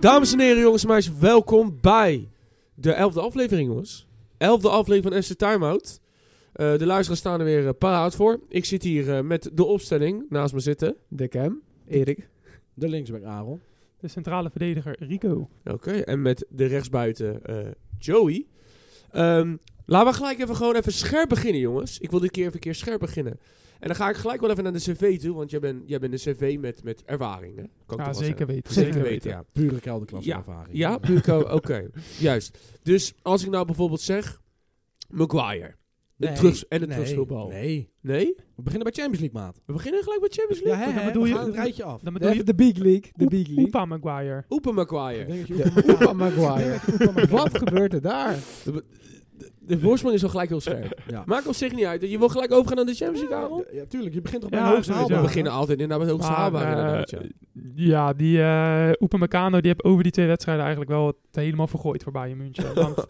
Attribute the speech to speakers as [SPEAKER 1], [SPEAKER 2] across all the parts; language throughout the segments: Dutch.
[SPEAKER 1] Dames en heren, jongens en meisjes, welkom bij de elfde aflevering, jongens. Elfde aflevering van FC Timeout. Eh de luisteraars staan er weer eh, paraat voor. Ik zit hier eh, met de opstelling naast me zitten.
[SPEAKER 2] De Cam, Erik.
[SPEAKER 3] De linksback Aaron.
[SPEAKER 4] De centrale verdediger Rico.
[SPEAKER 1] Oké, en met de rechtsbuiten eh, Joey. Ehm, laten we gelijk even gewoon even scherp beginnen, jongens. Ik wil dit keer even een keer scherp beginnen. En dan ga ik gelijk wel even naar de cv toe, want jij bent, jij bent een cv met, met ervaring, hè? Kan ik toch
[SPEAKER 4] Ja,
[SPEAKER 1] wel
[SPEAKER 4] zeker
[SPEAKER 1] zeggen.
[SPEAKER 4] weten.
[SPEAKER 1] Zeker weten, ja.
[SPEAKER 3] Pure kelderklasse ervaring.
[SPEAKER 1] Ja, Buurko, oké. Juist. Dus als ik nou bijvoorbeeld zeg... Maguire. De
[SPEAKER 3] Nee,
[SPEAKER 1] terugs- en de
[SPEAKER 3] nee,
[SPEAKER 1] terugspeelbal.
[SPEAKER 3] Nee.
[SPEAKER 1] Nee?
[SPEAKER 3] We beginnen bij Champions League, maat.
[SPEAKER 1] We beginnen gelijk met Champions
[SPEAKER 3] Ja,
[SPEAKER 1] League.
[SPEAKER 3] hè,
[SPEAKER 4] dan
[SPEAKER 3] hè,
[SPEAKER 4] bedoel
[SPEAKER 3] we
[SPEAKER 4] je-
[SPEAKER 3] gaan het rijtje af.
[SPEAKER 4] Dan bedoel
[SPEAKER 2] De,
[SPEAKER 4] je
[SPEAKER 2] de Big League. De Big
[SPEAKER 4] Oep-
[SPEAKER 2] League.
[SPEAKER 4] Oepa Maguire.
[SPEAKER 1] Oepen
[SPEAKER 3] Ik
[SPEAKER 1] Maguire.
[SPEAKER 3] denk dat je
[SPEAKER 2] Ja.
[SPEAKER 3] op elkaar-
[SPEAKER 2] Oepa Maguire. Wat gebeurt er daar?
[SPEAKER 1] De voorsprong is al gelijk heel scherp.
[SPEAKER 3] Ja.
[SPEAKER 1] Maakt op zich niet uit. Je wil gelijk overgaan naar de Champions League, Aaron?
[SPEAKER 3] Ja, tuurlijk, je begint toch
[SPEAKER 4] Ja, nou,
[SPEAKER 3] bij de
[SPEAKER 1] We
[SPEAKER 4] sowieso.
[SPEAKER 3] hoogste
[SPEAKER 4] Ja.
[SPEAKER 3] haalbare.
[SPEAKER 1] beginnen altijd inderdaad met het hoogste
[SPEAKER 4] Maar,
[SPEAKER 1] haalbare.
[SPEAKER 4] eh,
[SPEAKER 1] inderdaad, ja.
[SPEAKER 4] Ja, die eh Oepa Meccano die heeft over die twee wedstrijden eigenlijk wel het helemaal vergooid voor Bayern München. Want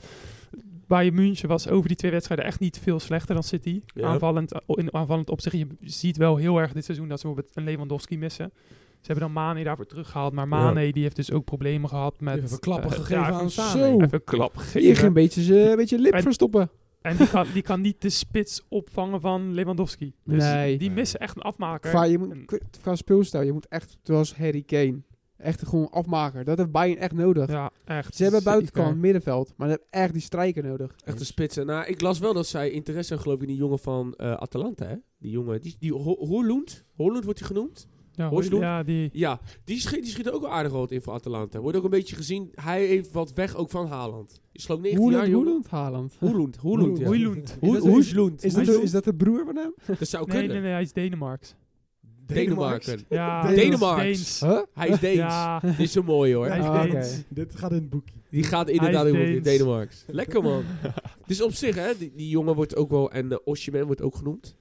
[SPEAKER 4] Bayern München was over die twee wedstrijden echt niet veel slechter dan City.
[SPEAKER 1] Ja.
[SPEAKER 4] Aanvallend, eh, in aanvallend opzicht. Je ziet wel heel erg dit seizoen dat ze bijvoorbeeld een Lewandowski missen. Ze hebben dan Mane daarvoor teruggehaald. Maar Mane die heeft dus ook problemen gehad met...
[SPEAKER 3] Even klappen
[SPEAKER 4] eh,
[SPEAKER 3] gegeven
[SPEAKER 4] ja,
[SPEAKER 3] aan Sane.
[SPEAKER 2] Zo.
[SPEAKER 4] Even klap
[SPEAKER 2] Hier
[SPEAKER 4] gegeven.
[SPEAKER 2] ging een beetje zijn een beetje lip
[SPEAKER 4] En-
[SPEAKER 2] verstoppen.
[SPEAKER 4] En die kan, die kan niet de spits opvangen van Lewandowski. Dus
[SPEAKER 2] Nee.
[SPEAKER 4] die missen echt een afmaker.
[SPEAKER 2] Qua, je
[SPEAKER 4] En-
[SPEAKER 2] moet, k- qua speelstijl, je moet echt, zoals Harry Kane, echt gewoon afmaker. Dat heeft Bayern echt nodig.
[SPEAKER 4] Ja, echt.
[SPEAKER 2] Ze hebben
[SPEAKER 4] Zeker.
[SPEAKER 2] buitenkant, middenveld, maar ze hebben echt die strijker nodig.
[SPEAKER 1] Echt een spitsen. Nou, ik las wel dat zij interesse hebben, geloof ik, in die jongen van eh, Atalanta, hè? Die jongen, die, die Ho- Hoorloend. Hoorloend wordt hij genoemd.
[SPEAKER 4] Ja,
[SPEAKER 1] Hojlund.
[SPEAKER 4] ja, die...
[SPEAKER 1] Ja, die schiet, die schiet er ook wel aardig wat in voor Atalanta. Wordt ook een beetje gezien. Hij heeft wat weg ook van Haaland. Je sloot 19
[SPEAKER 2] Hoeland,
[SPEAKER 1] jaar, jongen.
[SPEAKER 2] Hoeland, Haaland.
[SPEAKER 1] Hoelund, Hoelund, ja.
[SPEAKER 4] Hoijlund.
[SPEAKER 2] Is
[SPEAKER 1] Hoe-
[SPEAKER 2] dat-
[SPEAKER 1] Hoesloend.
[SPEAKER 2] Is dat,
[SPEAKER 1] Hoesloend.
[SPEAKER 2] is dat de broer van hem?
[SPEAKER 1] Dat
[SPEAKER 3] Oh,
[SPEAKER 1] zou
[SPEAKER 4] Nee,
[SPEAKER 1] kunnen.
[SPEAKER 4] nee, nee, hij is Denemarks.
[SPEAKER 3] eh,
[SPEAKER 1] Denemarken.
[SPEAKER 4] Ja,
[SPEAKER 2] Denemarks.
[SPEAKER 1] Denemarks.
[SPEAKER 4] Deens.
[SPEAKER 3] Oh,
[SPEAKER 2] Huh?
[SPEAKER 1] Hij is Deens.
[SPEAKER 4] Ja,
[SPEAKER 1] Dit is zo mooi hoor.
[SPEAKER 4] hij is
[SPEAKER 2] Ah, oké.
[SPEAKER 4] Deens.
[SPEAKER 3] Dit gaat in het boekje.
[SPEAKER 1] Die gaat inderdaad
[SPEAKER 4] Hij is
[SPEAKER 1] ook in
[SPEAKER 4] Deens.
[SPEAKER 1] Denemarken. Lekker man. dus op zich, hè, die, die jongen wordt ook wel. En uh, wordt ook genoemd.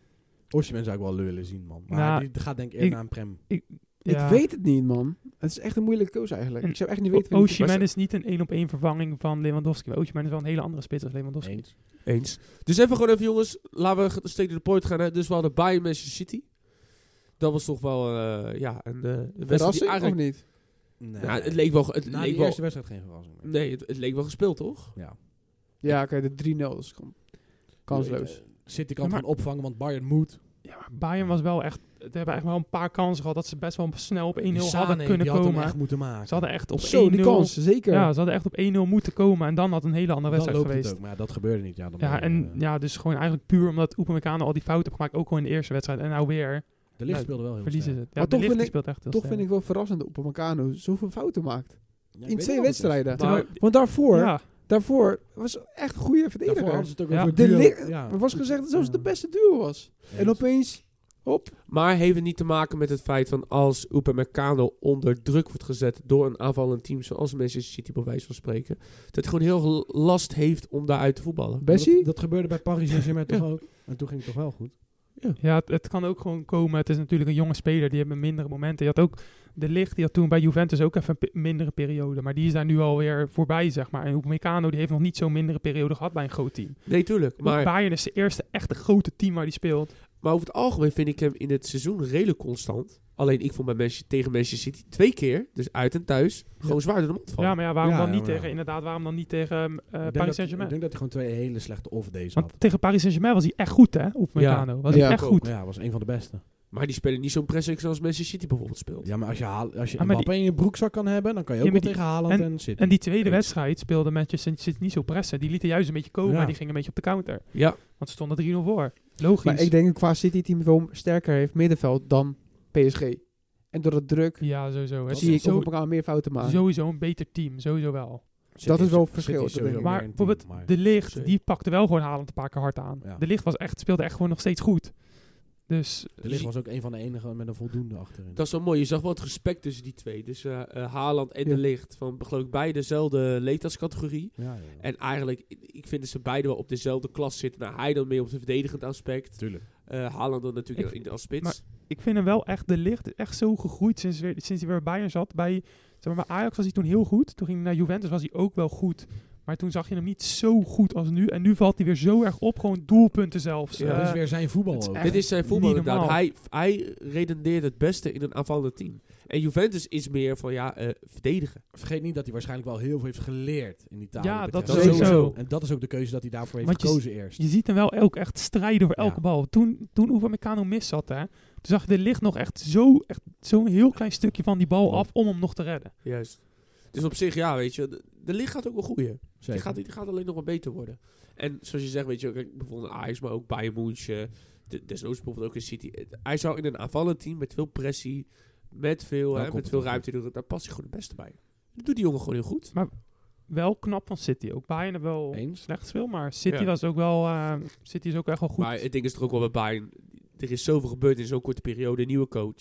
[SPEAKER 3] Osimhen zou ik wel willen zien, man. Maar
[SPEAKER 4] Nou,
[SPEAKER 3] die gaat denk ik eerder
[SPEAKER 4] ik-
[SPEAKER 3] naar een prem.
[SPEAKER 4] Ja.
[SPEAKER 2] Ik weet het niet, man. Het is echt een moeilijke koos eigenlijk.
[SPEAKER 4] En
[SPEAKER 2] Ik zou echt niet
[SPEAKER 4] O-
[SPEAKER 2] weten wie die-
[SPEAKER 4] Osimhen is niet een één op één vervanging van Lewandowski. Maar Osimhen is wel een hele andere spits als Lewandowski.
[SPEAKER 3] Eens.
[SPEAKER 1] Eens. Dus even gewoon even, jongens. Laten we g- steek door de point gaan. Hè. Dus we hadden Bayern Manchester City. Dat was toch wel eh, ja, een eh, een wedstrijd die
[SPEAKER 2] Verrassing of
[SPEAKER 1] eigenlijk.
[SPEAKER 2] niet?
[SPEAKER 3] Nee.
[SPEAKER 1] Nou, het leek wel. ge- Het
[SPEAKER 3] Na
[SPEAKER 1] leek
[SPEAKER 3] die
[SPEAKER 1] wel
[SPEAKER 3] eerste wedstrijd geen verrassing meer.
[SPEAKER 1] nee, het, het leek wel gespeeld, toch?
[SPEAKER 3] Ja.
[SPEAKER 2] Ja, oké, de 3-0 is kom- kansloos.
[SPEAKER 3] Eh, City kan
[SPEAKER 4] Ja, maar-
[SPEAKER 3] gaan opvangen, want Bayern moet.
[SPEAKER 4] Ja, maar Bayern was wel echt... Ze hebben echt wel een paar kansen gehad dat ze best wel snel op 1-0
[SPEAKER 3] Die Sane,
[SPEAKER 4] hadden kunnen
[SPEAKER 3] die had hem
[SPEAKER 4] komen.
[SPEAKER 3] echt moeten maken.
[SPEAKER 4] Ze hadden echt op 1-0...
[SPEAKER 2] Zo, die kans, zeker.
[SPEAKER 4] Ja, ze hadden echt op 1-0 moeten komen. En dan had een hele andere
[SPEAKER 3] Dan
[SPEAKER 4] wedstrijd
[SPEAKER 3] loopt
[SPEAKER 4] geweest.
[SPEAKER 3] het ook, maar ja, dat gebeurde niet. Ja, dan
[SPEAKER 4] Ja,
[SPEAKER 3] ben je,
[SPEAKER 4] en
[SPEAKER 3] eh,
[SPEAKER 4] ja, dus gewoon eigenlijk puur omdat Upamecano al die fouten heeft gemaakt, ook al in de eerste wedstrijd. En nou weer
[SPEAKER 3] de licht
[SPEAKER 4] ja,
[SPEAKER 3] speelde wel heel
[SPEAKER 4] verliezen
[SPEAKER 3] sterk.
[SPEAKER 4] ze het.
[SPEAKER 2] Maar
[SPEAKER 4] Ja, maar
[SPEAKER 2] toch
[SPEAKER 4] toch
[SPEAKER 2] vind ik-
[SPEAKER 4] speelt echt heel
[SPEAKER 2] Toch
[SPEAKER 4] sterk.
[SPEAKER 2] vind ik wel verrassend dat Upamecano zoveel fouten maakt.
[SPEAKER 3] Ja, ik
[SPEAKER 2] in
[SPEAKER 3] weet
[SPEAKER 2] twee
[SPEAKER 3] wel wat het is.
[SPEAKER 2] wedstrijden.
[SPEAKER 1] Maar-
[SPEAKER 2] Terwijl- want daarvoor,
[SPEAKER 4] Ja,
[SPEAKER 2] daarvoor was echt een goede
[SPEAKER 3] Daarvoor
[SPEAKER 2] verdediger.
[SPEAKER 3] hadden ze het ook
[SPEAKER 4] Ja.
[SPEAKER 3] over
[SPEAKER 2] De
[SPEAKER 3] duo.
[SPEAKER 2] li-
[SPEAKER 3] Ja.
[SPEAKER 2] Er was gezegd dat zelfs de
[SPEAKER 4] Ja.
[SPEAKER 2] beste duo was. En
[SPEAKER 3] Eens.
[SPEAKER 2] opeens, hop.
[SPEAKER 1] Maar heeft het niet te maken met het feit van als Upamecano onder druk wordt gezet door een aanvallend team zoals Manchester City bij wijze van spreken, dat hij gewoon heel veel last heeft om daaruit te voetballen.
[SPEAKER 2] Bessie?
[SPEAKER 3] Dat, dat gebeurde bij Paris Saint-Germain toch ook. En toen ging het toch wel goed.
[SPEAKER 4] Eh, ja het, het kan ook gewoon komen. Het is natuurlijk een jonge speler, die hebben mindere momenten. Je had ook de licht, die had toen bij Juventus ook even een pe- mindere periode. Maar die is daar nu alweer voorbij, zeg maar. En Upamecano, die heeft nog niet zo'n mindere periode gehad bij een groot team.
[SPEAKER 1] Nee, tuurlijk.
[SPEAKER 4] Maar
[SPEAKER 1] Maar,
[SPEAKER 4] Bayern is de eerste echte grote team waar die speelt.
[SPEAKER 1] maar over het algemeen vind ik hem in het seizoen redelijk constant. Alleen ik vond bij Manchester, tegen Manchester City twee keer, dus uit en thuis, gewoon zwaar door de mond vallen.
[SPEAKER 4] Ja, maar ja, waarom
[SPEAKER 3] Ja,
[SPEAKER 4] dan
[SPEAKER 3] ja,
[SPEAKER 4] niet
[SPEAKER 3] maar ja.
[SPEAKER 4] tegen, inderdaad, waarom dan niet tegen eh,
[SPEAKER 3] Ik denk dat-
[SPEAKER 4] Paris
[SPEAKER 3] Ik
[SPEAKER 4] Saint-Germain?
[SPEAKER 3] denk dat hij gewoon twee hele slechte off-days had.
[SPEAKER 4] Want tegen Paris Saint-Germain was hij echt goed, hè? Upamecano. was
[SPEAKER 2] Ja.
[SPEAKER 4] hij echt
[SPEAKER 1] Ja.
[SPEAKER 4] goed.
[SPEAKER 3] Ja, hij was een van de beste.
[SPEAKER 1] Maar die spelen niet zo'n pressing zoals Manchester City bijvoorbeeld speelt.
[SPEAKER 3] Ja, maar als je, haal, als je
[SPEAKER 4] Ja, Ah, maar
[SPEAKER 3] Mbappé in je broekzak kan hebben, dan kan je ook
[SPEAKER 4] Ja,
[SPEAKER 3] wel
[SPEAKER 4] maar
[SPEAKER 3] tegen Haaland en, zitten.
[SPEAKER 4] En die tweede
[SPEAKER 1] Eens.
[SPEAKER 4] wedstrijd speelde Manchester City niet zo pressen. Die lieten juist een beetje komen
[SPEAKER 3] Ja.
[SPEAKER 4] en die gingen een beetje op de counter.
[SPEAKER 1] Ja,
[SPEAKER 4] Want ze stonden 3-0 voor. Logisch.
[SPEAKER 2] Maar ik denk dat qua City-team wel sterker heeft middenveld dan PSG. En door dat druk
[SPEAKER 4] ja, sowieso. hè.
[SPEAKER 3] Dat
[SPEAKER 2] zie
[SPEAKER 3] is
[SPEAKER 2] ik
[SPEAKER 4] Zo-
[SPEAKER 2] Upamecano meer fouten maken.
[SPEAKER 4] sowieso een beter team. Sowieso wel.
[SPEAKER 2] dat is wel een verschil, dat denk ik.
[SPEAKER 4] Maar bijvoorbeeld De Licht,
[SPEAKER 1] Zeker.
[SPEAKER 4] die pakte wel gewoon Haaland een paar keer hard aan.
[SPEAKER 3] Ja.
[SPEAKER 4] De Licht was echt, speelde echt gewoon nog steeds goed. Dus
[SPEAKER 3] de Ligt was ook een van de enigen met een voldoende achterin.
[SPEAKER 1] dat is wel mooi. Je zag wel het respect tussen die twee. Dus eh, eh, Haaland en
[SPEAKER 2] Ja.
[SPEAKER 1] De Licht. Van geloof ik beide dezelfde leeftijdscategorie.
[SPEAKER 3] ja, ja.
[SPEAKER 1] En eigenlijk, ik- ik vind dat ze beide wel op dezelfde klas zitten. Nou, hij dan meer op het verdedigend aspect.
[SPEAKER 3] Tuurlijk.
[SPEAKER 1] eh Haaland dan natuurlijk
[SPEAKER 4] Ik-
[SPEAKER 1] in, als spits.
[SPEAKER 4] maar- ik vind hem wel echt, De Licht, is echt zo gegroeid sinds, weer, sinds hij weer bij Bayern zat. Bij, zeg maar, bij Ajax was hij toen heel goed. Toen ging hij naar Juventus, was hij ook wel goed. Maar toen zag je hem niet zo goed als nu. En nu valt hij weer zo erg op. Gewoon doelpunten zelfs.
[SPEAKER 1] Ja,
[SPEAKER 4] Eh,
[SPEAKER 3] dat is weer zijn voetbal
[SPEAKER 4] het is
[SPEAKER 3] ook.
[SPEAKER 4] echt-
[SPEAKER 1] Dit is zijn voetbal
[SPEAKER 4] niet
[SPEAKER 1] inderdaad.
[SPEAKER 4] normaal.
[SPEAKER 1] Hij, hij redeneert het beste in een aanvallend team. En Juventus is meer van, ja, eh, verdedigen.
[SPEAKER 3] Vergeet niet dat hij waarschijnlijk wel heel veel heeft geleerd in Italië.
[SPEAKER 4] Ja, dat
[SPEAKER 3] betreft.
[SPEAKER 1] sowieso.
[SPEAKER 3] Sowieso. En dat is ook de keuze dat hij daarvoor heeft
[SPEAKER 4] Want je-
[SPEAKER 3] gekozen eerst.
[SPEAKER 4] Dus je ziet hem wel ook echt strijden voor elke
[SPEAKER 3] Ja.
[SPEAKER 4] bal. Toen, toen Upamecano mis zat, hè, toen zag je de licht nog echt zo'n echt zo'n heel klein stukje van die bal af om hem nog te redden.
[SPEAKER 1] Juist. Dus op zich, ja, weet je, de, de licht gaat ook wel groeien. Die
[SPEAKER 3] Zeker.
[SPEAKER 1] gaat, die gaat alleen nog maar beter worden. En zoals je zegt, weet je, kijk, bijvoorbeeld Ajax, maar ook Bayern München. de- Desnoods bijvoorbeeld ook in City. Het- Hij zou in een aanvallend team met veel pressie, met veel,
[SPEAKER 3] Dan
[SPEAKER 1] hè,
[SPEAKER 3] komt
[SPEAKER 1] met
[SPEAKER 3] het
[SPEAKER 1] veel
[SPEAKER 3] wel
[SPEAKER 1] ruimte, doen, daar past hij gewoon het beste bij. Dat doet die jongen gewoon heel goed.
[SPEAKER 4] Wel knap van City. Ook Bayern heeft wel
[SPEAKER 3] Eens.
[SPEAKER 4] slecht speel, maar City
[SPEAKER 1] Ja.
[SPEAKER 4] was ook wel eh, City is ook echt wel goed.
[SPEAKER 1] Maar het ding is er ook wel bij Bayern. Er is zoveel gebeurd in zo'n korte periode. Nieuwe coach.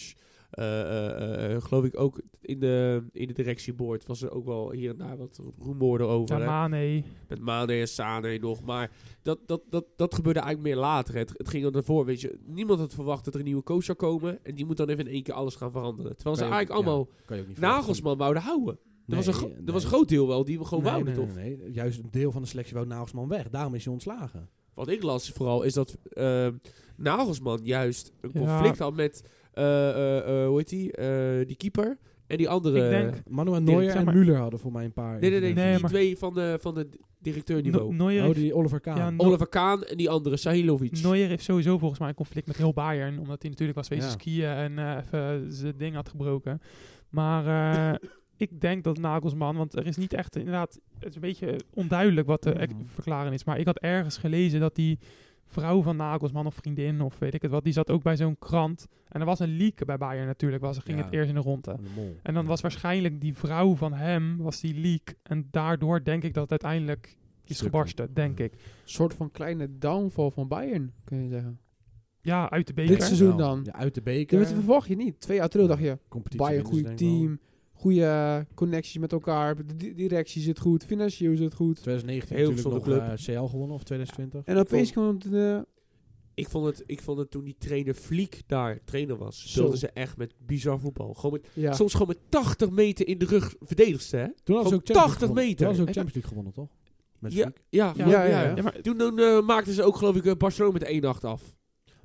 [SPEAKER 1] Eh, eh, eh, geloof ik ook in de, in de directieboord was er ook wel hier en daar wat rumoorden over.
[SPEAKER 4] ja,
[SPEAKER 1] hè.
[SPEAKER 4] Mane.
[SPEAKER 1] Met Mane en Sane nog. Maar dat, dat, dat, dat gebeurde eigenlijk meer later. Het, het ging er daarvoor. Weet je, niemand had verwacht dat er een nieuwe coach zou komen. En die moet dan even in één keer alles gaan veranderen. Terwijl ze
[SPEAKER 3] Kan je ook-
[SPEAKER 1] eigenlijk allemaal
[SPEAKER 3] ja, kan je ook niet verwachten.
[SPEAKER 1] Nagelsman wouden houden. Er, was een, gro-
[SPEAKER 3] Nee,
[SPEAKER 1] er was een
[SPEAKER 3] nee.
[SPEAKER 1] groot deel wel die we gewoon
[SPEAKER 3] Nee,
[SPEAKER 1] wouden,
[SPEAKER 3] nee,
[SPEAKER 1] toch?
[SPEAKER 3] nee, nee. Juist een deel van de selectie wou Nagelsman weg. Daarom is hij ontslagen.
[SPEAKER 1] Wat ik las vooral is dat ehm, Nagelsman juist een
[SPEAKER 4] Ja.
[SPEAKER 1] conflict had met, eh, eh, eh, hoe heet die, Eh, die keeper en die andere...
[SPEAKER 4] Ik denk-
[SPEAKER 3] Manu en
[SPEAKER 4] Nee,
[SPEAKER 3] Neuer
[SPEAKER 4] zeg
[SPEAKER 3] en
[SPEAKER 4] maar-
[SPEAKER 3] Müller hadden voor mij een paar.
[SPEAKER 1] Nee, nee, nee,
[SPEAKER 4] Nee,
[SPEAKER 1] die
[SPEAKER 4] maar-
[SPEAKER 1] twee van de, van de directeurniveau.
[SPEAKER 4] No- Neuer,
[SPEAKER 3] Oh,
[SPEAKER 4] heeft,
[SPEAKER 3] die Oliver Kahn.
[SPEAKER 4] ja, No-
[SPEAKER 1] Oliver Kaan en die andere, Sahilovic.
[SPEAKER 4] Neuer heeft sowieso volgens mij een conflict met heel Bayern. Omdat hij natuurlijk was wezen
[SPEAKER 3] Ja.
[SPEAKER 4] skiën en eh, even zijn ding had gebroken. Maar eh, ik denk dat Nagelsman, want er is niet echt inderdaad, het is een beetje onduidelijk wat de ex-
[SPEAKER 3] Mhm.
[SPEAKER 4] verklaring is. Maar ik had ergens gelezen dat die vrouw van Nagelsman of vriendin of weet ik het wat, die zat ook bij zo'n krant. En er was een leak bij Bayern natuurlijk, was, er ging
[SPEAKER 3] Ja.
[SPEAKER 4] het eerst in de ronde.
[SPEAKER 3] De Mol.
[SPEAKER 4] En dan was waarschijnlijk die vrouw van hem, was die leak. En daardoor denk ik dat het uiteindelijk is
[SPEAKER 3] Stukken.
[SPEAKER 4] gebarsten, denk ik.
[SPEAKER 2] soort van kleine downfall van Bayern, kun je zeggen.
[SPEAKER 4] Ja, uit de
[SPEAKER 2] Dit
[SPEAKER 4] beker.
[SPEAKER 2] seizoen
[SPEAKER 3] Wel.
[SPEAKER 2] dan.
[SPEAKER 3] Ja, uit de
[SPEAKER 2] Ja,
[SPEAKER 3] beker.
[SPEAKER 2] maar Dat verwacht je niet. Twee jaar terug dacht je,
[SPEAKER 3] competitie
[SPEAKER 2] Bayern,
[SPEAKER 3] winnen ze
[SPEAKER 2] goed
[SPEAKER 3] denk ik wel.
[SPEAKER 2] team, goede connecties met elkaar, de di- directie zit goed, financieel zit goed.
[SPEAKER 3] 2019
[SPEAKER 1] Heel
[SPEAKER 3] natuurlijk
[SPEAKER 1] gezonde
[SPEAKER 3] nog eh, CL gewonnen of 2020.
[SPEAKER 2] En opeens komt het... eh,
[SPEAKER 1] Ik vond, het, ik vond het toen die trainer Fliek daar trainer was,
[SPEAKER 2] Zo.
[SPEAKER 1] speelden ze echt met bizar voetbal. Gewoon met,
[SPEAKER 2] ja.
[SPEAKER 1] Soms gewoon met 80 meter in de rug verdedigsten, hè?
[SPEAKER 3] Toen hadden ze ook
[SPEAKER 1] Gewoon
[SPEAKER 3] Champions
[SPEAKER 1] 80
[SPEAKER 3] League gewonnen.
[SPEAKER 1] meter.
[SPEAKER 3] Toen hadden ze ook Champions League gewonnen, toch? Met
[SPEAKER 1] Ja.
[SPEAKER 3] Flick.
[SPEAKER 1] Ja,
[SPEAKER 4] Ja,
[SPEAKER 1] gewoon,
[SPEAKER 2] ja, ja.
[SPEAKER 4] Ja, maar
[SPEAKER 1] Toen, toen, eh, maakten ze ook, geloof ik, eh, Barcelona met 1-8 af.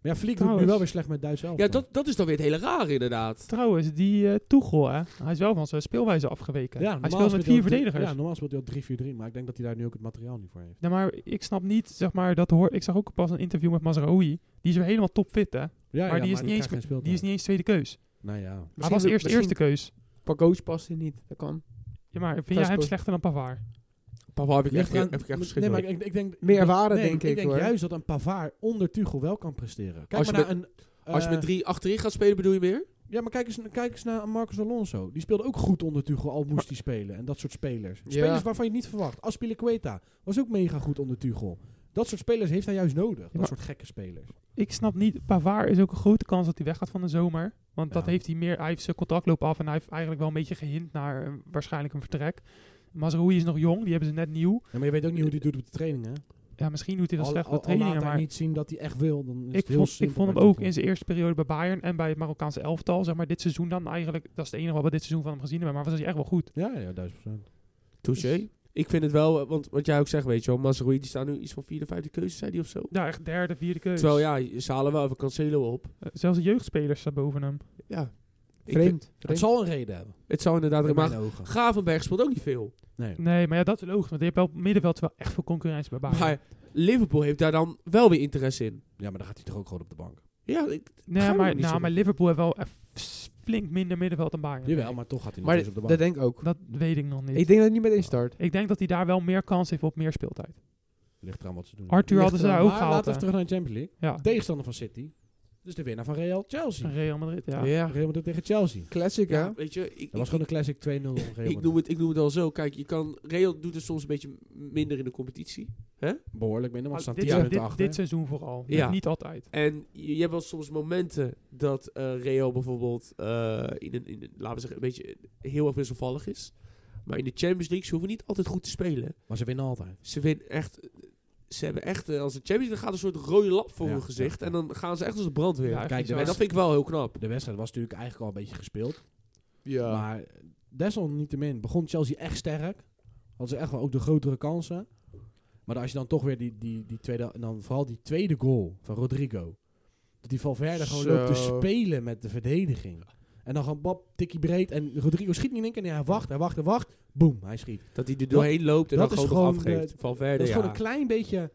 [SPEAKER 3] Maar ja, Flick doet nu
[SPEAKER 4] Trouwens.
[SPEAKER 3] wel weer slecht met Duits zelf.
[SPEAKER 1] Ja, dat, dat is dan weer het hele raar, inderdaad.
[SPEAKER 4] Trouwens, die eh Tuchel, hè, hij is wel van zijn speelwijze afgeweken. hij speelt met vier verdedigers.
[SPEAKER 3] Ja, normaal speelt hij al 3-4-3, maar ik denk dat hij daar nu ook het materiaal niet voor heeft.
[SPEAKER 4] Nee, maar ik snap niet, zeg maar, dat hoor. Ik zag ook pas een interview met Mazraoui. Die is weer helemaal topfit, hè?
[SPEAKER 3] Ja,
[SPEAKER 4] Maar die is niet eens-
[SPEAKER 3] krijgt geen speeltijd.
[SPEAKER 4] Die is niet eens tweede keus.
[SPEAKER 3] Nou ja.
[SPEAKER 4] Hij was
[SPEAKER 2] de-
[SPEAKER 4] eerst
[SPEAKER 2] misschien-
[SPEAKER 4] eerste keus.
[SPEAKER 2] Qua coach past hij niet, dat kan.
[SPEAKER 4] Ja, maar vind
[SPEAKER 2] Thuis
[SPEAKER 4] jij hem
[SPEAKER 2] speelt-
[SPEAKER 4] slechter dan Pavard?
[SPEAKER 1] Papa heb ik echt,
[SPEAKER 3] Ligt
[SPEAKER 1] heb
[SPEAKER 3] eraan-
[SPEAKER 1] ik echt verschrikkelijk.
[SPEAKER 3] nee, maar ik, ik denk,
[SPEAKER 2] Meer
[SPEAKER 3] ik-
[SPEAKER 2] waarde,
[SPEAKER 3] nee,
[SPEAKER 2] denk ik,
[SPEAKER 3] Ik denk
[SPEAKER 2] hoor.
[SPEAKER 3] juist dat een Pavard onder Tuchel wel kan presteren. Kijk
[SPEAKER 1] Als je
[SPEAKER 3] maar naar een...
[SPEAKER 1] Als je
[SPEAKER 3] eh,
[SPEAKER 1] met drie achterin gaat spelen, bedoel je meer?
[SPEAKER 3] Ja, maar kijk eens, kijk eens naar Marcus Alonso. Die speelde ook goed onder Tuchel, al moest hij spelen. En dat soort spelers.
[SPEAKER 2] Ja.
[SPEAKER 3] Spelers waarvan je het niet verwacht. Aspilicueta was ook mega goed onder Tuchel. Dat soort spelers heeft hij juist nodig.
[SPEAKER 4] maar-
[SPEAKER 3] Dat soort gekke spelers.
[SPEAKER 4] Ik snap niet. Pavard is ook een grote kans dat hij weggaat van de zomer. Want dat
[SPEAKER 3] Ja.
[SPEAKER 4] heeft hij meer. Hij heeft zijn contractloop af en hij heeft eigenlijk wel een beetje gehind naar eh, waarschijnlijk een vertrek. Mazraoui is nog jong, die hebben ze net nieuw.
[SPEAKER 3] Ja, maar je weet ook niet hoe hij doet op de training, hè?
[SPEAKER 4] Ja, misschien doet hij dat
[SPEAKER 3] Al,
[SPEAKER 4] slecht
[SPEAKER 3] al,
[SPEAKER 4] op
[SPEAKER 3] al laat
[SPEAKER 4] trainingen,
[SPEAKER 3] hij
[SPEAKER 4] maar
[SPEAKER 3] niet zien dat hij echt wil, dan is
[SPEAKER 4] Ik
[SPEAKER 3] het heel
[SPEAKER 4] vond, ik
[SPEAKER 3] simpel
[SPEAKER 4] vond
[SPEAKER 3] bij
[SPEAKER 4] hem ook
[SPEAKER 3] Tuchel.
[SPEAKER 4] in zijn eerste periode bij Bayern en bij het Marokkaanse elftal. Zeg maar, dit seizoen dan eigenlijk, dat is het enige wat we dit seizoen van hem gezien hebben. Maar was hij echt wel goed.
[SPEAKER 3] Ja, ja, duizend procent.
[SPEAKER 1] Touché. Ik vind het wel, eh, want wat jij ook zegt, weet je wel, Mazraoui die staat nu iets van vierde, vijfde keuze, zei die of zo.
[SPEAKER 4] Ja, echt derde, vierde keuze.
[SPEAKER 1] Terwijl ja, ze halen wel even Cancelo op.
[SPEAKER 4] Eh, Zelfs de jeugdspelers staan boven hem.
[SPEAKER 1] Ja. Ik vind-
[SPEAKER 2] Vreemd.
[SPEAKER 3] Het
[SPEAKER 2] vreemd.
[SPEAKER 3] zal een reden hebben.
[SPEAKER 1] het zou inderdaad...
[SPEAKER 3] In mijn
[SPEAKER 1] Maar
[SPEAKER 3] ogen.
[SPEAKER 1] Gravenberg speelt ook niet veel.
[SPEAKER 3] Nee.
[SPEAKER 4] Nee, maar ja, dat is logisch. Want je hebt wel op het middenveld wel echt veel concurrentie bij Bayern.
[SPEAKER 1] Maar Liverpool heeft daar dan wel weer interesse in.
[SPEAKER 3] Ja, maar dan gaat hij toch ook gewoon op de bank.
[SPEAKER 1] Ja, ik,
[SPEAKER 4] nee,
[SPEAKER 1] gaan we
[SPEAKER 4] maar,
[SPEAKER 1] niet
[SPEAKER 4] nou,
[SPEAKER 1] zo-
[SPEAKER 4] maar Liverpool heeft wel echt flink minder middenveld dan Bayern.
[SPEAKER 3] Jawel, maar toch gaat hij nog
[SPEAKER 2] Maar
[SPEAKER 3] eens op de
[SPEAKER 2] d-
[SPEAKER 3] bank.
[SPEAKER 2] dat denk ik ook.
[SPEAKER 4] Dat weet ik nog niet.
[SPEAKER 2] Ik
[SPEAKER 4] Ik,
[SPEAKER 2] denk dat hij niet meteen start.
[SPEAKER 4] denk dat hij daar wel meer kans heeft op meer speeltijd.
[SPEAKER 3] Ligt eraan wat ze doen.
[SPEAKER 4] Arthur
[SPEAKER 3] Ligt
[SPEAKER 4] hadden ze
[SPEAKER 3] eraan.
[SPEAKER 4] daar ook
[SPEAKER 3] Maar
[SPEAKER 4] gehaald.
[SPEAKER 3] Laten we
[SPEAKER 4] hè.
[SPEAKER 3] terug naar de Champions League.
[SPEAKER 4] Ja,
[SPEAKER 3] Tegenstander van City. Dus de winnaar van Real, Chelsea.
[SPEAKER 4] Real Madrid, ja.
[SPEAKER 1] ja.
[SPEAKER 3] Real Madrid tegen Chelsea.
[SPEAKER 2] Classic, hè?
[SPEAKER 1] ja, weet je, ik,
[SPEAKER 3] Dat was gewoon een classic 2-0 van Real
[SPEAKER 1] ik,
[SPEAKER 3] Madrid.
[SPEAKER 1] noem het, ik noem het al zo. Kijk, je kan, Real doet het soms een beetje minder in de competitie.
[SPEAKER 3] Behoorlijk minder,
[SPEAKER 4] Maar
[SPEAKER 3] want ze staan
[SPEAKER 4] Oh, dit,
[SPEAKER 3] 10
[SPEAKER 4] dit, dit,
[SPEAKER 3] minuten achter.
[SPEAKER 4] seizoen vooral.
[SPEAKER 1] Ja.
[SPEAKER 4] Niet altijd.
[SPEAKER 1] En je, je hebt wel soms momenten dat eh Real bijvoorbeeld eh, in, een, in een, laten we zeggen, een beetje heel erg wisselvallig is. Maar in de Champions League, ze hoeven niet altijd goed te spelen.
[SPEAKER 3] Maar ze winnen altijd.
[SPEAKER 1] Ze winnen echt, ze hebben echt, eh, als de Champions League gaat een soort rode lap voor
[SPEAKER 3] Ja,
[SPEAKER 1] hun gezicht.
[SPEAKER 3] ja,
[SPEAKER 1] En
[SPEAKER 3] ja.
[SPEAKER 1] dan gaan ze echt als de brandweer.
[SPEAKER 4] Ja,
[SPEAKER 3] kijk, de
[SPEAKER 1] en dat
[SPEAKER 3] wedstrijd-
[SPEAKER 1] vind ik wel heel knap.
[SPEAKER 3] De wedstrijd was natuurlijk eigenlijk al een beetje gespeeld.
[SPEAKER 2] Ja.
[SPEAKER 3] Maar desalniettemin begon Chelsea echt sterk. Hadden ze echt wel ook de grotere kansen. Maar dan als je dan toch weer die, die, die tweede... En dan vooral die tweede goal van Rodrigo. Dat die Valverde gewoon
[SPEAKER 2] Zo.
[SPEAKER 3] loopt te spelen met de verdediging. En dan gewoon bab, tikkie breed. En Rodrigo schiet niet in één keer. Nee, hij wacht, hij wacht, hij wacht. Boom, hij schiet.
[SPEAKER 1] Dat hij er doorheen loopt en
[SPEAKER 3] dat
[SPEAKER 1] dan
[SPEAKER 3] is
[SPEAKER 1] gewoon nog
[SPEAKER 3] gewoon, eh,
[SPEAKER 1] afgeeft. van
[SPEAKER 3] Dat
[SPEAKER 1] verder,
[SPEAKER 3] is
[SPEAKER 1] ja.
[SPEAKER 3] gewoon een klein beetje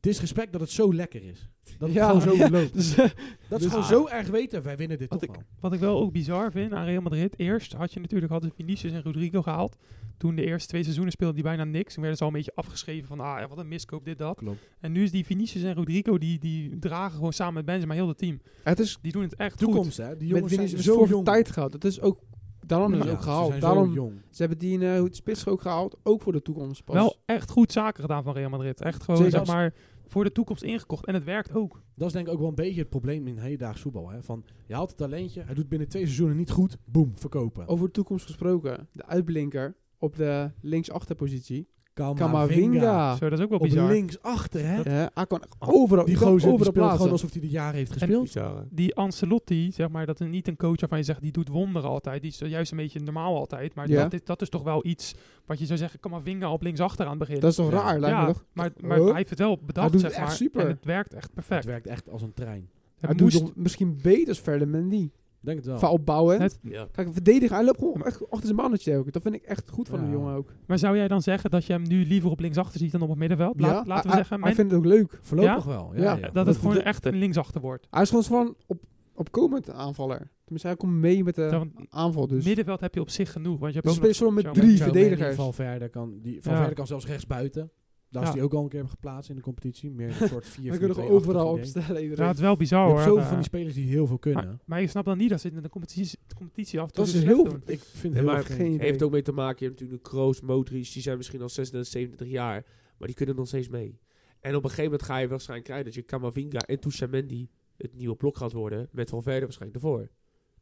[SPEAKER 3] disrespect dat het zo lekker is. Dat het
[SPEAKER 2] Ja.
[SPEAKER 3] gewoon zo
[SPEAKER 2] Ja.
[SPEAKER 3] loopt.
[SPEAKER 2] Dus,
[SPEAKER 3] Dat is
[SPEAKER 1] Dus-
[SPEAKER 3] gewoon
[SPEAKER 1] Ah.
[SPEAKER 3] zo erg weten. Wij winnen dit
[SPEAKER 4] Wat
[SPEAKER 3] toch wel.
[SPEAKER 4] Wat ik wel ook bizar vind aan Real Madrid. Eerst had je natuurlijk hadden Vinicius en Rodrigo gehaald. Toen de eerste twee seizoenen speelden die bijna niks. Toen werden ze al een beetje afgeschreven van ah, wat een miskoop dit dat.
[SPEAKER 3] Klopt.
[SPEAKER 4] En nu is die Vinicius en Rodrigo die, die dragen gewoon samen met Benzema heel het team.
[SPEAKER 2] het is
[SPEAKER 4] Die doen het echt goed.
[SPEAKER 3] Toekomst, hè. Die
[SPEAKER 2] met
[SPEAKER 3] jongens
[SPEAKER 2] Vinicius
[SPEAKER 3] zijn
[SPEAKER 2] is
[SPEAKER 3] zo
[SPEAKER 2] voor
[SPEAKER 3] jong.
[SPEAKER 2] tijd gehad. Dat is ook daarom is
[SPEAKER 3] Ja,
[SPEAKER 2] ook
[SPEAKER 3] ze
[SPEAKER 2] gehaald.
[SPEAKER 3] zijn zo
[SPEAKER 2] daarom
[SPEAKER 3] jong.
[SPEAKER 2] ze hebben die eh, hoe het spits ook gehaald, ook voor de toekomst pas.
[SPEAKER 4] Wel echt goed zaken gedaan van Real Madrid. Echt gewoon zeg
[SPEAKER 3] Zeker.
[SPEAKER 4] maar voor de toekomst ingekocht en het werkt ook.
[SPEAKER 3] Dat is denk ik ook wel een beetje het probleem in hedendaags voetbal. Hè? Van, je haalt het talentje, hij doet binnen twee seizoenen niet goed, boem, verkopen.
[SPEAKER 2] Over de toekomst gesproken, de uitblinker op de linksachterpositie.
[SPEAKER 3] Kamavinga.
[SPEAKER 2] Kamavinga.
[SPEAKER 4] Zo Oh, dat is ook wel
[SPEAKER 3] Op
[SPEAKER 4] bizar.
[SPEAKER 3] linksachter, hè.
[SPEAKER 2] Ja, hij kan overal,
[SPEAKER 3] Die
[SPEAKER 2] je kan
[SPEAKER 3] gozer die
[SPEAKER 2] overal
[SPEAKER 3] speelt
[SPEAKER 2] plaatsen.
[SPEAKER 3] gewoon alsof hij de jaren heeft gespeeld.
[SPEAKER 1] Bizar, hè.
[SPEAKER 4] die Ancelotti, zeg maar, dat is niet een coach waarvan je zegt, die doet wonderen altijd. Die is juist een beetje normaal altijd. Maar
[SPEAKER 2] Ja.
[SPEAKER 4] dat, is, dat is toch wel iets wat je zou zeggen, kan maar vinger op linksachter aan het begin.
[SPEAKER 2] Dat is toch
[SPEAKER 3] Ja.
[SPEAKER 2] raar, lijkt me
[SPEAKER 4] ja,
[SPEAKER 2] toch?
[SPEAKER 4] maar, maar
[SPEAKER 2] Huh?
[SPEAKER 4] hij heeft het wel bedacht,
[SPEAKER 2] doet
[SPEAKER 4] zeg
[SPEAKER 2] het echt
[SPEAKER 4] maar.
[SPEAKER 2] super.
[SPEAKER 4] En het werkt echt perfect.
[SPEAKER 3] Het werkt echt als een trein.
[SPEAKER 4] Het
[SPEAKER 2] hij
[SPEAKER 4] moest-
[SPEAKER 2] doet nog misschien beter als Ferdinandi.
[SPEAKER 3] Denk het wel.
[SPEAKER 2] Qua opbouwen.
[SPEAKER 4] Het-
[SPEAKER 1] Ja.
[SPEAKER 2] Kijk, verdedigen, hij loopt gewoon echt achter zijn mannetje ook. Dat vind ik echt goed van
[SPEAKER 3] Ja.
[SPEAKER 2] de jongen ook.
[SPEAKER 4] Maar zou jij dan zeggen dat je hem nu liever op linksachter ziet dan op het middenveld? Laat-
[SPEAKER 2] Ja,
[SPEAKER 4] laten we
[SPEAKER 2] hij-
[SPEAKER 4] zeggen,
[SPEAKER 2] hij
[SPEAKER 4] men-
[SPEAKER 2] vindt het ook leuk.
[SPEAKER 3] Voorlopig wel. Ja,
[SPEAKER 2] Ja.
[SPEAKER 3] ja.
[SPEAKER 4] dat het gewoon echt een linksachter wordt.
[SPEAKER 2] Hij is gewoon van op, opkomend aanvaller. Tenminste, hij komt mee met de
[SPEAKER 4] Ja, want
[SPEAKER 2] aanval dus.
[SPEAKER 4] middenveld heb je op zich genoeg. Want je hebt
[SPEAKER 2] Dus
[SPEAKER 4] ook
[SPEAKER 2] we spelen zo met
[SPEAKER 4] Zo-
[SPEAKER 2] drie
[SPEAKER 4] zo-
[SPEAKER 2] verdedigers.
[SPEAKER 3] Valverde kan, die,
[SPEAKER 4] Ja.
[SPEAKER 3] Valverde kan zelfs rechts buiten. Daar
[SPEAKER 4] Ja.
[SPEAKER 3] is hij ook al een keer geplaatst in de competitie. Meer een soort 4
[SPEAKER 2] We kunnen gewoon overal opstellen.
[SPEAKER 4] nog- Ja,
[SPEAKER 2] Iedereen.
[SPEAKER 4] het is wel bizar
[SPEAKER 3] Je
[SPEAKER 4] hoor.
[SPEAKER 3] hebt zoveel
[SPEAKER 4] Eh,
[SPEAKER 3] van die spelers die heel veel kunnen.
[SPEAKER 4] maar, maar je snapt dan niet dat ze het in de competitie, de competitie af en toe
[SPEAKER 2] Dat
[SPEAKER 4] zo
[SPEAKER 2] is
[SPEAKER 4] slecht
[SPEAKER 2] heel-
[SPEAKER 4] doen.
[SPEAKER 3] ik vind
[SPEAKER 1] Nee,
[SPEAKER 3] het heel
[SPEAKER 1] maar
[SPEAKER 3] geen...
[SPEAKER 2] Geen idee.
[SPEAKER 1] Heeft ook mee te maken, je hebt natuurlijk Kroos, Modric, die zijn misschien al 36, 37 jaar, maar die kunnen nog steeds mee. En op een gegeven moment ga je waarschijnlijk krijgen dat je Kamavinga en Touchamendi het nieuwe blok gaat worden, met Valverde waarschijnlijk ervoor.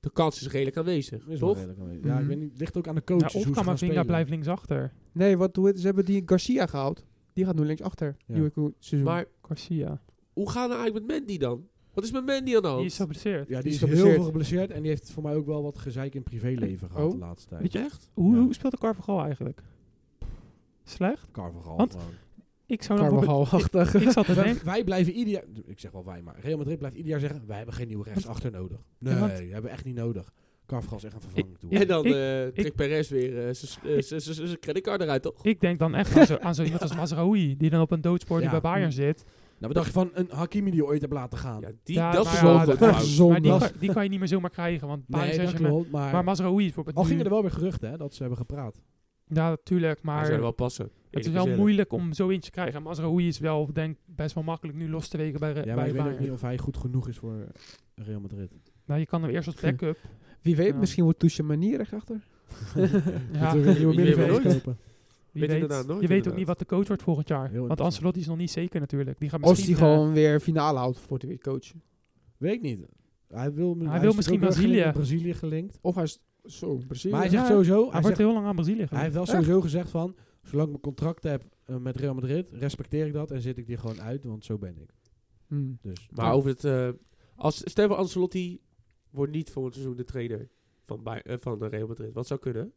[SPEAKER 1] De kans is redelijk aanwezig,
[SPEAKER 3] Is wel
[SPEAKER 1] toch?
[SPEAKER 3] redelijk aanwezig. Ja, ik
[SPEAKER 2] Mhm.
[SPEAKER 3] weet niet. Ligt ook aan de
[SPEAKER 4] Ja,
[SPEAKER 3] coaches
[SPEAKER 4] of
[SPEAKER 3] hoe ze gaan
[SPEAKER 4] Kamavinga
[SPEAKER 3] spelen.
[SPEAKER 4] blijft linksachter.
[SPEAKER 2] Nee, wat doe het? Ze hebben die Garcia gehaald. Die gaat nu linksachter.
[SPEAKER 3] Ja.
[SPEAKER 2] Nieuwe ko- seizoen.
[SPEAKER 1] Maar
[SPEAKER 4] Garcia.
[SPEAKER 1] hoe gaan we nou eigenlijk met Mandy dan? Wat is met Mandy aan de
[SPEAKER 4] Die
[SPEAKER 1] hand?
[SPEAKER 4] is geblesseerd.
[SPEAKER 3] Ja,
[SPEAKER 2] Die
[SPEAKER 3] die
[SPEAKER 2] is
[SPEAKER 3] is heel
[SPEAKER 2] geblesseerd.
[SPEAKER 3] veel geblesseerd. En die heeft voor mij ook wel wat gezeik in privéleven gehad
[SPEAKER 2] Oh.
[SPEAKER 3] de laatste tijd.
[SPEAKER 4] Weet je echt? Hoe,
[SPEAKER 3] Ja.
[SPEAKER 4] hoe speelt de Carvajal eigenlijk? Slecht?
[SPEAKER 3] Carvajal
[SPEAKER 4] Want-
[SPEAKER 3] gewoon.
[SPEAKER 4] Ik zou dan bijvoorbeeld-
[SPEAKER 2] Carvajal-achtig.
[SPEAKER 4] Ik zat te
[SPEAKER 3] Wij,
[SPEAKER 4] denken.
[SPEAKER 3] wij blijven ieder jaar... Ik zeg wel wij, maar Real Madrid blijft ieder jaar zeggen... Wij hebben geen nieuwe rechtsachter nodig. Nee,
[SPEAKER 4] want-
[SPEAKER 3] die hebben we echt niet nodig. Carvajal is echt een vervanging toe.
[SPEAKER 1] En dan
[SPEAKER 4] Ik-
[SPEAKER 1] eh trekt Perez weer eh, z'n- eh, z'n- z'n- zijn creditcard eruit, toch?
[SPEAKER 4] Ik denk dan echt aan zo, aan zo iemand als Mazraoui, die dan op een doodspoor die
[SPEAKER 3] Ja.
[SPEAKER 4] bij Bayern zit.
[SPEAKER 3] Nou, wat dacht je van een Hakimi die ooit hebt laten gaan?
[SPEAKER 1] Ah, Ja, die,
[SPEAKER 4] Ja,
[SPEAKER 1] dat
[SPEAKER 4] maar
[SPEAKER 1] is
[SPEAKER 4] ja,
[SPEAKER 1] wel
[SPEAKER 4] dat-
[SPEAKER 1] goed.
[SPEAKER 4] dat-
[SPEAKER 1] fout.
[SPEAKER 4] Maar die
[SPEAKER 2] Zondag.
[SPEAKER 4] kan, die kan je niet meer zomaar krijgen, want Paris
[SPEAKER 3] nee, dat
[SPEAKER 4] Saint-Germain-
[SPEAKER 3] klopt, maar...
[SPEAKER 4] Maar Mazraoui is bijvoorbeeld
[SPEAKER 3] al gingen
[SPEAKER 4] nu- Eh,
[SPEAKER 3] er wel weer geruchten, hè, dat ze hebben gepraat.
[SPEAKER 4] Ja, natuurlijk,
[SPEAKER 1] Hij
[SPEAKER 4] maar
[SPEAKER 1] zou er wel passen.
[SPEAKER 4] het
[SPEAKER 1] Eerlijk
[SPEAKER 4] is wel
[SPEAKER 1] gezegd.
[SPEAKER 4] moeilijk om zo eentje te krijgen. En Mazraoui is wel, denk ik, best wel makkelijk nu los te wegen bij, Re-
[SPEAKER 3] Ja, maar
[SPEAKER 4] bij
[SPEAKER 3] ik weet ook
[SPEAKER 4] Bayern.
[SPEAKER 3] niet of hij goed genoeg is voor eh, Real Madrid.
[SPEAKER 4] Nou, je kan hem eerst als backup.
[SPEAKER 2] Wie weet,
[SPEAKER 4] Ja.
[SPEAKER 2] misschien wordt Touche Manier rechtsachter.
[SPEAKER 4] ja,
[SPEAKER 3] Moeten we weer
[SPEAKER 1] Je weet
[SPEAKER 3] nieuwe middenvelders
[SPEAKER 1] nooit.
[SPEAKER 3] kopen.
[SPEAKER 4] wie
[SPEAKER 1] Weet
[SPEAKER 4] weet.
[SPEAKER 1] inderdaad nooit,
[SPEAKER 4] je weet ook
[SPEAKER 1] inderdaad.
[SPEAKER 4] niet wat de coach wordt volgend jaar.
[SPEAKER 3] Heel
[SPEAKER 4] Want Ancelotti is nog niet zeker natuurlijk. Die gaat
[SPEAKER 2] Als
[SPEAKER 4] misschien,
[SPEAKER 2] hij
[SPEAKER 4] eh,
[SPEAKER 2] gewoon weer finale houdt voor de coach.
[SPEAKER 3] Weet ik niet. Hij wil,
[SPEAKER 4] wil
[SPEAKER 3] is natuurlijk
[SPEAKER 4] misschien
[SPEAKER 3] ook wel
[SPEAKER 4] Brazilië.
[SPEAKER 3] gelinkt aan Brazilië gelinkt.
[SPEAKER 2] Of hij is zo, precies.
[SPEAKER 3] Maar hij
[SPEAKER 4] Ja,
[SPEAKER 3] zegt sowieso...
[SPEAKER 4] hij
[SPEAKER 3] Hij,
[SPEAKER 4] wordt
[SPEAKER 3] zegt,
[SPEAKER 4] heel lang aan Brazilië
[SPEAKER 3] hij heeft
[SPEAKER 4] gelegd.
[SPEAKER 3] wel sowieso gezegd van... Zolang ik mijn contract heb eh, met Real Madrid, respecteer ik dat en zit ik die gewoon uit, want zo ben ik.
[SPEAKER 2] Hmm.
[SPEAKER 3] Dus
[SPEAKER 1] Maar over het... eh als, stel voor Ancelotti wordt niet volgend seizoen de trainer van, Bay- eh, van de Real Madrid. Wat zou kunnen?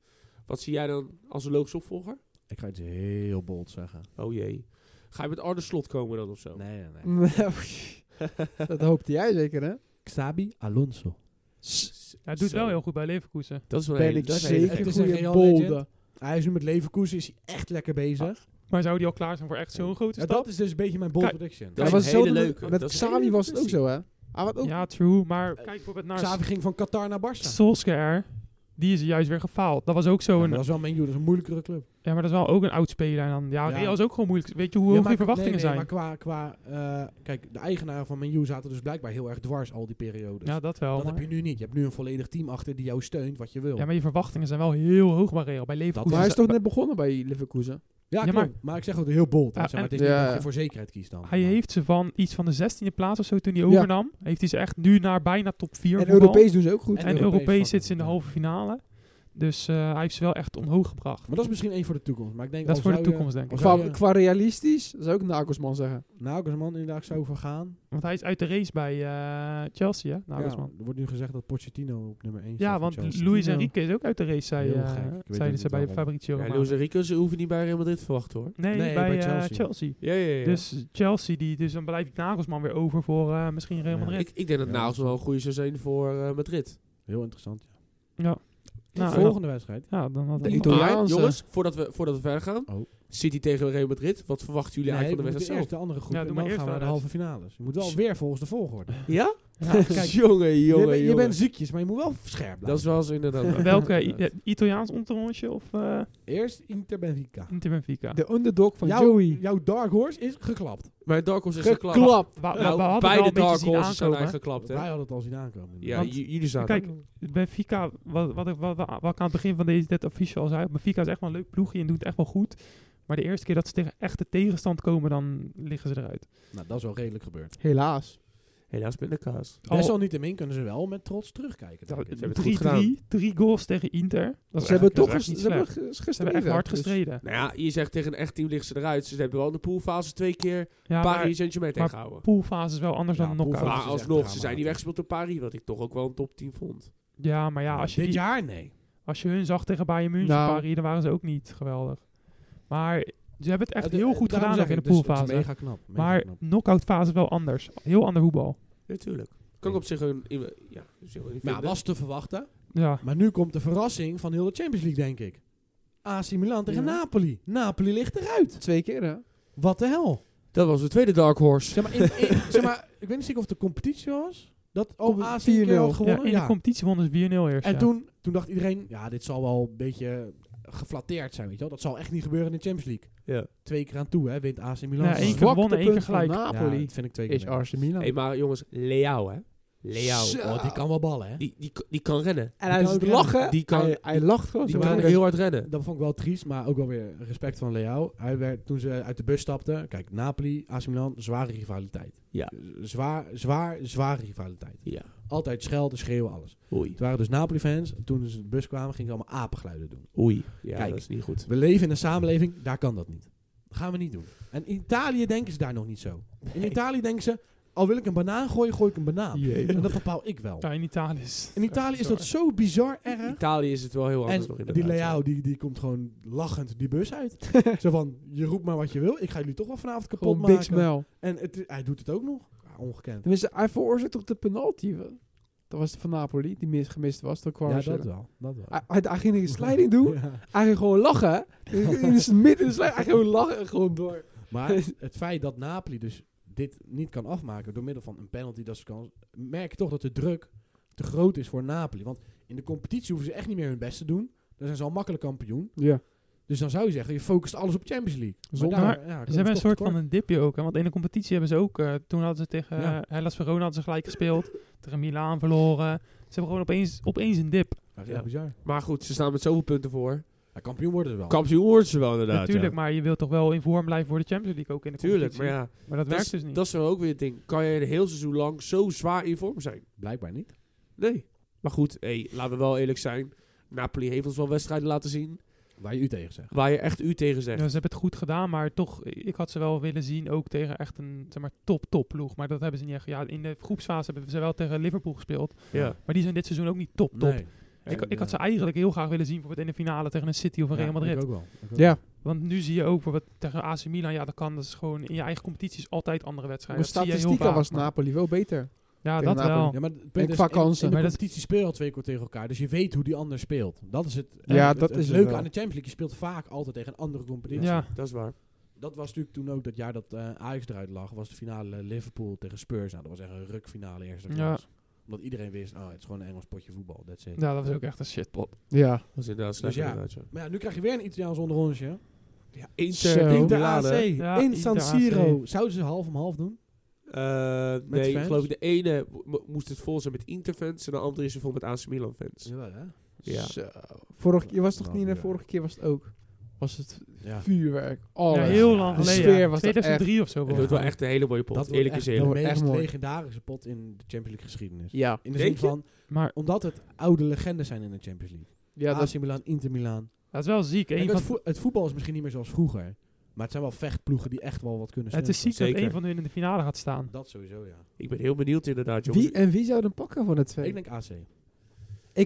[SPEAKER 1] Wat zie jij dan als een logische opvolger?
[SPEAKER 3] ik ga iets heel bold zeggen.
[SPEAKER 1] Oh jee. Ga je met Arne Slot komen dan of zo?
[SPEAKER 3] Nee, nee, nee.
[SPEAKER 2] dat hoopte jij zeker, hè?
[SPEAKER 3] Xabi Alonso.
[SPEAKER 4] Hij doet
[SPEAKER 1] Zo.
[SPEAKER 4] wel heel goed bij Leverkusen.
[SPEAKER 1] Dat is wel
[SPEAKER 2] Ben
[SPEAKER 1] een
[SPEAKER 2] ik
[SPEAKER 1] dat is een
[SPEAKER 3] hele-
[SPEAKER 2] zeker
[SPEAKER 3] het
[SPEAKER 2] een
[SPEAKER 3] is een
[SPEAKER 2] goede
[SPEAKER 3] Real
[SPEAKER 2] bolde.
[SPEAKER 3] legend. Hij is nu met Leverkusen is hij echt lekker
[SPEAKER 4] Oh,
[SPEAKER 3] bezig.
[SPEAKER 4] Maar zou die al klaar zijn voor echt zo'n grote
[SPEAKER 3] Ja,
[SPEAKER 4] stap?
[SPEAKER 3] dat is dus een beetje mijn bold
[SPEAKER 4] Kijk,
[SPEAKER 3] prediction.
[SPEAKER 1] dat
[SPEAKER 2] Hij
[SPEAKER 1] is
[SPEAKER 2] was
[SPEAKER 1] een
[SPEAKER 2] hetzelfde
[SPEAKER 1] hele
[SPEAKER 2] met-
[SPEAKER 1] leuke.
[SPEAKER 2] Met
[SPEAKER 1] Dat is een hele
[SPEAKER 2] Xavi
[SPEAKER 1] leuke
[SPEAKER 2] was het ook
[SPEAKER 1] kwestie.
[SPEAKER 2] zo, hè? Hij had ook
[SPEAKER 4] Ja, true. Maar kijk bijvoorbeeld naar
[SPEAKER 3] Eh, Xavi ging van Qatar naar Barca.
[SPEAKER 4] Solskjaer. Die is juist weer gefaald. Dat was ook
[SPEAKER 3] Ja,
[SPEAKER 4] zo.
[SPEAKER 3] maar
[SPEAKER 4] een,
[SPEAKER 3] dat is wel mijn dat is een moeilijkere club.
[SPEAKER 4] ja, maar dat is wel ook een oud speler. En dan, ja,
[SPEAKER 3] Ja.
[SPEAKER 4] Real is ook gewoon moeilijk. Weet je hoe
[SPEAKER 3] ja,
[SPEAKER 4] hoog
[SPEAKER 3] maar-
[SPEAKER 4] die verwachtingen
[SPEAKER 3] nee, nee,
[SPEAKER 4] zijn?
[SPEAKER 3] Maar qua, qua eh, kijk, de eigenaren van Menu zaten dus blijkbaar heel erg dwars al die periodes.
[SPEAKER 4] ja, dat wel.
[SPEAKER 3] dat
[SPEAKER 4] maar,
[SPEAKER 3] heb je nu niet. Je hebt nu een volledig team achter die jou steunt wat je wil.
[SPEAKER 4] ja, maar je verwachtingen zijn wel heel hoog bij Real. Bij Leverkusen.
[SPEAKER 2] Maar hij is
[SPEAKER 4] zijn-
[SPEAKER 2] toch net begonnen bij Leverkusen?
[SPEAKER 3] Ja,
[SPEAKER 4] Ja,
[SPEAKER 3] klopt. maar, ik zeg ook heel bold. hè.
[SPEAKER 4] Ja,
[SPEAKER 3] Zeg maar,
[SPEAKER 4] en-
[SPEAKER 3] het is niet
[SPEAKER 2] Ja.
[SPEAKER 3] dat je voor zekerheid kiest dan.
[SPEAKER 4] hij
[SPEAKER 3] Maar-
[SPEAKER 4] heeft ze van iets van de 16e plaats of zo toen hij
[SPEAKER 2] Ja.
[SPEAKER 4] overnam. Heeft hij ze echt nu naar bijna top 4
[SPEAKER 2] En Europees doen ze ook goed.
[SPEAKER 4] En
[SPEAKER 3] En
[SPEAKER 4] Europees
[SPEAKER 3] Europees
[SPEAKER 4] zit ze in de
[SPEAKER 3] fucking, ja.
[SPEAKER 4] halve finale. Dus eh, hij heeft ze wel echt omhoog gebracht.
[SPEAKER 3] Maar dat is misschien één voor de toekomst. Maar ik denk
[SPEAKER 4] Dat is
[SPEAKER 3] al
[SPEAKER 4] voor de
[SPEAKER 3] zou je-
[SPEAKER 4] toekomst, denk
[SPEAKER 3] al
[SPEAKER 4] ik.
[SPEAKER 3] zou
[SPEAKER 2] Qua,
[SPEAKER 3] je-
[SPEAKER 2] qua realistisch, zou ik Nagelsman zeggen.
[SPEAKER 3] Nagelsman inderdaad zou vergaan.
[SPEAKER 4] Want hij is uit de race bij eh, Chelsea, hè? Nagelsman.
[SPEAKER 3] Ja, er wordt nu gezegd dat Pochettino op nummer 1
[SPEAKER 4] Ja, want Luis Enrique is ook uit de race, zei,
[SPEAKER 3] Heel
[SPEAKER 4] eh,
[SPEAKER 3] gek. Ik weet
[SPEAKER 4] zeiden
[SPEAKER 3] het
[SPEAKER 4] ze
[SPEAKER 3] niet
[SPEAKER 4] bij
[SPEAKER 3] waarom.
[SPEAKER 4] Fabrizio
[SPEAKER 1] Ja,
[SPEAKER 4] Romano.
[SPEAKER 1] Luis Enrique, ze hoeven niet bij Real Madrid te verwachten hoor.
[SPEAKER 4] nee,
[SPEAKER 3] Nee,
[SPEAKER 4] bij,
[SPEAKER 3] bij
[SPEAKER 4] eh, Chelsea.
[SPEAKER 3] Chelsea.
[SPEAKER 1] Ja, ja, ja.
[SPEAKER 4] Dus Chelsea, die, dus dan blijft Nagelsman weer over voor eh, misschien Real
[SPEAKER 3] Ja.
[SPEAKER 4] Madrid.
[SPEAKER 1] ik, ik denk dat
[SPEAKER 3] Ja.
[SPEAKER 1] Nagels wel een goede zou zijn voor eh, Madrid.
[SPEAKER 3] Heel interessant. Ja.
[SPEAKER 4] Ja. Nou,
[SPEAKER 3] Volgende wedstrijd.
[SPEAKER 4] Ja, dan had
[SPEAKER 2] De
[SPEAKER 4] ik-
[SPEAKER 2] Italiaan-
[SPEAKER 1] Maar,
[SPEAKER 2] Italiaanse.
[SPEAKER 1] jongens, voordat we, voordat we verder gaan.
[SPEAKER 3] Oh.
[SPEAKER 1] City tegen Real Madrid. Wat verwachten jullie
[SPEAKER 3] nee, we
[SPEAKER 1] eigenlijk van de
[SPEAKER 3] moeten
[SPEAKER 1] wedstrijd
[SPEAKER 3] eerst de andere groep
[SPEAKER 4] Ja,
[SPEAKER 3] en
[SPEAKER 4] Nou, doe
[SPEAKER 3] dan
[SPEAKER 4] maar
[SPEAKER 3] gaan we
[SPEAKER 4] eerst
[SPEAKER 3] naar de
[SPEAKER 4] maar
[SPEAKER 3] halve finales. Je moet wel weer volgens de volgorde. Nou,
[SPEAKER 1] zelf? Ja?
[SPEAKER 4] Ja,
[SPEAKER 1] Kijk,
[SPEAKER 4] kijk,
[SPEAKER 1] jongen,
[SPEAKER 3] je,
[SPEAKER 1] jongen,
[SPEAKER 3] bent- je
[SPEAKER 1] jongen.
[SPEAKER 3] bent ziekjes, maar je moet wel scherp blijven.
[SPEAKER 1] Dat is wel zo inderdaad.
[SPEAKER 4] welke? I-
[SPEAKER 1] Inderdaad.
[SPEAKER 4] eh, Italiaans onderrondje of eh
[SPEAKER 3] Eerst Inter Benfica.
[SPEAKER 4] Inter Benfica?
[SPEAKER 2] De underdog van
[SPEAKER 3] jouw,
[SPEAKER 2] Joey.
[SPEAKER 3] jouw dark horse is geklapt.
[SPEAKER 1] Maar Dark Horse is geklapt.
[SPEAKER 2] Geklapt.
[SPEAKER 4] Wa- wa-
[SPEAKER 1] Nou,
[SPEAKER 4] we hadden wel
[SPEAKER 1] beide
[SPEAKER 4] een beetje
[SPEAKER 1] Dark
[SPEAKER 4] zien
[SPEAKER 1] Horses zijn
[SPEAKER 4] aankomen.
[SPEAKER 1] eigenlijk geklapt,
[SPEAKER 3] Wij
[SPEAKER 1] hè?
[SPEAKER 3] hadden het al zien aankomen.
[SPEAKER 1] Ja,
[SPEAKER 4] Want-
[SPEAKER 1] j- jullie zaten.
[SPEAKER 4] Kijk, Benfica, wat, wat, ik- wat, wat, wat ik aan het begin van deze, dit affiche al zei, Benfica is echt wel een leuk ploegje en doet het echt wel goed. Maar de eerste keer dat ze tegen echte tegenstand komen, dan liggen ze eruit.
[SPEAKER 3] Nou, dat is wel redelijk gebeurd.
[SPEAKER 2] Helaas.
[SPEAKER 1] Helaas met de kaas.
[SPEAKER 3] Desalniettemin kunnen ze wel met trots terugkijken. denk ik.
[SPEAKER 1] hebben het goed
[SPEAKER 4] 3-3, drie goals tegen Inter. Dat is
[SPEAKER 2] Ze hebben
[SPEAKER 4] echt- dat
[SPEAKER 2] toch eens-
[SPEAKER 4] is echt niet
[SPEAKER 2] ze hebben
[SPEAKER 4] slecht.
[SPEAKER 2] ge-
[SPEAKER 4] Ze
[SPEAKER 2] gestreden.
[SPEAKER 4] hebben echt hard
[SPEAKER 2] dus-
[SPEAKER 4] gestreden.
[SPEAKER 1] Nou ja, je zegt tegen een echt team liggen ze eruit. Ze hebben wel in de poolfase twee keer
[SPEAKER 4] Ja, maar
[SPEAKER 1] Paris Saint-Germain
[SPEAKER 4] maar-
[SPEAKER 1] tegengehouden.
[SPEAKER 4] poolfase is wel anders
[SPEAKER 3] Ja,
[SPEAKER 4] dan Dus de knock
[SPEAKER 3] poolfase-
[SPEAKER 1] Maar
[SPEAKER 3] dat is echt
[SPEAKER 1] alsnog, ze
[SPEAKER 3] dramatisch.
[SPEAKER 1] zijn niet weggespeeld door Paris, wat ik toch ook wel een top 10 vond.
[SPEAKER 4] Ja, maar ja, als je,
[SPEAKER 3] Dit
[SPEAKER 4] die-
[SPEAKER 3] jaar nee.
[SPEAKER 4] als je hun zag tegen Bayern München,
[SPEAKER 2] Nou.
[SPEAKER 4] Paris, dan waren ze ook niet geweldig. Maar ze hebben het echt
[SPEAKER 3] Ja, de-
[SPEAKER 4] heel goed
[SPEAKER 3] daarom
[SPEAKER 4] gedaan
[SPEAKER 3] zeg
[SPEAKER 4] ook in de
[SPEAKER 3] ik, dus het is
[SPEAKER 4] poolfase.
[SPEAKER 3] mega knap. mega
[SPEAKER 4] Maar
[SPEAKER 3] knap.
[SPEAKER 4] knock-out fase wel anders. Heel ander voetbal.
[SPEAKER 1] Natuurlijk. kan ik op zich een... Ja, dus heel
[SPEAKER 3] Maar ja, Nou, was te verwachten.
[SPEAKER 4] Ja.
[SPEAKER 3] Maar nu komt de verrassing van heel de Champions League, denk ik. AC Milan tegen
[SPEAKER 2] Ja.
[SPEAKER 3] Napoli. Napoli ligt eruit.
[SPEAKER 2] Twee keer, hè?
[SPEAKER 3] Wat de hel.
[SPEAKER 1] dat was de tweede Dark Horse.
[SPEAKER 3] Zeg maar, in, in- zeg maar ik weet niet zeker of de competitie was. Dat
[SPEAKER 2] Op
[SPEAKER 3] al
[SPEAKER 2] een
[SPEAKER 3] AC een keer had
[SPEAKER 2] 4-0.
[SPEAKER 4] Ja,
[SPEAKER 3] gewonnen.
[SPEAKER 4] in de
[SPEAKER 3] Ja.
[SPEAKER 4] competitie wonnen ze 4-0 eerst.
[SPEAKER 3] En
[SPEAKER 4] ja.
[SPEAKER 3] toen, toen dacht iedereen, ja, dit zal wel een beetje geflatteerd zijn, weet je wel. Dat zal echt niet gebeuren in de Champions League.
[SPEAKER 1] Ja.
[SPEAKER 3] Twee keer aan toe, hè, wint AC Milan.
[SPEAKER 4] Ja, één keer
[SPEAKER 2] Zwaktepunt
[SPEAKER 4] gewonnen, één keer
[SPEAKER 2] van
[SPEAKER 4] gelijk.
[SPEAKER 2] Napoli
[SPEAKER 3] dat vind ik twee keer.
[SPEAKER 2] is Arsenal Milan.
[SPEAKER 1] Hé, maar jongens, Leao, hè? Leao.
[SPEAKER 2] Zo.
[SPEAKER 3] Oh, die kan wel ballen, hè.
[SPEAKER 1] Die, die, die kan rennen.
[SPEAKER 2] en
[SPEAKER 3] hij
[SPEAKER 2] hij
[SPEAKER 3] is
[SPEAKER 2] is
[SPEAKER 3] ook
[SPEAKER 2] lachen.
[SPEAKER 1] Die kan-
[SPEAKER 2] hij, hij lacht gewoon.
[SPEAKER 1] Die
[SPEAKER 2] zo.
[SPEAKER 1] kan
[SPEAKER 3] maar-
[SPEAKER 1] heel hard rennen.
[SPEAKER 3] Dat vond ik wel triest, maar ook wel weer respect van Leao. Hij werd, toen ze uit de bus stapten, kijk, Napoli, AC Milan, zware rivaliteit.
[SPEAKER 1] Ja.
[SPEAKER 3] Zwaar, zwaar, zware rivaliteit.
[SPEAKER 1] Ja.
[SPEAKER 3] Altijd schelden, schreeuwen, alles.
[SPEAKER 1] Oei.
[SPEAKER 3] Het waren dus Napoli-fans. Toen ze in de bus kwamen, gingen ze allemaal apengeluiden doen.
[SPEAKER 1] Oei. Ja,
[SPEAKER 3] Kijk.
[SPEAKER 1] dat is niet goed.
[SPEAKER 3] We leven in een samenleving, daar kan dat niet. Dat gaan we niet doen. En in Italië denken ze daar nog niet zo. In Italië denken ze, al wil ik een banaan gooien, gooi ik een banaan. En dat bepaal ik wel.
[SPEAKER 4] Ja, in Italië is...
[SPEAKER 3] In Italië is dat zo bizar erg.
[SPEAKER 1] Italië is het wel heel anders
[SPEAKER 3] En
[SPEAKER 1] nog
[SPEAKER 3] die
[SPEAKER 1] inderdaad.
[SPEAKER 3] Leao, die, die komt gewoon lachend die bus uit. zo van, je roept maar wat je wil. Ik ga jullie toch wel vanavond kapot
[SPEAKER 2] Gewoon
[SPEAKER 3] maken.
[SPEAKER 2] big smell.
[SPEAKER 3] En het, hij doet het ook nog. Ja, ongekend.
[SPEAKER 2] Tenminste, hij veroorzaakt toch de penalty. wel? Dat was de van Napoli, die mis, gemist was. Dat kwam ze.
[SPEAKER 3] wel. Dat wel.
[SPEAKER 2] Hij, hij, hij ging een sliding doen. Hij ging gewoon lachen. hè. In het midden in de sliding. Hij ging gewoon lachen en gewoon door.
[SPEAKER 3] Maar het feit dat Napoli dus dit niet kan afmaken door middel van een penalty dat ze kan, merk je toch dat de druk te groot is voor Napoli. Want in de competitie hoeven ze echt niet meer hun best te doen. Dan zijn ze al makkelijk kampioen.
[SPEAKER 2] Ja.
[SPEAKER 3] Dus dan zou je zeggen, je focust alles op Champions League. Maar
[SPEAKER 2] Zonder-
[SPEAKER 3] daar-
[SPEAKER 4] Maar
[SPEAKER 3] ja, komen
[SPEAKER 4] Ze hebben een
[SPEAKER 3] toch
[SPEAKER 4] soort
[SPEAKER 3] tekort.
[SPEAKER 4] van een dipje ook. Hè? Want in de competitie hebben ze ook... eh, toen hadden ze tegen eh,
[SPEAKER 3] Ja.
[SPEAKER 4] Hellas Verona hadden ze gelijk gespeeld. tegen Milaan verloren. Ze hebben gewoon opeens, opeens een dip.
[SPEAKER 3] Dat is echt
[SPEAKER 1] Ja.
[SPEAKER 3] bizar.
[SPEAKER 1] Maar goed, ze staan met zoveel punten voor.
[SPEAKER 3] Ja, kampioen worden ze wel.
[SPEAKER 1] Kampioen worden ze wel inderdaad.
[SPEAKER 4] Natuurlijk,
[SPEAKER 1] ja.
[SPEAKER 4] maar je wilt toch wel in vorm blijven voor de Champions League ook in de
[SPEAKER 1] Tuurlijk, maar
[SPEAKER 4] competitie.
[SPEAKER 1] ja.
[SPEAKER 4] Maar dat,
[SPEAKER 1] Dat is,
[SPEAKER 4] werkt dus niet.
[SPEAKER 1] dat is wel ook weer het ding. Kan je een heel seizoen lang zo zwaar in vorm zijn?
[SPEAKER 3] Blijkbaar niet.
[SPEAKER 1] Nee. Maar goed, hey, laten we wel eerlijk zijn. Napoli heeft ons wel wedstrijden laten zien
[SPEAKER 3] Waar je u tegen zegt.
[SPEAKER 1] waar je echt u tegen
[SPEAKER 4] Ja,
[SPEAKER 1] zegt.
[SPEAKER 4] ze hebben het goed gedaan, maar toch, ik had ze wel willen zien ook tegen echt een zeg maar, top, top ploeg. Maar dat hebben ze niet echt. Ja, in de groepsfase hebben ze wel tegen Liverpool gespeeld.
[SPEAKER 1] Ja.
[SPEAKER 4] Maar die zijn dit seizoen ook niet top, top.
[SPEAKER 3] Nee.
[SPEAKER 4] Ik,
[SPEAKER 3] En,
[SPEAKER 4] ik had ze
[SPEAKER 3] eh,
[SPEAKER 4] eigenlijk heel graag willen zien bijvoorbeeld in de finale tegen een City of een
[SPEAKER 3] ja,
[SPEAKER 4] Real Madrid.
[SPEAKER 3] ik ook wel. Ik ook
[SPEAKER 2] Ja.
[SPEAKER 4] Want nu zie je ook bijvoorbeeld tegen AC Milan, ja, dat kan. Dat is gewoon in je eigen competities altijd andere
[SPEAKER 2] Maar
[SPEAKER 4] wedstrijden. Dat zie je heel
[SPEAKER 2] statistieken
[SPEAKER 4] vaak,
[SPEAKER 2] was
[SPEAKER 4] maar-
[SPEAKER 2] Napoli wel beter.
[SPEAKER 4] Ja,
[SPEAKER 2] tegen
[SPEAKER 4] dat
[SPEAKER 2] Napoli.
[SPEAKER 4] wel.
[SPEAKER 3] Ja, maar het punt
[SPEAKER 2] En
[SPEAKER 3] is,
[SPEAKER 2] qua
[SPEAKER 3] in-
[SPEAKER 2] kansen.
[SPEAKER 3] In,
[SPEAKER 4] Maar
[SPEAKER 3] de
[SPEAKER 4] dat-
[SPEAKER 3] competitie speel je al twee keer tegen elkaar. Dus je weet hoe die ander speelt. Dat is het,
[SPEAKER 2] Ja,
[SPEAKER 3] het-
[SPEAKER 2] dat
[SPEAKER 3] het
[SPEAKER 2] is het
[SPEAKER 3] leuke
[SPEAKER 2] wel.
[SPEAKER 3] aan de Champions League. Je speelt vaak altijd tegen een andere competitie.
[SPEAKER 4] Ja,
[SPEAKER 1] Dat is waar.
[SPEAKER 3] Dat was natuurlijk toen ook dat jaar dat eh, Ajax eruit lag. Was de finale eh, Liverpool tegen Spurs. Nou, dat was echt een rukfinale eerste
[SPEAKER 4] Ja.
[SPEAKER 3] klas. Omdat iedereen wist, oh, het is gewoon een Engels potje voetbal. That's it.
[SPEAKER 4] ja dat was ook echt een shitpot.
[SPEAKER 2] Ja.
[SPEAKER 1] Dat is inderdaad slecht
[SPEAKER 3] Dus ja.
[SPEAKER 1] inderdaad, ja.
[SPEAKER 3] Maar ja, nu krijg je weer een Italiaans onderrondje.
[SPEAKER 1] Ja,
[SPEAKER 2] Zo.
[SPEAKER 1] Inter,
[SPEAKER 3] Inter
[SPEAKER 1] Milaan,
[SPEAKER 3] AC.
[SPEAKER 1] hè?
[SPEAKER 4] Ja,
[SPEAKER 3] in
[SPEAKER 4] Inter
[SPEAKER 3] San
[SPEAKER 4] AC.
[SPEAKER 3] Siro. Zouden ze half om half doen?
[SPEAKER 1] Eh, nee, ik
[SPEAKER 3] fans?
[SPEAKER 1] geloof ik de ene mo- moest het vol zijn met Inter-fans en de andere is er vol met AC Milan-fans.
[SPEAKER 3] Jawel, hè?
[SPEAKER 1] Ja.
[SPEAKER 2] Zo. Vorige keer was het toch
[SPEAKER 3] Nou,
[SPEAKER 2] niet? En
[SPEAKER 3] ja.
[SPEAKER 2] vorige keer was het ook. Was het
[SPEAKER 3] Ja.
[SPEAKER 2] vuurwerk.
[SPEAKER 4] Ja,
[SPEAKER 2] Alles.
[SPEAKER 4] heel lang
[SPEAKER 3] De
[SPEAKER 4] geleden.
[SPEAKER 2] Oh, sfeer
[SPEAKER 4] ja.
[SPEAKER 2] was dat
[SPEAKER 4] 2003 of zo.
[SPEAKER 1] Het
[SPEAKER 4] was
[SPEAKER 1] wordt wel echt een hele mooie pot,
[SPEAKER 3] Dat wordt
[SPEAKER 1] eerlijk
[SPEAKER 3] echt
[SPEAKER 1] is
[SPEAKER 3] de
[SPEAKER 1] eerlijk.
[SPEAKER 2] wordt echt
[SPEAKER 3] meest
[SPEAKER 2] mooi.
[SPEAKER 3] legendarische pot in de Champions League geschiedenis.
[SPEAKER 2] Ja.
[SPEAKER 3] In de
[SPEAKER 1] Denk
[SPEAKER 3] zin
[SPEAKER 1] je?
[SPEAKER 3] van,
[SPEAKER 4] Maar
[SPEAKER 3] omdat het oude legendes zijn in de Champions League.
[SPEAKER 2] Ja, dat
[SPEAKER 3] AC Milan, Inter Milan.
[SPEAKER 4] Dat is wel ziek. Een
[SPEAKER 3] Kijk,
[SPEAKER 4] van,
[SPEAKER 3] het, vo- het voetbal is misschien niet meer zoals vroeger. Maar het zijn wel vechtploegen die echt wel wat kunnen
[SPEAKER 4] het is ziek
[SPEAKER 1] Zeker.
[SPEAKER 4] dat een van hun in de finale gaat staan.
[SPEAKER 3] Dat sowieso, ja.
[SPEAKER 1] Ik ben heel benieuwd inderdaad, jongens.
[SPEAKER 2] wie en wie zou dan pakken van het twee?
[SPEAKER 3] Ik
[SPEAKER 2] Ik,
[SPEAKER 3] denk AC.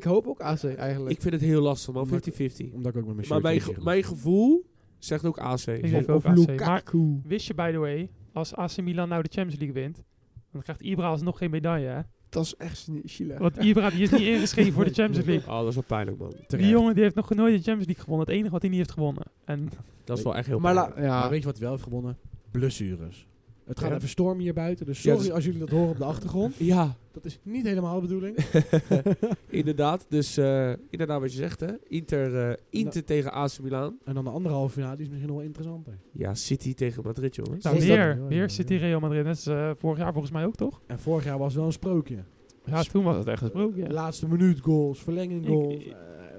[SPEAKER 2] hoop ook AC eigenlijk.
[SPEAKER 1] Ik vind het heel lastig, man. 50-50.
[SPEAKER 3] Maar- Omdat ik ook met mijn
[SPEAKER 1] Maar
[SPEAKER 3] shirt
[SPEAKER 1] mijn,
[SPEAKER 3] tegen
[SPEAKER 1] ge-
[SPEAKER 3] ben.
[SPEAKER 1] mijn gevoel zegt ook AC.
[SPEAKER 4] Ik denk
[SPEAKER 2] of
[SPEAKER 4] ook
[SPEAKER 2] of
[SPEAKER 4] AC. Maar
[SPEAKER 2] Lukaku.
[SPEAKER 4] wist je, by the way, als AC Milan nou de Champions League wint, dan krijgt Ibra alsnog geen medaille, hè?
[SPEAKER 2] Dat is echt zielig.
[SPEAKER 4] Want Ibra die is niet ingeschreven voor de Champions League.
[SPEAKER 1] Oh, dat is wel pijnlijk, man.
[SPEAKER 4] Die jongen die heeft nog nooit de Champions League gewonnen. Het enige wat hij niet heeft gewonnen. En
[SPEAKER 1] Dat is wel echt heel
[SPEAKER 2] Maar
[SPEAKER 1] pijnlijk.
[SPEAKER 2] la- ja,
[SPEAKER 3] Maar weet je wat wel heeft gewonnen? Blessures. Het gaat
[SPEAKER 1] Ja.
[SPEAKER 3] even stormen hier buiten.
[SPEAKER 1] Ja,
[SPEAKER 3] Dus sorry
[SPEAKER 1] dus-
[SPEAKER 3] als jullie dat horen op de achtergrond.
[SPEAKER 1] Ja,
[SPEAKER 3] Dat is niet helemaal de bedoeling.
[SPEAKER 1] inderdaad. Dus eh, inderdaad wat je zegt, hè. Inter,
[SPEAKER 2] Nou-
[SPEAKER 1] eh, Inter tegen AC Milan.
[SPEAKER 3] En dan de andere halve finale die is misschien nog wel interessanter.
[SPEAKER 1] Ja, City tegen Madrid, jongens.
[SPEAKER 4] nou,
[SPEAKER 3] Is dat-
[SPEAKER 4] weer,
[SPEAKER 3] Ja, ja, ja.
[SPEAKER 4] weer City Real Madrid. Net als eh, vorig jaar volgens mij ook, toch?
[SPEAKER 3] En vorig jaar was het wel een sprookje.
[SPEAKER 4] Ja, toen was het echt een sprookje.
[SPEAKER 3] Eh, Laatste minuut goals, verlenging
[SPEAKER 4] Ik-
[SPEAKER 3] goals,
[SPEAKER 4] ik-
[SPEAKER 3] eh,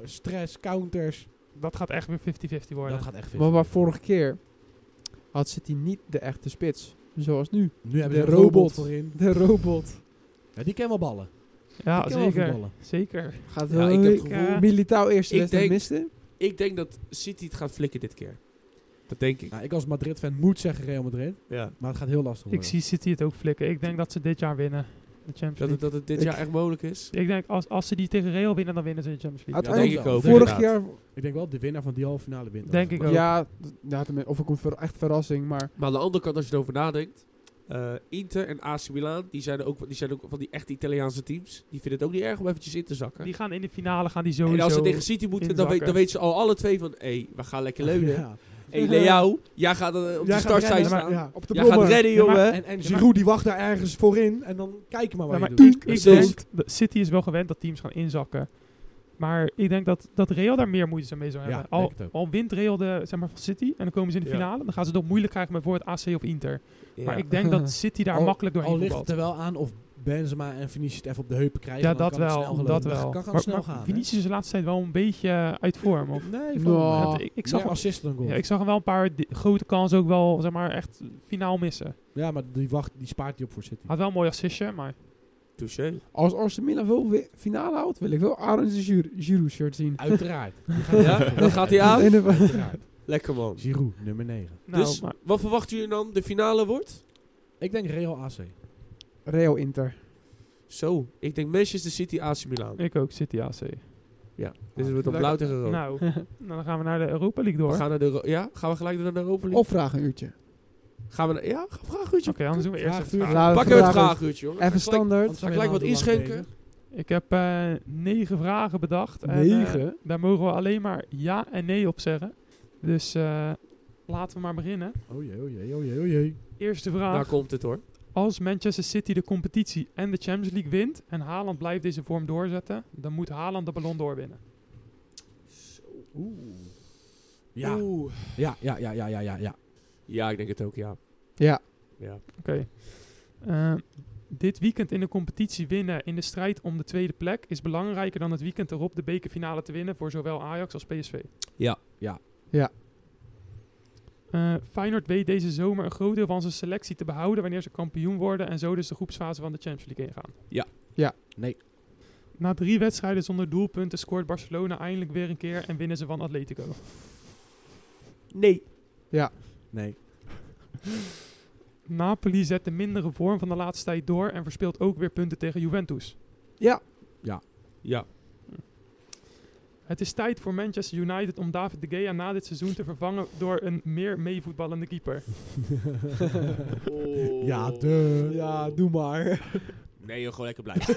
[SPEAKER 3] stress, counters.
[SPEAKER 4] Dat gaat echt weer 50-50 worden.
[SPEAKER 3] Dat gaat echt veel.
[SPEAKER 2] maar, maar vorige keer had City niet de echte spits. Zoals nu.
[SPEAKER 3] Nu hebben
[SPEAKER 2] de
[SPEAKER 3] ze een robot,
[SPEAKER 2] robot.
[SPEAKER 3] voorin.
[SPEAKER 2] De robot.
[SPEAKER 3] Ja, die kan wel ballen.
[SPEAKER 4] ja,
[SPEAKER 3] die kan wel
[SPEAKER 4] zeker.
[SPEAKER 3] voetballen.
[SPEAKER 4] Zeker.
[SPEAKER 2] Gaat
[SPEAKER 1] Ja, ik heb het
[SPEAKER 4] gevoel-
[SPEAKER 2] eh, militaal eerste
[SPEAKER 1] Ik
[SPEAKER 2] wedstrijd
[SPEAKER 1] denk-
[SPEAKER 2] miste.
[SPEAKER 1] Ik denk dat City het gaat flikken dit keer. Dat denk ik.
[SPEAKER 3] Nou, ik als Madrid-fan moet zeggen Real Madrid.
[SPEAKER 1] Ja.
[SPEAKER 3] Maar het gaat heel lastig worden.
[SPEAKER 4] Ik zie City het ook flikken. Ik denk dat ze dit jaar winnen. De Champions
[SPEAKER 1] Dat het,
[SPEAKER 4] League.
[SPEAKER 1] dat het dit
[SPEAKER 2] Ik-
[SPEAKER 1] jaar echt mogelijk is.
[SPEAKER 4] Ik denk als, als ze die tegen Real winnen, dan winnen ze de Champions League.
[SPEAKER 1] Ja, denk ik
[SPEAKER 2] Uiteindelijk,
[SPEAKER 1] ook.
[SPEAKER 2] vorig
[SPEAKER 1] inderdaad.
[SPEAKER 2] jaar...
[SPEAKER 3] Ik denk wel de winnaar van die halve finale wint.
[SPEAKER 4] Denk ik ook.
[SPEAKER 2] Ja, d- ja, tenmin- of ik kom ver, echt verrassing, maar...
[SPEAKER 1] Maar aan de andere kant, als je erover nadenkt. eh, Inter en AC Milan, die zijn, ook, die zijn ook van die echte Italiaanse teams. Die vinden het ook niet erg om eventjes in te zakken.
[SPEAKER 4] Die gaan in de finale gaan die sowieso.
[SPEAKER 1] en als ze tegen City moeten, dan weet,
[SPEAKER 4] inzakken.
[SPEAKER 1] dan weten ze al alle twee van... Hé, we gaan lekker leunen.
[SPEAKER 3] Ja.
[SPEAKER 1] Hé, Leao, jij gaat eh, op
[SPEAKER 3] Jij
[SPEAKER 1] de
[SPEAKER 3] gaat
[SPEAKER 1] startzijde
[SPEAKER 3] rennen,
[SPEAKER 1] staan.
[SPEAKER 3] maar- ja.
[SPEAKER 2] Op de
[SPEAKER 1] Jij gaat redden,
[SPEAKER 4] Ja, maar-
[SPEAKER 1] jongen.
[SPEAKER 3] En, en Giroud die wacht daar ergens voorin. En dan kijk maar
[SPEAKER 4] Ja,
[SPEAKER 3] waar
[SPEAKER 4] maar
[SPEAKER 3] je doet.
[SPEAKER 4] ik, ik
[SPEAKER 1] Precies.
[SPEAKER 4] denk, dat City is wel gewend dat teams gaan inzakken. Maar ik denk dat, dat Real daar meer moeite mee zou
[SPEAKER 3] Ja,
[SPEAKER 4] hebben.
[SPEAKER 3] denk
[SPEAKER 4] al,
[SPEAKER 3] het ook.
[SPEAKER 4] al wint Real de, zeg maar, van City en dan komen ze in de
[SPEAKER 1] Ja.
[SPEAKER 4] finale. Dan gaan ze het nog moeilijk krijgen met bijvoorbeeld AC of Inter.
[SPEAKER 1] Ja.
[SPEAKER 4] Maar ik denk dat City daar
[SPEAKER 3] Al-
[SPEAKER 4] makkelijk
[SPEAKER 3] Al
[SPEAKER 4] doorheen
[SPEAKER 3] ligt het
[SPEAKER 4] voetbalt.
[SPEAKER 3] er wel aan of Benzema en Vinicius het even op de heupen krijgen.
[SPEAKER 4] Ja,
[SPEAKER 3] dan
[SPEAKER 4] dat
[SPEAKER 3] kan het snel
[SPEAKER 4] wel.
[SPEAKER 3] gelopen.
[SPEAKER 4] Dat wel.
[SPEAKER 3] kan gaan
[SPEAKER 4] Maar-
[SPEAKER 3] snel
[SPEAKER 4] maar
[SPEAKER 3] gaan. hè?
[SPEAKER 4] Vinicius is de laatste tijd wel een beetje eh, uit vorm. Of?
[SPEAKER 3] Nee,
[SPEAKER 2] Nou.
[SPEAKER 3] van
[SPEAKER 2] Oh.
[SPEAKER 4] Ja, ik, ik zag
[SPEAKER 3] zag
[SPEAKER 4] hem-
[SPEAKER 3] assist en een goal.
[SPEAKER 4] ja,
[SPEAKER 3] Ja,
[SPEAKER 4] ik zag hem wel een paar di- grote kansen ook wel zeg maar, echt finaal missen.
[SPEAKER 3] maar die, wacht, die spaart hij op voor City.
[SPEAKER 4] Had wel een mooi assistje, maar
[SPEAKER 1] Touché.
[SPEAKER 2] Als Arsenal Milan wel weer finale houdt, wil ik wel Arons en Giroud- Giroud shirt zien.
[SPEAKER 3] Uiteraard.
[SPEAKER 1] Ja, dan gaat hij aan.
[SPEAKER 2] Uiteraard.
[SPEAKER 3] Uiteraard.
[SPEAKER 1] Lekker, man.
[SPEAKER 3] Giroud, nummer 9.
[SPEAKER 4] Nou,
[SPEAKER 1] dus,
[SPEAKER 4] maar-
[SPEAKER 1] wat verwachten jullie dan? De finale wordt?
[SPEAKER 3] Ik denk Real AC.
[SPEAKER 2] Real Inter.
[SPEAKER 1] Zo, ik denk Manchester City, AC Milan.
[SPEAKER 4] ik ook, City AC.
[SPEAKER 1] Ja, dus het wordt op
[SPEAKER 2] Lekker.
[SPEAKER 1] blauw tegen rood.
[SPEAKER 4] Nou, dan gaan we naar de Europa League door.
[SPEAKER 1] we
[SPEAKER 4] Oké,
[SPEAKER 1] gaan, naar de, Euro- ja? gaan we gelijk naar de Europa League?
[SPEAKER 2] Of vraag een uurtje.
[SPEAKER 1] Gaan we naar, ja, vraag uurtje.
[SPEAKER 4] anders doen we eerst
[SPEAKER 3] Vraag
[SPEAKER 4] even
[SPEAKER 3] uur.
[SPEAKER 4] vragen.
[SPEAKER 2] Laten we
[SPEAKER 1] Pakken we het
[SPEAKER 2] vragen.
[SPEAKER 1] vraaguurtje, jongen.
[SPEAKER 2] Even
[SPEAKER 1] Ga ik gelijk-
[SPEAKER 2] standaard.
[SPEAKER 1] Ga gelijk wat inschenken?
[SPEAKER 4] Ik heb eh, negen vragen bedacht. En, eh,
[SPEAKER 2] Negen?
[SPEAKER 4] daar mogen we alleen maar ja en nee op zeggen. Dus eh, laten we maar beginnen.
[SPEAKER 3] Oh jee, oh jee, oh jee, oh jee.
[SPEAKER 4] Eerste vraag.
[SPEAKER 3] Nou,
[SPEAKER 1] Daar Nou, komt het, hoor.
[SPEAKER 4] Als Manchester City de competitie en de Champions League wint en Haaland blijft deze vorm doorzetten, dan moet Haaland de ballon doorwinnen.
[SPEAKER 3] Oeh. Ja,
[SPEAKER 1] Oeh.
[SPEAKER 3] ja, ja, ja, ja, ja, ja, ja.
[SPEAKER 1] Ja, ik denk het ook, ja.
[SPEAKER 2] Ja.
[SPEAKER 1] ja.
[SPEAKER 4] Oké. Eh, dit weekend in de competitie winnen in de strijd om de tweede plek is belangrijker dan het weekend erop de bekerfinale te winnen voor zowel Ajax als PSV.
[SPEAKER 1] Ja.
[SPEAKER 3] Ja.
[SPEAKER 2] Ja.
[SPEAKER 4] Eh, Feyenoord weet deze zomer een groot deel van zijn selectie te behouden wanneer ze kampioen worden en zo dus de groepsfase van de Champions League ingaan.
[SPEAKER 1] Ja.
[SPEAKER 2] Ja.
[SPEAKER 3] Nee.
[SPEAKER 4] Na drie wedstrijden zonder doelpunten scoort Barcelona eindelijk weer een keer en winnen ze van Atletico.
[SPEAKER 1] Nee.
[SPEAKER 3] Nee.
[SPEAKER 4] Napoli zet de mindere vorm van de laatste tijd door en verspeelt ook weer punten tegen Juventus.
[SPEAKER 2] Ja.
[SPEAKER 1] Ja.
[SPEAKER 4] Het is tijd voor Manchester United om David de Gea na dit seizoen te vervangen door een meer meevoetballende keeper.
[SPEAKER 3] Ja, de.
[SPEAKER 2] Ja, doe maar.
[SPEAKER 1] Oh. Nee, joh, gewoon lekker blijven.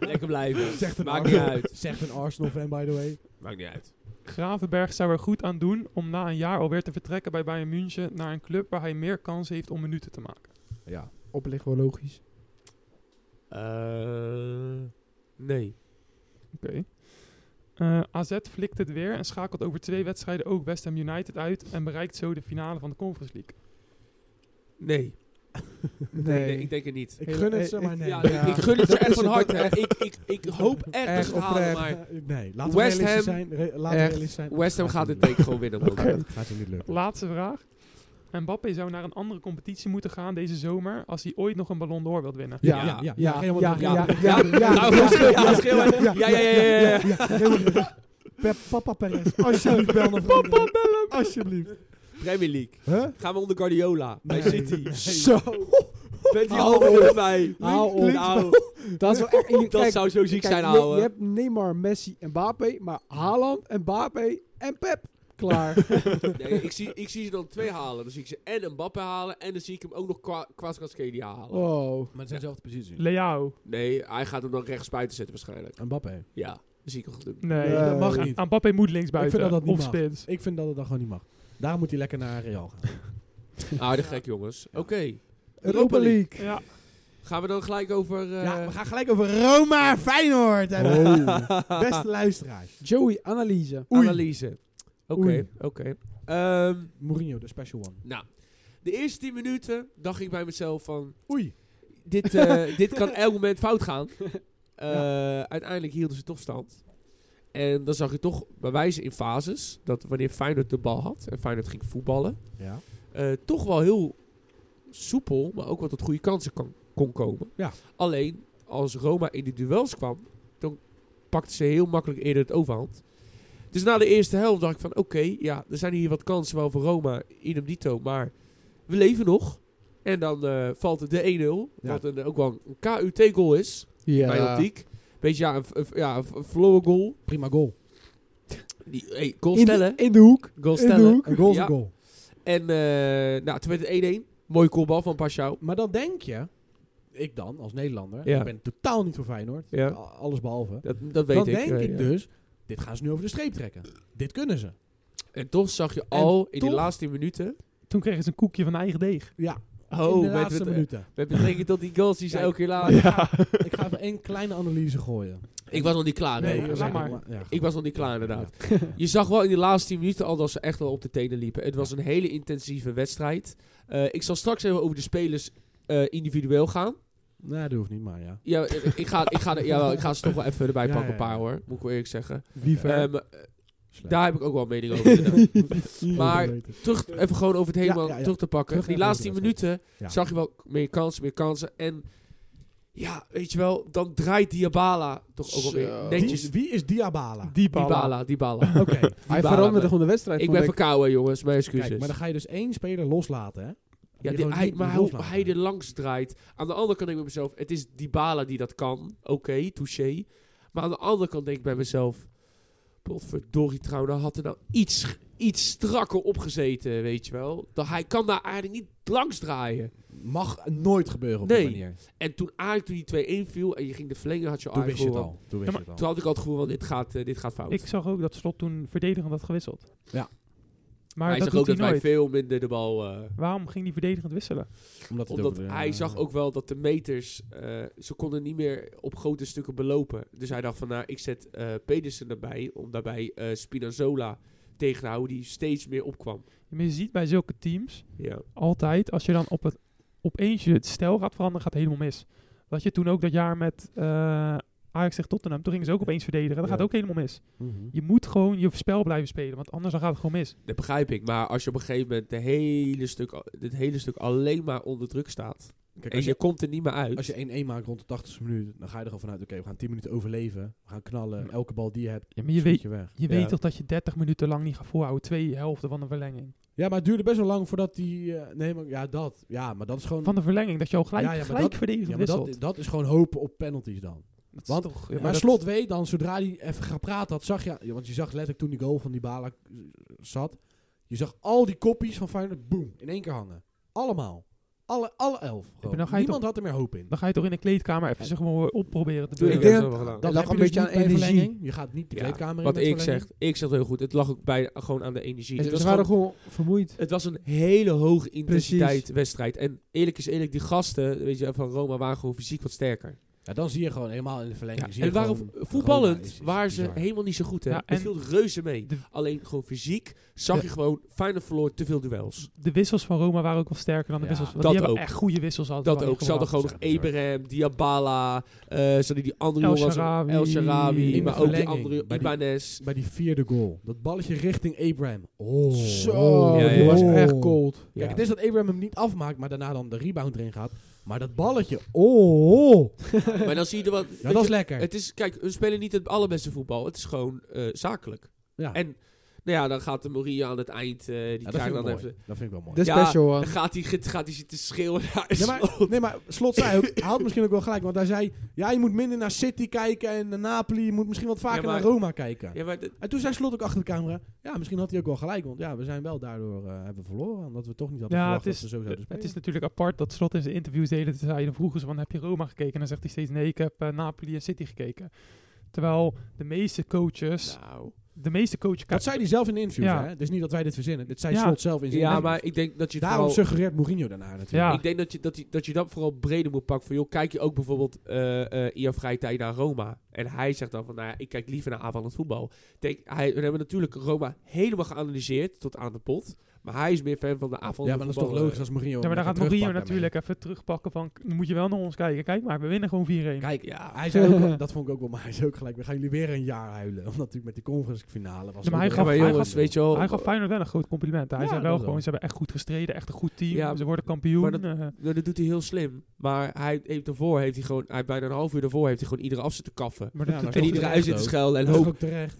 [SPEAKER 1] lekker blijven.
[SPEAKER 3] Zegt een
[SPEAKER 1] Maakt
[SPEAKER 3] Arsenal-
[SPEAKER 1] niet uit.
[SPEAKER 3] Zegt een Arsenal fan, by the way.
[SPEAKER 1] Maakt niet uit.
[SPEAKER 4] Gravenberg zou er goed aan doen om na een jaar alweer te vertrekken bij Bayern München naar een club waar hij meer kans heeft om minuten te maken.
[SPEAKER 3] Ja.
[SPEAKER 2] Oplicht wel logisch.
[SPEAKER 1] Eh, nee.
[SPEAKER 4] Oké. Eh, AZ flikt het weer en schakelt over twee wedstrijden ook West Ham United uit en bereikt zo de finale van de Conference League.
[SPEAKER 1] Nee.
[SPEAKER 2] Nee.
[SPEAKER 1] Nee, ik denk het niet.
[SPEAKER 3] Ik
[SPEAKER 2] Hele-
[SPEAKER 3] gun het
[SPEAKER 2] eh,
[SPEAKER 3] ze, maar
[SPEAKER 2] ik-
[SPEAKER 3] nee.
[SPEAKER 1] Ja,
[SPEAKER 2] Ja.
[SPEAKER 1] Ik, ik gun het ze echt van
[SPEAKER 2] Dat-
[SPEAKER 1] harte. hè. Ik, ik, ik hoop echt dat
[SPEAKER 2] Echt
[SPEAKER 1] ze het halen,
[SPEAKER 2] oprecht.
[SPEAKER 1] maar
[SPEAKER 3] Nee, laten we
[SPEAKER 1] West
[SPEAKER 3] realistisch
[SPEAKER 1] Ham-
[SPEAKER 3] zijn. Re- laten we
[SPEAKER 2] Echt.
[SPEAKER 3] realistisch zijn.
[SPEAKER 1] West Ham gaat dit week gewoon winnen. man.
[SPEAKER 4] Oké.
[SPEAKER 3] Gaat het niet lukken.
[SPEAKER 4] Laatste vraag. Mbappé zou naar een andere competitie moeten gaan deze zomer als hij ooit nog een Ballon d'Or wilt winnen.
[SPEAKER 1] Ja,
[SPEAKER 3] ja, ja,
[SPEAKER 2] ja,
[SPEAKER 3] helemaal
[SPEAKER 2] ja,
[SPEAKER 3] terug.
[SPEAKER 2] ja,
[SPEAKER 1] Nou,
[SPEAKER 2] ja,
[SPEAKER 1] schreeuw- ja, schreeuw- ja, ja, ja, ja, ja.
[SPEAKER 2] ja, ja, ja.
[SPEAKER 3] Pep, papa Perez. Alsjeblieft, bel nog Papa bellen. Alsjeblieft.
[SPEAKER 1] Premier League.
[SPEAKER 3] Huh?
[SPEAKER 1] Gaan we onder Guardiola. Bij
[SPEAKER 3] Nee.
[SPEAKER 1] City.
[SPEAKER 3] Nee.
[SPEAKER 1] Zo. Bent die
[SPEAKER 2] Hou
[SPEAKER 1] handen
[SPEAKER 2] op.
[SPEAKER 1] erbij.
[SPEAKER 2] Hou op.
[SPEAKER 1] Nou,
[SPEAKER 2] Dat, is wel echt, jullie-
[SPEAKER 1] dat
[SPEAKER 2] kijk,
[SPEAKER 1] zou zo ziek
[SPEAKER 2] kijk,
[SPEAKER 1] zijn,
[SPEAKER 2] je, je
[SPEAKER 1] ouwe.
[SPEAKER 2] hebt Neymar, Messi en Mbappé, maar Haaland, Mbappé en Pep. Klaar.
[SPEAKER 1] Nee, ik, zie, ik zie ze dan twee halen. Dan zie ik ze en Mbappé halen. En dan zie ik hem ook nog Kwa- Kwadraskhelia
[SPEAKER 2] Oh,
[SPEAKER 1] halen.
[SPEAKER 2] Wow.
[SPEAKER 3] Maar het zijn zelfde posities.
[SPEAKER 4] Leao.
[SPEAKER 1] Nee, hij gaat hem dan rechts buiten zetten waarschijnlijk.
[SPEAKER 3] Mbappé.
[SPEAKER 1] Ja, dat zie ik al doen.
[SPEAKER 4] Nee.
[SPEAKER 2] Nee, dat mag
[SPEAKER 4] Aan-
[SPEAKER 3] niet.
[SPEAKER 4] Aan Mbappé moet links buiten.
[SPEAKER 3] Ik vind dat dat niet
[SPEAKER 4] of
[SPEAKER 3] mag.
[SPEAKER 4] spits.
[SPEAKER 3] Ik vind dat het dan gewoon niet mag. Daarom moet hij lekker naar Real gaan.
[SPEAKER 1] Aardig gek, jongens. Oké.
[SPEAKER 2] Europa League.
[SPEAKER 4] Ja.
[SPEAKER 1] Gaan we dan gelijk over... eh,
[SPEAKER 3] ja, we gaan gelijk over Roma Feyenoord hebben.
[SPEAKER 1] Oh.
[SPEAKER 3] Beste luisteraars.
[SPEAKER 2] Joey, analyse.
[SPEAKER 3] Oei.
[SPEAKER 1] Analyse. Oké,
[SPEAKER 3] Oei.
[SPEAKER 1] oké. Ehm,
[SPEAKER 3] Mourinho, de special one.
[SPEAKER 1] nou, de eerste 10 minuten dacht ik bij mezelf van...
[SPEAKER 3] Oei.
[SPEAKER 1] Dit, eh, dit kan elk moment fout gaan. Eh, Uiteindelijk hielden ze toch stand. En dan zag je toch bij wijze in fases... dat wanneer Feyenoord de bal had... en Feyenoord ging voetballen...
[SPEAKER 3] Ja.
[SPEAKER 1] eh, toch wel heel soepel... maar ook wel tot goede kansen kan, kon komen.
[SPEAKER 3] Ja.
[SPEAKER 1] Alleen, als Roma in die duels kwam... dan pakte ze heel makkelijk eerder het overhand. Dus na de eerste helft dacht ik van... oké, ja, er zijn hier wat kansen wel voor Roma... idem dito, maar we leven nog... En dan eh, valt het de 1-0.
[SPEAKER 3] Ja.
[SPEAKER 1] Wat een, ook wel een KUT-goal is.
[SPEAKER 2] Ja.
[SPEAKER 1] Mijn optiek. Beetje ja, een, v- een v- ja, een v- een verloren goal.
[SPEAKER 3] Prima goal.
[SPEAKER 1] Die, hey, goal
[SPEAKER 2] In
[SPEAKER 1] stellen.
[SPEAKER 2] de, in de hoek.
[SPEAKER 1] goal
[SPEAKER 2] in de
[SPEAKER 1] stellen.
[SPEAKER 2] hoek.
[SPEAKER 3] Een goal is
[SPEAKER 1] Ja.
[SPEAKER 3] een goal.
[SPEAKER 1] En eh, nou, toen werd het 1-1. Mooie koolbal van Paschou.
[SPEAKER 3] Maar dan denk je, ik dan als Nederlander,
[SPEAKER 1] Ja.
[SPEAKER 3] ik ben totaal niet voor Feyenoord,
[SPEAKER 1] Ja.
[SPEAKER 3] a- alles behalve.
[SPEAKER 1] Dat, dat weet
[SPEAKER 3] dan
[SPEAKER 1] ik.
[SPEAKER 3] denk
[SPEAKER 1] eh,
[SPEAKER 3] ik
[SPEAKER 1] ja.
[SPEAKER 3] dus, dit gaan ze nu over de streep trekken. Dit kunnen ze.
[SPEAKER 1] En toch zag je al in
[SPEAKER 3] toch-
[SPEAKER 1] die laatste minuten.
[SPEAKER 4] Toen kregen ze een koekje van eigen deeg.
[SPEAKER 3] Ja,
[SPEAKER 1] Oh,
[SPEAKER 3] in de
[SPEAKER 1] met-
[SPEAKER 3] laatste
[SPEAKER 1] met, eh,
[SPEAKER 3] minuten.
[SPEAKER 1] met betrekking tot die goals die ze
[SPEAKER 3] Ja,
[SPEAKER 1] elke keer laten.
[SPEAKER 3] Maar ik ga- Ik ga even één kleine analyse gooien.
[SPEAKER 1] Ik was nog niet klaar.
[SPEAKER 4] Nee,
[SPEAKER 1] Ah, Nee,
[SPEAKER 4] maar-
[SPEAKER 1] we zijn
[SPEAKER 4] laat
[SPEAKER 1] nog-
[SPEAKER 4] maar.
[SPEAKER 3] Ja, goed.
[SPEAKER 1] Ik was nog niet klaar, inderdaad. Je zag wel in die laatste 10 minuten al dat ze echt wel op de tenen liepen. Het was een hele intensieve wedstrijd. Eh, ik zal straks even over de spelers eh, individueel gaan.
[SPEAKER 3] Nee, dat hoeft niet, maar ja.
[SPEAKER 1] Ja, ik ik ga, ik ga, jawel, ik ga ze toch wel even erbij
[SPEAKER 3] Ja,
[SPEAKER 1] pakken, een
[SPEAKER 3] ja, ja.
[SPEAKER 1] paar hoor. Moet ik wel eerlijk zeggen.
[SPEAKER 4] Wie ver?
[SPEAKER 1] Ehm,
[SPEAKER 3] Slecht.
[SPEAKER 1] daar heb ik ook wel een mening over. inderdaad. maar-
[SPEAKER 3] Overrated.
[SPEAKER 1] terug, even gewoon over het helemaal
[SPEAKER 3] Ja, ja, ja.
[SPEAKER 1] terug te pakken.
[SPEAKER 3] Terug
[SPEAKER 1] Die
[SPEAKER 3] naar
[SPEAKER 1] laatste
[SPEAKER 3] de
[SPEAKER 1] 10
[SPEAKER 3] wedstrijd.
[SPEAKER 1] minuten
[SPEAKER 3] Ja.
[SPEAKER 1] zag je wel meer kansen, meer kansen. En ja, weet je wel, dan draait Diabala toch ook
[SPEAKER 2] Zo.
[SPEAKER 1] alweer
[SPEAKER 3] Wie
[SPEAKER 1] netjes.
[SPEAKER 3] is, wie is Diabala?
[SPEAKER 4] Die
[SPEAKER 1] Diabala, Diabala.
[SPEAKER 3] Oké,
[SPEAKER 2] Hij
[SPEAKER 1] balen,
[SPEAKER 2] veranderde
[SPEAKER 1] hè.
[SPEAKER 2] gewoon de wedstrijd.
[SPEAKER 1] ik
[SPEAKER 2] vond
[SPEAKER 1] ben verkouden jongens, mijn excuses.
[SPEAKER 3] kijk, maar dan ga je dus één speler loslaten, hè?
[SPEAKER 1] ja,
[SPEAKER 3] die
[SPEAKER 1] die-
[SPEAKER 3] gewoon
[SPEAKER 1] hij,
[SPEAKER 3] niet
[SPEAKER 1] maar
[SPEAKER 3] meer
[SPEAKER 1] hoe
[SPEAKER 3] loslaten.
[SPEAKER 1] hij er langs draait. Aan de andere kant denk ik bij mezelf, het is Dybala die dat kan. Oké, touché. Maar aan de andere kant denk ik bij mezelf... Potverdorie trouwens, nou had er nou iets, iets strakker opgezeten, weet je wel. Dat hij kan daar eigenlijk niet langs draaien.
[SPEAKER 3] Mag nooit gebeuren op
[SPEAKER 1] Nee.
[SPEAKER 3] die manier.
[SPEAKER 1] En toen eigenlijk toen die 2-1 viel en je ging de verlenging, had je
[SPEAKER 3] Toen wist je
[SPEAKER 1] eigenlijk
[SPEAKER 3] het
[SPEAKER 1] gewoon...
[SPEAKER 3] al. Toen wist
[SPEAKER 4] Ja,
[SPEAKER 3] je het
[SPEAKER 1] Toen
[SPEAKER 3] al.
[SPEAKER 1] had ik al het gevoel van, dit gaat, eh, dit gaat fout.
[SPEAKER 4] Ik zag ook dat Slot toen verdedigend had gewisseld.
[SPEAKER 3] Ja.
[SPEAKER 4] Maar
[SPEAKER 1] maar hij
[SPEAKER 4] dat
[SPEAKER 1] zag ook
[SPEAKER 4] doet
[SPEAKER 1] dat
[SPEAKER 4] hij
[SPEAKER 1] wij
[SPEAKER 4] nooit.
[SPEAKER 1] veel minder de bal... eh,
[SPEAKER 4] Waarom ging hij verdedigend wisselen?
[SPEAKER 3] Omdat, het
[SPEAKER 1] Omdat
[SPEAKER 3] over de-
[SPEAKER 1] hij zag ook wel dat de meters, eh, ze konden niet meer op grote stukken belopen. Dus hij dacht van, nou, ik zet eh, Pedersen erbij, om daarbij eh, Spinazzola tegen te houden, die steeds meer opkwam.
[SPEAKER 4] Maar Je ziet bij zulke teams
[SPEAKER 1] Ja,
[SPEAKER 4] altijd, als je dan op het, opeens je het stijl gaat veranderen, gaat het helemaal mis. Dat je toen ook dat jaar met eh Ajax tegen Tottenham, toen gingen ze ook opeens verdedigen. Dat
[SPEAKER 3] Ja.
[SPEAKER 4] gaat ook helemaal mis.
[SPEAKER 3] Mhm.
[SPEAKER 4] Je moet gewoon je spel blijven spelen, want anders dan gaat het gewoon mis.
[SPEAKER 1] dat begrijp ik. Maar als je op een gegeven moment de hele stuk, het hele stuk alleen maar onder druk staat,
[SPEAKER 3] Kijk,
[SPEAKER 1] en
[SPEAKER 3] als
[SPEAKER 1] je
[SPEAKER 3] je,
[SPEAKER 1] komt er niet meer uit.
[SPEAKER 3] als je 1-1 maakt rond de 80ste minuut, dan ga je er gewoon vanuit, oké, we gaan 10 minuten overleven. We gaan knallen.
[SPEAKER 4] Ja.
[SPEAKER 3] Elke bal die je hebt,
[SPEAKER 4] Ja, maar je
[SPEAKER 3] schiet
[SPEAKER 4] weet,
[SPEAKER 3] je weg.
[SPEAKER 4] je
[SPEAKER 1] Ja.
[SPEAKER 4] weet toch dat je 30 minuten lang niet gaat volhouden, twee helften van de verlenging.
[SPEAKER 3] Ja, maar het duurde best wel lang voordat die... eh, nee, maar ja, dat. Ja, maar dat is gewoon...
[SPEAKER 4] Van de verlenging, dat je al gelijk,
[SPEAKER 3] Ja, ja, maar
[SPEAKER 4] gelijk
[SPEAKER 3] dat-
[SPEAKER 4] verdedigend
[SPEAKER 3] ja, maar
[SPEAKER 4] wisselt.
[SPEAKER 3] dat, dat is gewoon hopen op penalties dan.
[SPEAKER 4] Dat is
[SPEAKER 3] want-
[SPEAKER 4] toch,
[SPEAKER 3] maar
[SPEAKER 4] dat-
[SPEAKER 3] Slot weet dan, zodra hij even gepraat had, zag je... ja, Want je zag letterlijk toen die goal van die Bala eh, zat. Je zag al die kopies van Feyenoord, boom, in één keer hangen. Allemaal. Alle, alle elf. gewoon.
[SPEAKER 4] maar dan ga je
[SPEAKER 3] Niemand had er meer hoop in.
[SPEAKER 4] Dan ga je toch in de kleedkamer even zeg maar opproberen te
[SPEAKER 1] Doe
[SPEAKER 4] doen.
[SPEAKER 1] ik
[SPEAKER 2] denk-
[SPEAKER 1] dat wel gedaan.
[SPEAKER 2] dat
[SPEAKER 3] heb
[SPEAKER 2] lag een
[SPEAKER 3] je dus
[SPEAKER 2] beetje
[SPEAKER 3] niet
[SPEAKER 2] aan
[SPEAKER 3] bij
[SPEAKER 2] energie.
[SPEAKER 3] verlenging. Je gaat niet de
[SPEAKER 1] Ja,
[SPEAKER 3] kleedkamer in
[SPEAKER 1] Wat
[SPEAKER 3] met
[SPEAKER 1] ik
[SPEAKER 3] verlenging.
[SPEAKER 1] zeg, ik zeg het heel goed. Het lag ook bij, gewoon aan de energie. Het
[SPEAKER 2] ik.
[SPEAKER 1] was
[SPEAKER 2] Ze
[SPEAKER 1] gewoon-
[SPEAKER 2] waren gewoon vermoeid.
[SPEAKER 1] Het was een hele hoge intensiteit wedstrijd. En eerlijk is eerlijk, die gasten weet je, van Roma waren gewoon fysiek wat sterker.
[SPEAKER 3] Ja, dan zie je gewoon helemaal in de verlenging. zie
[SPEAKER 1] en
[SPEAKER 3] je
[SPEAKER 1] waren
[SPEAKER 3] gewoon-
[SPEAKER 1] vo- voetballend
[SPEAKER 3] Roma is- is
[SPEAKER 1] waren ze
[SPEAKER 3] bizar.
[SPEAKER 1] helemaal niet zo goed. Hè?
[SPEAKER 4] Ja,
[SPEAKER 1] het
[SPEAKER 4] en-
[SPEAKER 1] viel reuze mee.
[SPEAKER 4] De-
[SPEAKER 1] Alleen gewoon fysiek zag
[SPEAKER 4] Ja.
[SPEAKER 1] je gewoon Feyenoord verloor te veel duels.
[SPEAKER 4] De wissels van Roma waren ook wel sterker dan de
[SPEAKER 3] Ja,
[SPEAKER 4] wissels. Want
[SPEAKER 1] dat
[SPEAKER 4] die hebben
[SPEAKER 1] ook.
[SPEAKER 4] echt goede wissels altijd.
[SPEAKER 1] Dat
[SPEAKER 4] wel
[SPEAKER 1] ook. Ze hadden gewoon nog
[SPEAKER 3] Ja, bizar.
[SPEAKER 1] Abraham, Diabala, eh, ze hadden die andere
[SPEAKER 4] El
[SPEAKER 1] jongens,
[SPEAKER 4] Shaarawy.
[SPEAKER 1] El Sharabi,
[SPEAKER 4] In
[SPEAKER 1] maar
[SPEAKER 3] de
[SPEAKER 1] ook die
[SPEAKER 3] verlenging,
[SPEAKER 1] andere,
[SPEAKER 3] bij die-
[SPEAKER 1] Ibanez.
[SPEAKER 3] Bij die vierde goal. Dat balletje richting Abraham. Oh.
[SPEAKER 2] Zo,
[SPEAKER 1] Ja, ja,
[SPEAKER 2] die was
[SPEAKER 1] ja.
[SPEAKER 2] echt cold.
[SPEAKER 1] Ja.
[SPEAKER 3] Kijk, het is dat Abraham hem niet afmaakt, maar daarna dan de rebound erin gaat. Maar dat balletje, oh, oh.
[SPEAKER 1] maar dan zie je er wat...
[SPEAKER 3] Ja, dat is lekker.
[SPEAKER 1] het is, kijk, hun spelen niet het allerbeste voetbal. Het is gewoon eh, zakelijk.
[SPEAKER 3] Ja.
[SPEAKER 1] En nou ja, dan gaat de Moria aan het eind. eh, die
[SPEAKER 3] Ja, dat,
[SPEAKER 1] krijgt
[SPEAKER 3] vind ik
[SPEAKER 1] dan
[SPEAKER 3] mooi.
[SPEAKER 1] even.
[SPEAKER 3] dat vind ik wel mooi.
[SPEAKER 2] De
[SPEAKER 1] Ja,
[SPEAKER 2] special
[SPEAKER 1] Dan
[SPEAKER 2] one.
[SPEAKER 1] gaat hij ge- gaat hij zitten schreeuwen. Naar
[SPEAKER 3] Nee maar, nee, maar Slot zei ook, hij had misschien ook wel gelijk, want hij zei, ja, je moet minder naar City kijken en naar Napoli, je moet misschien wat vaker
[SPEAKER 1] Ja, maar-
[SPEAKER 3] naar Roma kijken.
[SPEAKER 1] ja, maar dat-
[SPEAKER 3] En toen zei Slot ook achter de camera, ja, misschien had hij ook wel gelijk, want ja, we zijn wel daardoor eh, hebben we verloren, omdat we toch niet hadden
[SPEAKER 4] Ja,
[SPEAKER 3] verwacht
[SPEAKER 4] het is,
[SPEAKER 3] dat we zo zouden spelen.
[SPEAKER 4] het is natuurlijk apart dat Slot in zijn interviews de hele tijd vroegen ze van heb je Roma gekeken? En dan zegt hij steeds nee, ik heb eh, Napoli en City gekeken. Terwijl de meeste coaches,
[SPEAKER 1] nou.
[SPEAKER 4] de meeste coaches...
[SPEAKER 3] dat zei hij zelf in de interviews,
[SPEAKER 4] Ja.
[SPEAKER 3] hè? Dus niet dat wij dit verzinnen, dit zei
[SPEAKER 4] Ja.
[SPEAKER 3] Slot zelf in zijn
[SPEAKER 1] Ja,
[SPEAKER 3] interviews.
[SPEAKER 1] maar ik denk dat je het
[SPEAKER 3] Daarom
[SPEAKER 1] vooral-
[SPEAKER 3] suggereert Mourinho daarna natuurlijk.
[SPEAKER 4] Ja.
[SPEAKER 1] Ik denk dat je, dat, je, dat je dat vooral breder moet pakken. Van joh, kijk je ook bijvoorbeeld eh eh in je vrije tijd naar Roma? En hij zegt dan van, nou ja, ik kijk liever naar aanvallend voetbal. Ik Denk, hij, we hebben natuurlijk Roma helemaal geanalyseerd tot aan de pot. Maar hij is meer fan van de aanvallende
[SPEAKER 3] Ja, maar dat is toch
[SPEAKER 1] voetbal,
[SPEAKER 3] logisch
[SPEAKER 1] eh.
[SPEAKER 3] als
[SPEAKER 4] Ja,
[SPEAKER 3] Mourinho...
[SPEAKER 4] maar dan
[SPEAKER 3] hem
[SPEAKER 4] gaat
[SPEAKER 3] even
[SPEAKER 4] Mourinho
[SPEAKER 3] terugpakt daarmee.
[SPEAKER 4] natuurlijk even terugpakken van, dan moet je wel naar ons kijken. Kijk maar, we winnen gewoon 4-1.
[SPEAKER 3] Kijk, ja, hij zei ook, wel- dat vond ik ook wel, maar hij zei ook gelijk, we gaan jullie weer een jaar huilen. Omdat natuurlijk met die conference finale was...
[SPEAKER 4] Ja, maar
[SPEAKER 3] het
[SPEAKER 4] hij
[SPEAKER 1] Ja,
[SPEAKER 3] ook
[SPEAKER 4] gaf-
[SPEAKER 1] maar
[SPEAKER 3] wel-
[SPEAKER 4] hij
[SPEAKER 1] jongens, weet je wel... eh,
[SPEAKER 4] Hij gaf Feyenoord wel een groot compliment. Hij
[SPEAKER 3] Ja,
[SPEAKER 4] zei
[SPEAKER 3] dat
[SPEAKER 4] wel
[SPEAKER 3] wel.
[SPEAKER 4] gewoon, ze hebben echt goed gestreden, echt een goed team.
[SPEAKER 1] Ja,
[SPEAKER 4] ze worden kampioen.
[SPEAKER 1] maar dat-
[SPEAKER 4] eh.
[SPEAKER 1] Nou, dat doet hij heel slim. Maar hij heeft ervoor, heeft hij gewoon, hij, bijna een half uur daarvoor heeft hij gewoon iedere af zitten kaffen.
[SPEAKER 4] Maar dat
[SPEAKER 3] Ja, maar
[SPEAKER 1] En
[SPEAKER 4] doet-
[SPEAKER 3] toch
[SPEAKER 1] iedere
[SPEAKER 3] terecht
[SPEAKER 1] uit zitten
[SPEAKER 3] ook.
[SPEAKER 1] schelden en
[SPEAKER 3] Dat is
[SPEAKER 1] hoop.
[SPEAKER 3] ook terecht.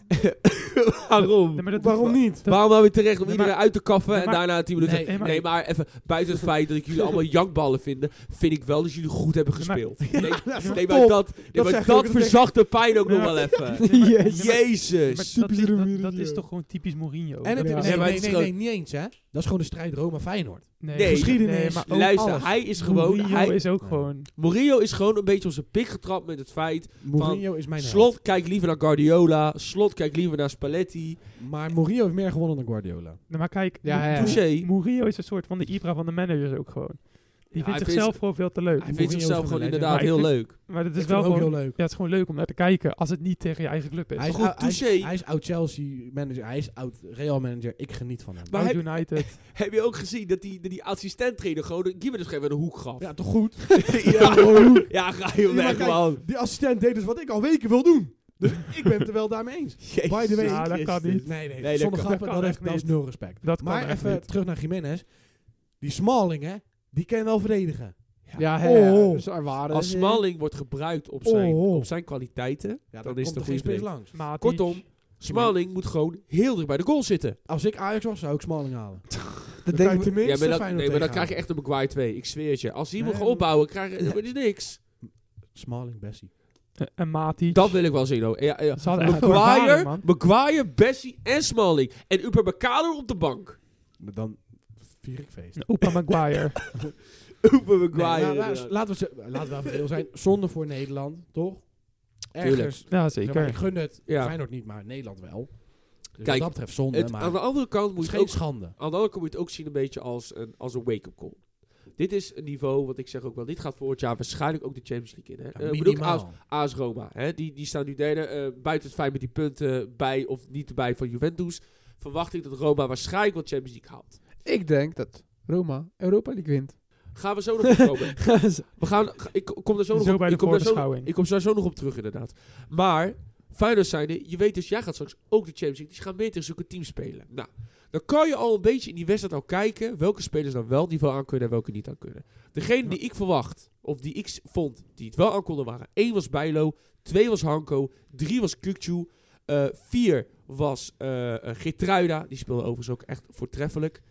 [SPEAKER 4] Oh,
[SPEAKER 1] Waarom?
[SPEAKER 4] Nee, maar dat doet-
[SPEAKER 3] Waarom niet?
[SPEAKER 4] dat-
[SPEAKER 1] Waarom nou weer terecht om
[SPEAKER 4] Nee,
[SPEAKER 1] iedereen
[SPEAKER 4] maar-
[SPEAKER 1] uit te kaffen
[SPEAKER 4] Nee,
[SPEAKER 1] en
[SPEAKER 4] maar-
[SPEAKER 1] daarna 10 minuten...
[SPEAKER 4] Nee,
[SPEAKER 1] Nee,
[SPEAKER 4] maar-
[SPEAKER 1] maar, even buiten het feit dat ik jullie allemaal jankballen vind, vind ik wel dat jullie goed hebben
[SPEAKER 4] Nee, maar-
[SPEAKER 1] gespeeld. Nee,
[SPEAKER 3] Ja,
[SPEAKER 1] nee,
[SPEAKER 3] top.
[SPEAKER 1] maar dat, nee,
[SPEAKER 3] Dat
[SPEAKER 1] maar
[SPEAKER 3] zeg ik ook,
[SPEAKER 1] dat
[SPEAKER 3] dat
[SPEAKER 1] verzacht de pijn ook
[SPEAKER 4] Ja.
[SPEAKER 1] nog wel even.
[SPEAKER 4] Nee, maar-
[SPEAKER 2] Jezus.
[SPEAKER 4] nee, maar-
[SPEAKER 1] Jezus.
[SPEAKER 4] maar dat, is,
[SPEAKER 2] Typisch
[SPEAKER 4] dat,
[SPEAKER 2] Mourinho.
[SPEAKER 4] dat is toch gewoon typisch Mourinho.
[SPEAKER 3] En het
[SPEAKER 2] Ja.
[SPEAKER 1] Nee,
[SPEAKER 3] nee, nee,
[SPEAKER 1] maar
[SPEAKER 3] nee,
[SPEAKER 1] het is
[SPEAKER 3] nee,
[SPEAKER 1] gewoon-
[SPEAKER 3] niet eens, hè? Dat is gewoon de strijd Roma-Feyenoord.
[SPEAKER 4] Nee,
[SPEAKER 1] Nee,
[SPEAKER 3] geschiedenis.
[SPEAKER 4] maar ook
[SPEAKER 1] Luister,
[SPEAKER 4] alles.
[SPEAKER 1] hij is gewoon...
[SPEAKER 4] Mourinho
[SPEAKER 1] Hij,
[SPEAKER 4] is ook
[SPEAKER 3] Ja.
[SPEAKER 4] gewoon...
[SPEAKER 1] Mourinho is gewoon een beetje op zijn pik getrapt met het feit...
[SPEAKER 3] Mourinho is mijn held.
[SPEAKER 1] Slot kijkt liever naar Guardiola. Slot kijkt liever naar Spalletti.
[SPEAKER 3] Maar Mourinho heeft meer gewonnen dan Guardiola.
[SPEAKER 4] Nee, maar kijk,
[SPEAKER 2] Ja, ja, ja.
[SPEAKER 4] Mou-
[SPEAKER 1] Touché.
[SPEAKER 4] Mourinho is een soort van de Ibra van de managers ook gewoon. Die
[SPEAKER 1] Ja, hij vindt-
[SPEAKER 4] vindt zichzelf gewoon veel te leuk.
[SPEAKER 1] Hij vindt
[SPEAKER 3] Mourinho is
[SPEAKER 1] zichzelf
[SPEAKER 3] gewoon
[SPEAKER 1] gewoon
[SPEAKER 3] een
[SPEAKER 1] inderdaad
[SPEAKER 4] legend.
[SPEAKER 1] heel
[SPEAKER 4] Maar
[SPEAKER 1] leuk.
[SPEAKER 4] maar het is
[SPEAKER 3] Ik
[SPEAKER 4] wel
[SPEAKER 3] vind hem ook
[SPEAKER 4] gewoon...
[SPEAKER 3] heel leuk.
[SPEAKER 4] Ja, het is gewoon leuk om naar te kijken als het niet tegen je eigen club is.
[SPEAKER 3] Hij is,
[SPEAKER 1] Goed,
[SPEAKER 3] oud- hij, is-
[SPEAKER 1] touché.
[SPEAKER 3] hij is oud Chelsea-manager, hij is oud Real-manager. Ik geniet van hem.
[SPEAKER 1] Maar
[SPEAKER 4] Oud
[SPEAKER 1] heb-
[SPEAKER 4] United.
[SPEAKER 1] Heb je ook gezien dat die, dat die assistent-trainer gewoon de- Gieber dus even een hoek gaf?
[SPEAKER 3] ja, toch goed?
[SPEAKER 1] ja, ja, ga je
[SPEAKER 3] Ja, maar
[SPEAKER 1] weg,
[SPEAKER 3] kijk,
[SPEAKER 1] man.
[SPEAKER 3] Die assistent deed dus wat ik al weken wil doen. Dus ik ben het er wel daarmee eens.
[SPEAKER 1] Jezus
[SPEAKER 3] By the way-
[SPEAKER 4] Ja, dat kan
[SPEAKER 1] Christus.
[SPEAKER 4] niet.
[SPEAKER 3] Nee, nee,
[SPEAKER 1] Nee, dat
[SPEAKER 3] zonder
[SPEAKER 1] kan-
[SPEAKER 3] grappen,
[SPEAKER 4] dat
[SPEAKER 3] dat,
[SPEAKER 4] kan
[SPEAKER 3] heeft-
[SPEAKER 4] echt
[SPEAKER 3] dat is
[SPEAKER 4] niet.
[SPEAKER 3] nul respect.
[SPEAKER 4] Dat kan
[SPEAKER 3] maar
[SPEAKER 4] echt
[SPEAKER 3] even
[SPEAKER 4] niet.
[SPEAKER 3] terug naar Jiménez. Die Smalling, hè, die kan wel verdedigen.
[SPEAKER 2] Ja, hè,
[SPEAKER 3] Oh, oh.
[SPEAKER 2] ja, dus er waren
[SPEAKER 1] Als
[SPEAKER 2] ze.
[SPEAKER 1] Smalling wordt gebruikt op zijn,
[SPEAKER 3] Oh, oh.
[SPEAKER 1] op zijn kwaliteiten.
[SPEAKER 3] Ja,
[SPEAKER 1] dan
[SPEAKER 3] dan
[SPEAKER 1] is
[SPEAKER 3] komt
[SPEAKER 1] de
[SPEAKER 3] er geen
[SPEAKER 1] goede
[SPEAKER 3] spits
[SPEAKER 1] plek.
[SPEAKER 3] langs.
[SPEAKER 4] Matic.
[SPEAKER 1] Kortom, Smalling moet gewoon heel dicht bij de goal zitten.
[SPEAKER 3] Als ik Ajax was, zou ik Smalling halen. Dan
[SPEAKER 2] Dat
[SPEAKER 3] kan
[SPEAKER 2] denk
[SPEAKER 3] je
[SPEAKER 2] ik-
[SPEAKER 3] tenminste
[SPEAKER 1] Ja, maar dat,
[SPEAKER 3] Feyenoord
[SPEAKER 1] nee, maar dan krijg
[SPEAKER 3] tegenhouden.
[SPEAKER 1] je echt een Maguire 2. Ik zweer het je. Als die
[SPEAKER 3] Nee,
[SPEAKER 1] moet
[SPEAKER 3] maar-
[SPEAKER 1] opbouwen, krijg je dat is niks.
[SPEAKER 3] Smalling, Bessie.
[SPEAKER 4] Eh, En Matic.
[SPEAKER 1] Dat wil ik wel zien. hoor. Ja, ja.
[SPEAKER 4] Ze hadden echt veel ervaring,
[SPEAKER 1] Maguire,
[SPEAKER 4] man.
[SPEAKER 1] Maguire, Bessie en Smalling. En Upamecano op de bank.
[SPEAKER 3] Dan vier ik feest.
[SPEAKER 4] En Opa Maguire.
[SPEAKER 3] Nee,
[SPEAKER 1] Upameclaire.
[SPEAKER 3] maar luister, laten, we, ze- laten we even heel zijn. Zonde voor Nederland, toch?
[SPEAKER 1] Tuurlijk.
[SPEAKER 3] Ergens.
[SPEAKER 4] Ja,
[SPEAKER 3] Zeg maar, ik
[SPEAKER 4] zeker.
[SPEAKER 3] gun het
[SPEAKER 1] Ja.
[SPEAKER 3] Feyenoord niet, maar Nederland wel. Dus
[SPEAKER 1] Kijk,
[SPEAKER 3] wat dat betreft zonde,
[SPEAKER 1] Het-
[SPEAKER 3] maar
[SPEAKER 1] aan de
[SPEAKER 3] het
[SPEAKER 1] andere kant moet je
[SPEAKER 3] is geen
[SPEAKER 1] ook
[SPEAKER 3] schande.
[SPEAKER 1] Aan de andere kant moet je het ook zien een beetje als een, als een wake-up call. Dit is een niveau, wat ik zeg ook wel, dit gaat volgend jaar waarschijnlijk ook de Champions League in. Hè?
[SPEAKER 3] Ja,
[SPEAKER 1] Eh, ik bedoel, AS,
[SPEAKER 3] minimaal.
[SPEAKER 1] AS Roma. Hè? Die, die staan nu derde, eh, buiten het feit met die punten bij of niet erbij van Juventus. Verwacht ik dat Roma waarschijnlijk wel Champions League haalt.
[SPEAKER 2] Ik denk dat Roma Europa League wint.
[SPEAKER 1] Gaan we zo nog op komen. We gaan, ga- ik kom daar zo, nog
[SPEAKER 4] Zo
[SPEAKER 1] op,
[SPEAKER 4] bij de
[SPEAKER 1] ik kom daar zo,
[SPEAKER 4] voorbeschouwing.
[SPEAKER 1] ik kom daar zo nog op terug inderdaad. Maar, Feyenoord zijnde, je weet dus, jij gaat straks ook de Champions League. Dus je gaat meer tegen zulke teams spelen. Nou, dan kan je al een beetje in die wedstrijd al kijken welke spelers dan wel het niveau aan kunnen en welke niet aan kunnen. Degene die ik verwacht, of die ik s- vond, die het wel aan konden waren. één was Bijlo, twee was Hanko, drie was Kukcu, eh, vier was eh eh, Geertruida. Die speelde overigens ook echt voortreffelijk.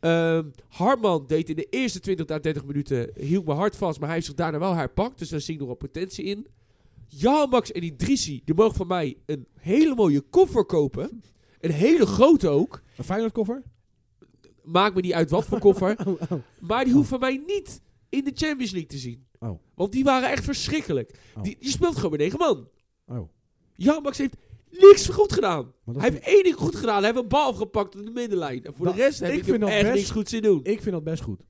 [SPEAKER 1] Ehm, Hartman deed in de eerste 20 à 30 minuten, hield me hard vast, maar hij heeft zich daarna wel herpakt. Dus daar zie ik nog wel potentie in. Jan Max en Idrissi, die mogen van mij een hele mooie koffer kopen. Een hele grote ook.
[SPEAKER 3] Een Feyenoord-koffer?
[SPEAKER 1] Maakt me niet uit wat voor koffer.
[SPEAKER 3] Oh, oh.
[SPEAKER 1] Maar die hoeft van mij niet in de Champions League te zien.
[SPEAKER 3] Oh.
[SPEAKER 1] Want die waren echt verschrikkelijk.
[SPEAKER 3] Oh.
[SPEAKER 1] Die, die speelt gewoon met negen man.
[SPEAKER 3] Oh.
[SPEAKER 1] Jan Max heeft niks goed gedaan.
[SPEAKER 3] Maar dat
[SPEAKER 1] Hij
[SPEAKER 3] is-
[SPEAKER 1] heeft één ding goed gedaan. Hij heeft een bal afgepakt in de middenlijn. En voor
[SPEAKER 3] Nou,
[SPEAKER 1] de rest heb
[SPEAKER 3] ik
[SPEAKER 1] ik, hem
[SPEAKER 3] vind dat
[SPEAKER 1] echt
[SPEAKER 3] best-
[SPEAKER 1] niks goed zien doen.
[SPEAKER 3] Ik vind dat best goed.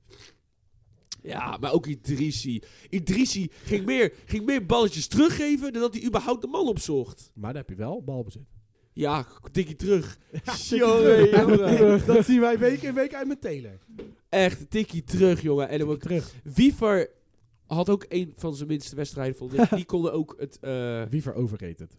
[SPEAKER 1] Ja, maar ook Idrissi. Idrissi ging meer, ging meer balletjes teruggeven dan dat hij überhaupt de man opzocht.
[SPEAKER 3] Maar dan heb je wel balbezit.
[SPEAKER 1] Ja, tikkie terug.
[SPEAKER 3] Tikkie
[SPEAKER 1] Jongen,
[SPEAKER 3] terug.
[SPEAKER 1] jongen.
[SPEAKER 3] dat zien wij week in week uit met Taylor.
[SPEAKER 1] Echt, tikkie terug, jongen. En dan ook,
[SPEAKER 3] Terug.
[SPEAKER 1] Wiever had ook een van zijn minste wedstrijden, vond ik. Die konden ook het, eh,
[SPEAKER 3] Wiever overrated.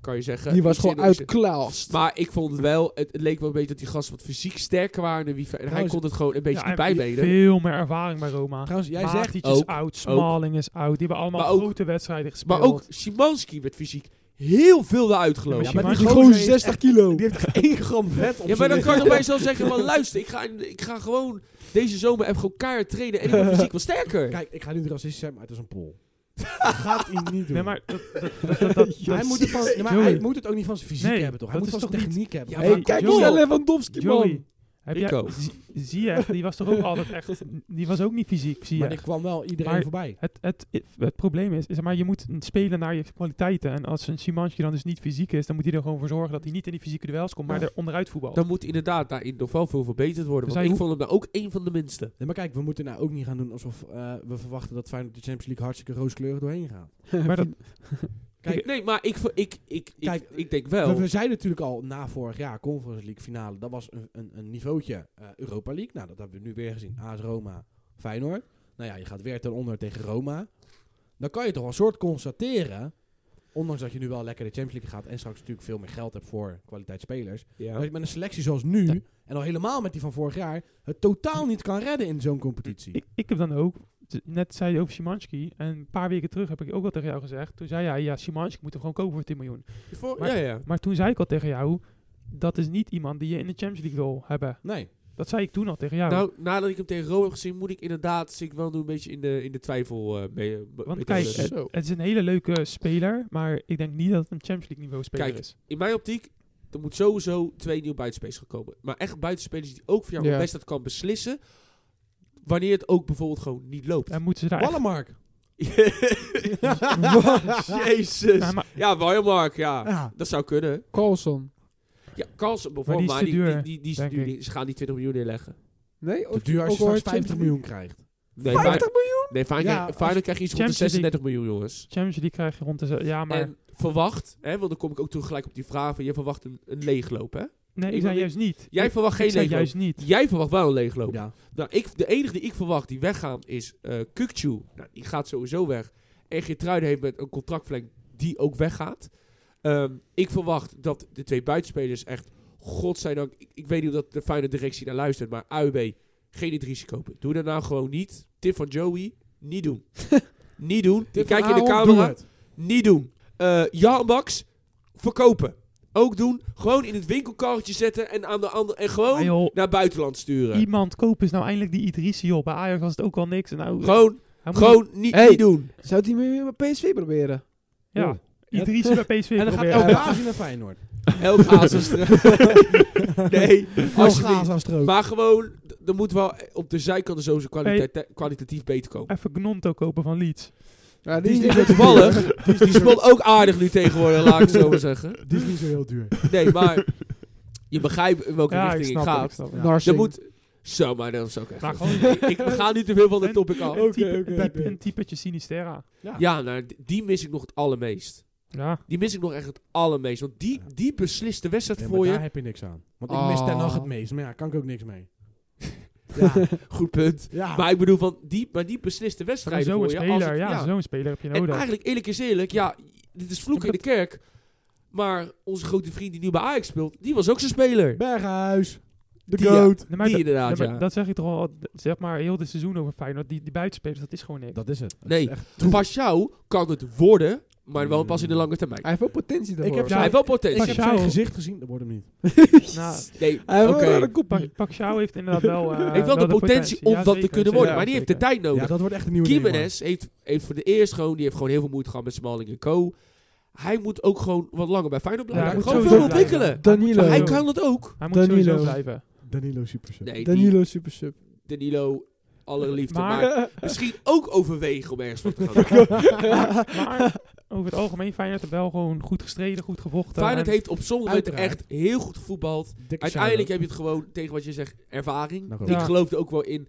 [SPEAKER 1] kan je zeggen...
[SPEAKER 2] Die was
[SPEAKER 1] iets
[SPEAKER 2] gewoon
[SPEAKER 1] in- iets in-
[SPEAKER 2] uitklaast.
[SPEAKER 1] Maar ik vond het wel, het, het leek wel een beetje dat die gasten wat fysiek sterker waren. dan Wiever. En hij
[SPEAKER 3] Trouwens-
[SPEAKER 1] kon het gewoon een beetje
[SPEAKER 4] Ja,
[SPEAKER 1] niet
[SPEAKER 4] hij heeft
[SPEAKER 1] bijbenen.
[SPEAKER 4] Veel meer ervaring bij Roma.
[SPEAKER 3] Trouwens, jij
[SPEAKER 4] Matic
[SPEAKER 3] zegt...
[SPEAKER 4] is
[SPEAKER 1] Ook,
[SPEAKER 4] oud, Smalling is oud. Die hebben allemaal
[SPEAKER 1] Maar ook-
[SPEAKER 4] grote wedstrijden gespeeld.
[SPEAKER 1] Maar ook Simanski werd fysiek heel veel eruit gelopen.
[SPEAKER 4] Ja,
[SPEAKER 3] maar
[SPEAKER 4] maar
[SPEAKER 3] die
[SPEAKER 4] die
[SPEAKER 3] gozer
[SPEAKER 2] gozer
[SPEAKER 3] heeft
[SPEAKER 2] heeft
[SPEAKER 3] 60 kilo. Die heeft 1 gram vet op
[SPEAKER 1] Ja, maar dan kan
[SPEAKER 3] zijn
[SPEAKER 1] je
[SPEAKER 3] lichaam.
[SPEAKER 1] nog bij jezelf zeggen van luister, ik ga, ik ga gewoon deze zomer even gewoon keihard trainen en ik word fysiek wat sterker.
[SPEAKER 3] Kijk, ik ga nu racistisch zijn, maar het is een pol. Dat gaat hij niet doen.
[SPEAKER 4] Nee, maar dat, dat, dat, dat, dat-
[SPEAKER 3] hij, moet het van, nee, maar
[SPEAKER 4] Joey.
[SPEAKER 3] hij moet het ook niet van zijn fysiek
[SPEAKER 4] Nee,
[SPEAKER 3] hebben, toch? Hij
[SPEAKER 4] dat
[SPEAKER 3] moet van
[SPEAKER 4] is
[SPEAKER 3] zijn
[SPEAKER 4] toch niet-
[SPEAKER 3] techniek hebben.
[SPEAKER 1] Ja,
[SPEAKER 3] Hij-
[SPEAKER 1] maar
[SPEAKER 2] hey, kijk eens
[SPEAKER 1] Joey.
[SPEAKER 2] naar Lewandowski,
[SPEAKER 4] Joey,
[SPEAKER 2] man.
[SPEAKER 4] heb
[SPEAKER 1] Rico.
[SPEAKER 4] jij, zie, zie je, die was toch ook altijd echt, die was ook niet fysiek, zie
[SPEAKER 3] maar
[SPEAKER 4] je.
[SPEAKER 3] er kwam wel iedereen
[SPEAKER 4] Maar-
[SPEAKER 3] voorbij.
[SPEAKER 4] Het, het, het probleem is, is, maar je moet spelen naar je kwaliteiten. En als een Simanski dan dus niet fysiek is, dan moet hij er gewoon voor zorgen dat hij niet in die fysieke duels komt, maar er onderuit voetbalt.
[SPEAKER 1] Dan moet inderdaad daarin nog wel veel verbeterd worden.
[SPEAKER 4] Dus
[SPEAKER 1] want
[SPEAKER 4] hij
[SPEAKER 1] ik vond hem nou ook één van de minste.
[SPEAKER 3] Nee, maar kijk, we moeten nou ook niet gaan doen alsof eh, we verwachten dat Feyenoord de Champions League hartstikke rooskleurig doorheen gaat.
[SPEAKER 4] maar dat,
[SPEAKER 3] Kijk,
[SPEAKER 1] nee, maar ik, vo- ik, ik, ik,
[SPEAKER 3] Kijk,
[SPEAKER 1] ik denk
[SPEAKER 3] We,
[SPEAKER 1] wel.
[SPEAKER 3] we zijn natuurlijk al na vorig jaar Conference League finale. Dat was een, een, een niveautje eh, Europa League. Nou, dat hebben we nu weer gezien. AS Roma, Feyenoord. Nou ja, je gaat weer ten onder tegen Roma. Dan kan je toch wel een soort constateren... Ondanks dat je nu wel lekker de Champions League gaat... en straks natuurlijk veel meer geld hebt voor kwaliteit spelers...
[SPEAKER 1] Ja.
[SPEAKER 3] dat je met een selectie zoals nu... en al helemaal met die van vorig jaar... het totaal niet kan redden in zo'n competitie.
[SPEAKER 4] ik, ik heb dan ook, t- net zei je over Simanski, en een paar weken terug heb ik ook wel tegen jou gezegd, toen zei jij, ja, Simanski moet hem gewoon kopen voor 10 miljoen.
[SPEAKER 1] Voor-
[SPEAKER 4] Maar-
[SPEAKER 1] ja, ja.
[SPEAKER 4] Maar toen zei ik al tegen jou, dat is niet iemand die je in de Champions League wil hebben.
[SPEAKER 3] nee.
[SPEAKER 4] Dat zei ik toen al tegen jou.
[SPEAKER 1] Nou, nadat ik hem tegen Rome heb gezien, moet ik inderdaad zit ik wel nu een beetje in de, in de twijfel eh mee. eh, be-
[SPEAKER 4] Want
[SPEAKER 1] mee
[SPEAKER 4] kijk,
[SPEAKER 1] te-
[SPEAKER 4] het, het is een hele leuke speler, maar ik denk niet dat het een Champions League niveau speler
[SPEAKER 1] Kijk,
[SPEAKER 4] is.
[SPEAKER 1] in mijn optiek, er moet sowieso twee nieuwe buitenspelers gaan komen. Maar echt buitenspelers die ook voor jou
[SPEAKER 2] Ja.
[SPEAKER 1] het best dat kan beslissen. Wanneer het ook bijvoorbeeld gewoon niet loopt.
[SPEAKER 4] En moeten ze daar echt...
[SPEAKER 3] Wallenmark.
[SPEAKER 1] Jezus. dus.
[SPEAKER 4] Ja, maar-
[SPEAKER 1] Ja, Wallenmark, ja.
[SPEAKER 3] Ja.
[SPEAKER 1] Dat zou kunnen.
[SPEAKER 2] Carlson.
[SPEAKER 1] Ja, Carlsen
[SPEAKER 4] Maar die
[SPEAKER 1] bijvoorbeeld,
[SPEAKER 4] is
[SPEAKER 1] maar
[SPEAKER 4] te
[SPEAKER 1] die, die,
[SPEAKER 4] duur,
[SPEAKER 1] die, die is
[SPEAKER 4] denk
[SPEAKER 1] te duur.
[SPEAKER 4] ik.
[SPEAKER 1] Die- Ze gaan die 20 miljoen neerleggen.
[SPEAKER 2] Nee,
[SPEAKER 3] Te
[SPEAKER 2] ook,
[SPEAKER 3] duur als je
[SPEAKER 2] ook al
[SPEAKER 3] straks 50 miljoen krijgt.
[SPEAKER 1] Nee,
[SPEAKER 2] 50
[SPEAKER 1] miljoen? Nee, Feyenoord
[SPEAKER 3] Ja,
[SPEAKER 1] krijg-
[SPEAKER 3] als-
[SPEAKER 1] Feyenoord krijg je iets rond de
[SPEAKER 4] Champions
[SPEAKER 1] 36 miljoen, jongens.
[SPEAKER 4] Champions League krijg je rond de... ze- Ja, maar...
[SPEAKER 1] En verwacht, hè, want dan kom ik ook terug gelijk op die vraag van... Je verwacht een, een leegloop, hè?
[SPEAKER 4] nee, ik
[SPEAKER 1] ik
[SPEAKER 4] zei
[SPEAKER 1] wil-
[SPEAKER 4] juist niet.
[SPEAKER 1] Jij
[SPEAKER 4] Ik-
[SPEAKER 1] verwacht geen
[SPEAKER 4] ik zei
[SPEAKER 1] leegloop.
[SPEAKER 4] juist niet.
[SPEAKER 1] Jij verwacht wel een leegloop.
[SPEAKER 3] Ja.
[SPEAKER 1] Nou, ik, de enige die ik verwacht die weggaan is eh Kukcu. Nou, die gaat sowieso weg. En Geertruiden heeft met een contractverlenging die ook weggaat. Ehm, ik verwacht dat de twee buitenspelers echt... Godzijdank, ik, ik weet niet of dat de fijne directie naar luistert... maar AUB, geen het risico. op. Doe dat nou gewoon niet. Tip van Joey, niet doen. niet doen. Ik kijk in de camera. Niet doen. Eh Jan Max, verkopen. Ook doen. Gewoon in het winkelkarretje zetten en, aan de ander, en gewoon
[SPEAKER 4] Maar Ah, joh,
[SPEAKER 1] naar buitenland sturen.
[SPEAKER 4] iemand kopen is nou eindelijk die Idrissi op. Bij Ajax was het ook al niks. En Nou,
[SPEAKER 1] Gewoon,
[SPEAKER 4] hij moet-
[SPEAKER 1] gewoon niet,
[SPEAKER 2] Hey.
[SPEAKER 1] niet doen.
[SPEAKER 2] Zou die meer met PSV proberen?
[SPEAKER 4] Ja, Idrissi bij PSV
[SPEAKER 3] En dan gaat
[SPEAKER 4] proberen.
[SPEAKER 1] eh,
[SPEAKER 3] El Ghazi naar Feyenoord.
[SPEAKER 1] Elk hazels Nee,
[SPEAKER 3] Als
[SPEAKER 1] alsjeblieft. Maar gewoon, d- er moet wel eh, op de zijkanten sowieso kwalita- kwalitatief beter komen.
[SPEAKER 4] Even Gnonto kopen van Leeds.
[SPEAKER 2] Ja,
[SPEAKER 1] Die is niet
[SPEAKER 2] niet
[SPEAKER 1] zo toevallig. Die, is- die speelt ook aardig nu tegenwoordig, laat ik het zo maar zeggen.
[SPEAKER 3] Die is niet zo heel duur.
[SPEAKER 1] Nee, maar je begrijpt in welke
[SPEAKER 4] Ja, ik
[SPEAKER 1] richting ik,
[SPEAKER 4] snap het, ik
[SPEAKER 1] gaat.
[SPEAKER 4] snap het.
[SPEAKER 3] Ja.
[SPEAKER 1] Je
[SPEAKER 2] Narsing.
[SPEAKER 1] moet... Zo, maar dan zou ik echt...
[SPEAKER 4] Maar
[SPEAKER 1] zeggen.
[SPEAKER 4] gewoon Oh. een
[SPEAKER 1] ik ga nu te veel van de topic af.
[SPEAKER 4] type- een
[SPEAKER 2] oké,
[SPEAKER 4] type-
[SPEAKER 2] oké.
[SPEAKER 4] een typetje Sinistera.
[SPEAKER 1] Ja, nou, d- die mis ik nog het allermeest.
[SPEAKER 4] Ja,
[SPEAKER 1] Die mis ik nog echt het allermeest. Want die, die beslist de wedstrijd
[SPEAKER 3] Ja, maar
[SPEAKER 1] voor je. Oh.
[SPEAKER 3] daar heb je niks aan. Want ik mis Ten Hag
[SPEAKER 2] Ah.
[SPEAKER 3] het meest. Maar ja, kan ik ook niks mee. ja.
[SPEAKER 1] Goed punt.
[SPEAKER 3] ja.
[SPEAKER 1] Maar ik bedoel, van die, maar die beslist de wedstrijd voor
[SPEAKER 4] zo'n
[SPEAKER 1] je. als
[SPEAKER 4] speler,
[SPEAKER 1] het-
[SPEAKER 4] ja, zo'n speler heb je
[SPEAKER 1] En
[SPEAKER 4] nodig.
[SPEAKER 1] eigenlijk, eerlijk is eerlijk, ja, dit is vloek in de kerk. Maar onze grote vriend die nu bij Ajax speelt, die was ook zo'n speler.
[SPEAKER 3] Berghuis. De
[SPEAKER 1] Die,
[SPEAKER 3] goat.
[SPEAKER 4] Nee,
[SPEAKER 1] Die
[SPEAKER 4] dat-
[SPEAKER 1] inderdaad,
[SPEAKER 4] nee, maar
[SPEAKER 1] ja.
[SPEAKER 4] Dat zeg ik toch al, d- zeg maar, heel dit seizoen over Feyenoord. Die, die buitenspelers, dat is gewoon niks.
[SPEAKER 3] Dat is het.
[SPEAKER 1] Nee.
[SPEAKER 3] Het is echt-
[SPEAKER 1] Paschal kan het worden, maar wel pas in de lange termijn. Dus
[SPEAKER 2] Hij heeft wel potentie daarvoor.
[SPEAKER 3] heb
[SPEAKER 1] Hij
[SPEAKER 3] ja,
[SPEAKER 1] heeft wel
[SPEAKER 3] Ik heb
[SPEAKER 1] potentie.
[SPEAKER 4] Pashao.
[SPEAKER 3] zijn gezicht gezien. Dat wordt hem niet.
[SPEAKER 4] Nou,
[SPEAKER 1] Nee,
[SPEAKER 2] Hij heeft
[SPEAKER 1] oké.
[SPEAKER 2] wel een kop.
[SPEAKER 4] Pak- Pak Sjouw heeft inderdaad wel... eh,
[SPEAKER 1] Heeft wel de potentie om
[SPEAKER 4] Ja,
[SPEAKER 1] dat te
[SPEAKER 4] zeker,
[SPEAKER 1] kunnen
[SPEAKER 4] zeker,
[SPEAKER 1] worden,
[SPEAKER 4] ja,
[SPEAKER 1] maar die heeft de
[SPEAKER 4] zeker.
[SPEAKER 1] tijd
[SPEAKER 3] Ja,
[SPEAKER 1] nodig.
[SPEAKER 3] dat wordt echt een nieuwe Neymar.
[SPEAKER 1] Jiménez heeft, heeft voor de eerst gewoon, die heeft gewoon heel veel moeite gehad met Smalling en Co. Hij moet ook gewoon wat langer bij Feyenoord blijven.
[SPEAKER 4] Ja, hij moet
[SPEAKER 1] gewoon veel
[SPEAKER 4] sowieso
[SPEAKER 1] ontwikkelen.
[SPEAKER 2] Danilo.
[SPEAKER 1] Hij
[SPEAKER 4] blijven.
[SPEAKER 1] kan dat ook.
[SPEAKER 4] Hij moet sowieso
[SPEAKER 2] Danilo.
[SPEAKER 4] blijven.
[SPEAKER 3] Danilo Super
[SPEAKER 1] Nee, die
[SPEAKER 2] Danilo super sub.
[SPEAKER 1] Danilo, alle liefde.
[SPEAKER 4] Maar-
[SPEAKER 1] Maar, misschien ook overwegen om ergens van te gaan.
[SPEAKER 4] Maar over het algemeen, Feyenoord heeft wel gewoon goed gestreden, goed gevochten.
[SPEAKER 1] Feyenoord
[SPEAKER 4] En-
[SPEAKER 1] heeft op sommige momenten
[SPEAKER 3] Uiteraard.
[SPEAKER 1] echt heel goed gevoetbald. Uiteindelijk heb je het gewoon, tegen wat je zegt, ervaring.
[SPEAKER 3] Nou,
[SPEAKER 1] ik
[SPEAKER 4] ja.
[SPEAKER 1] geloofde ook wel in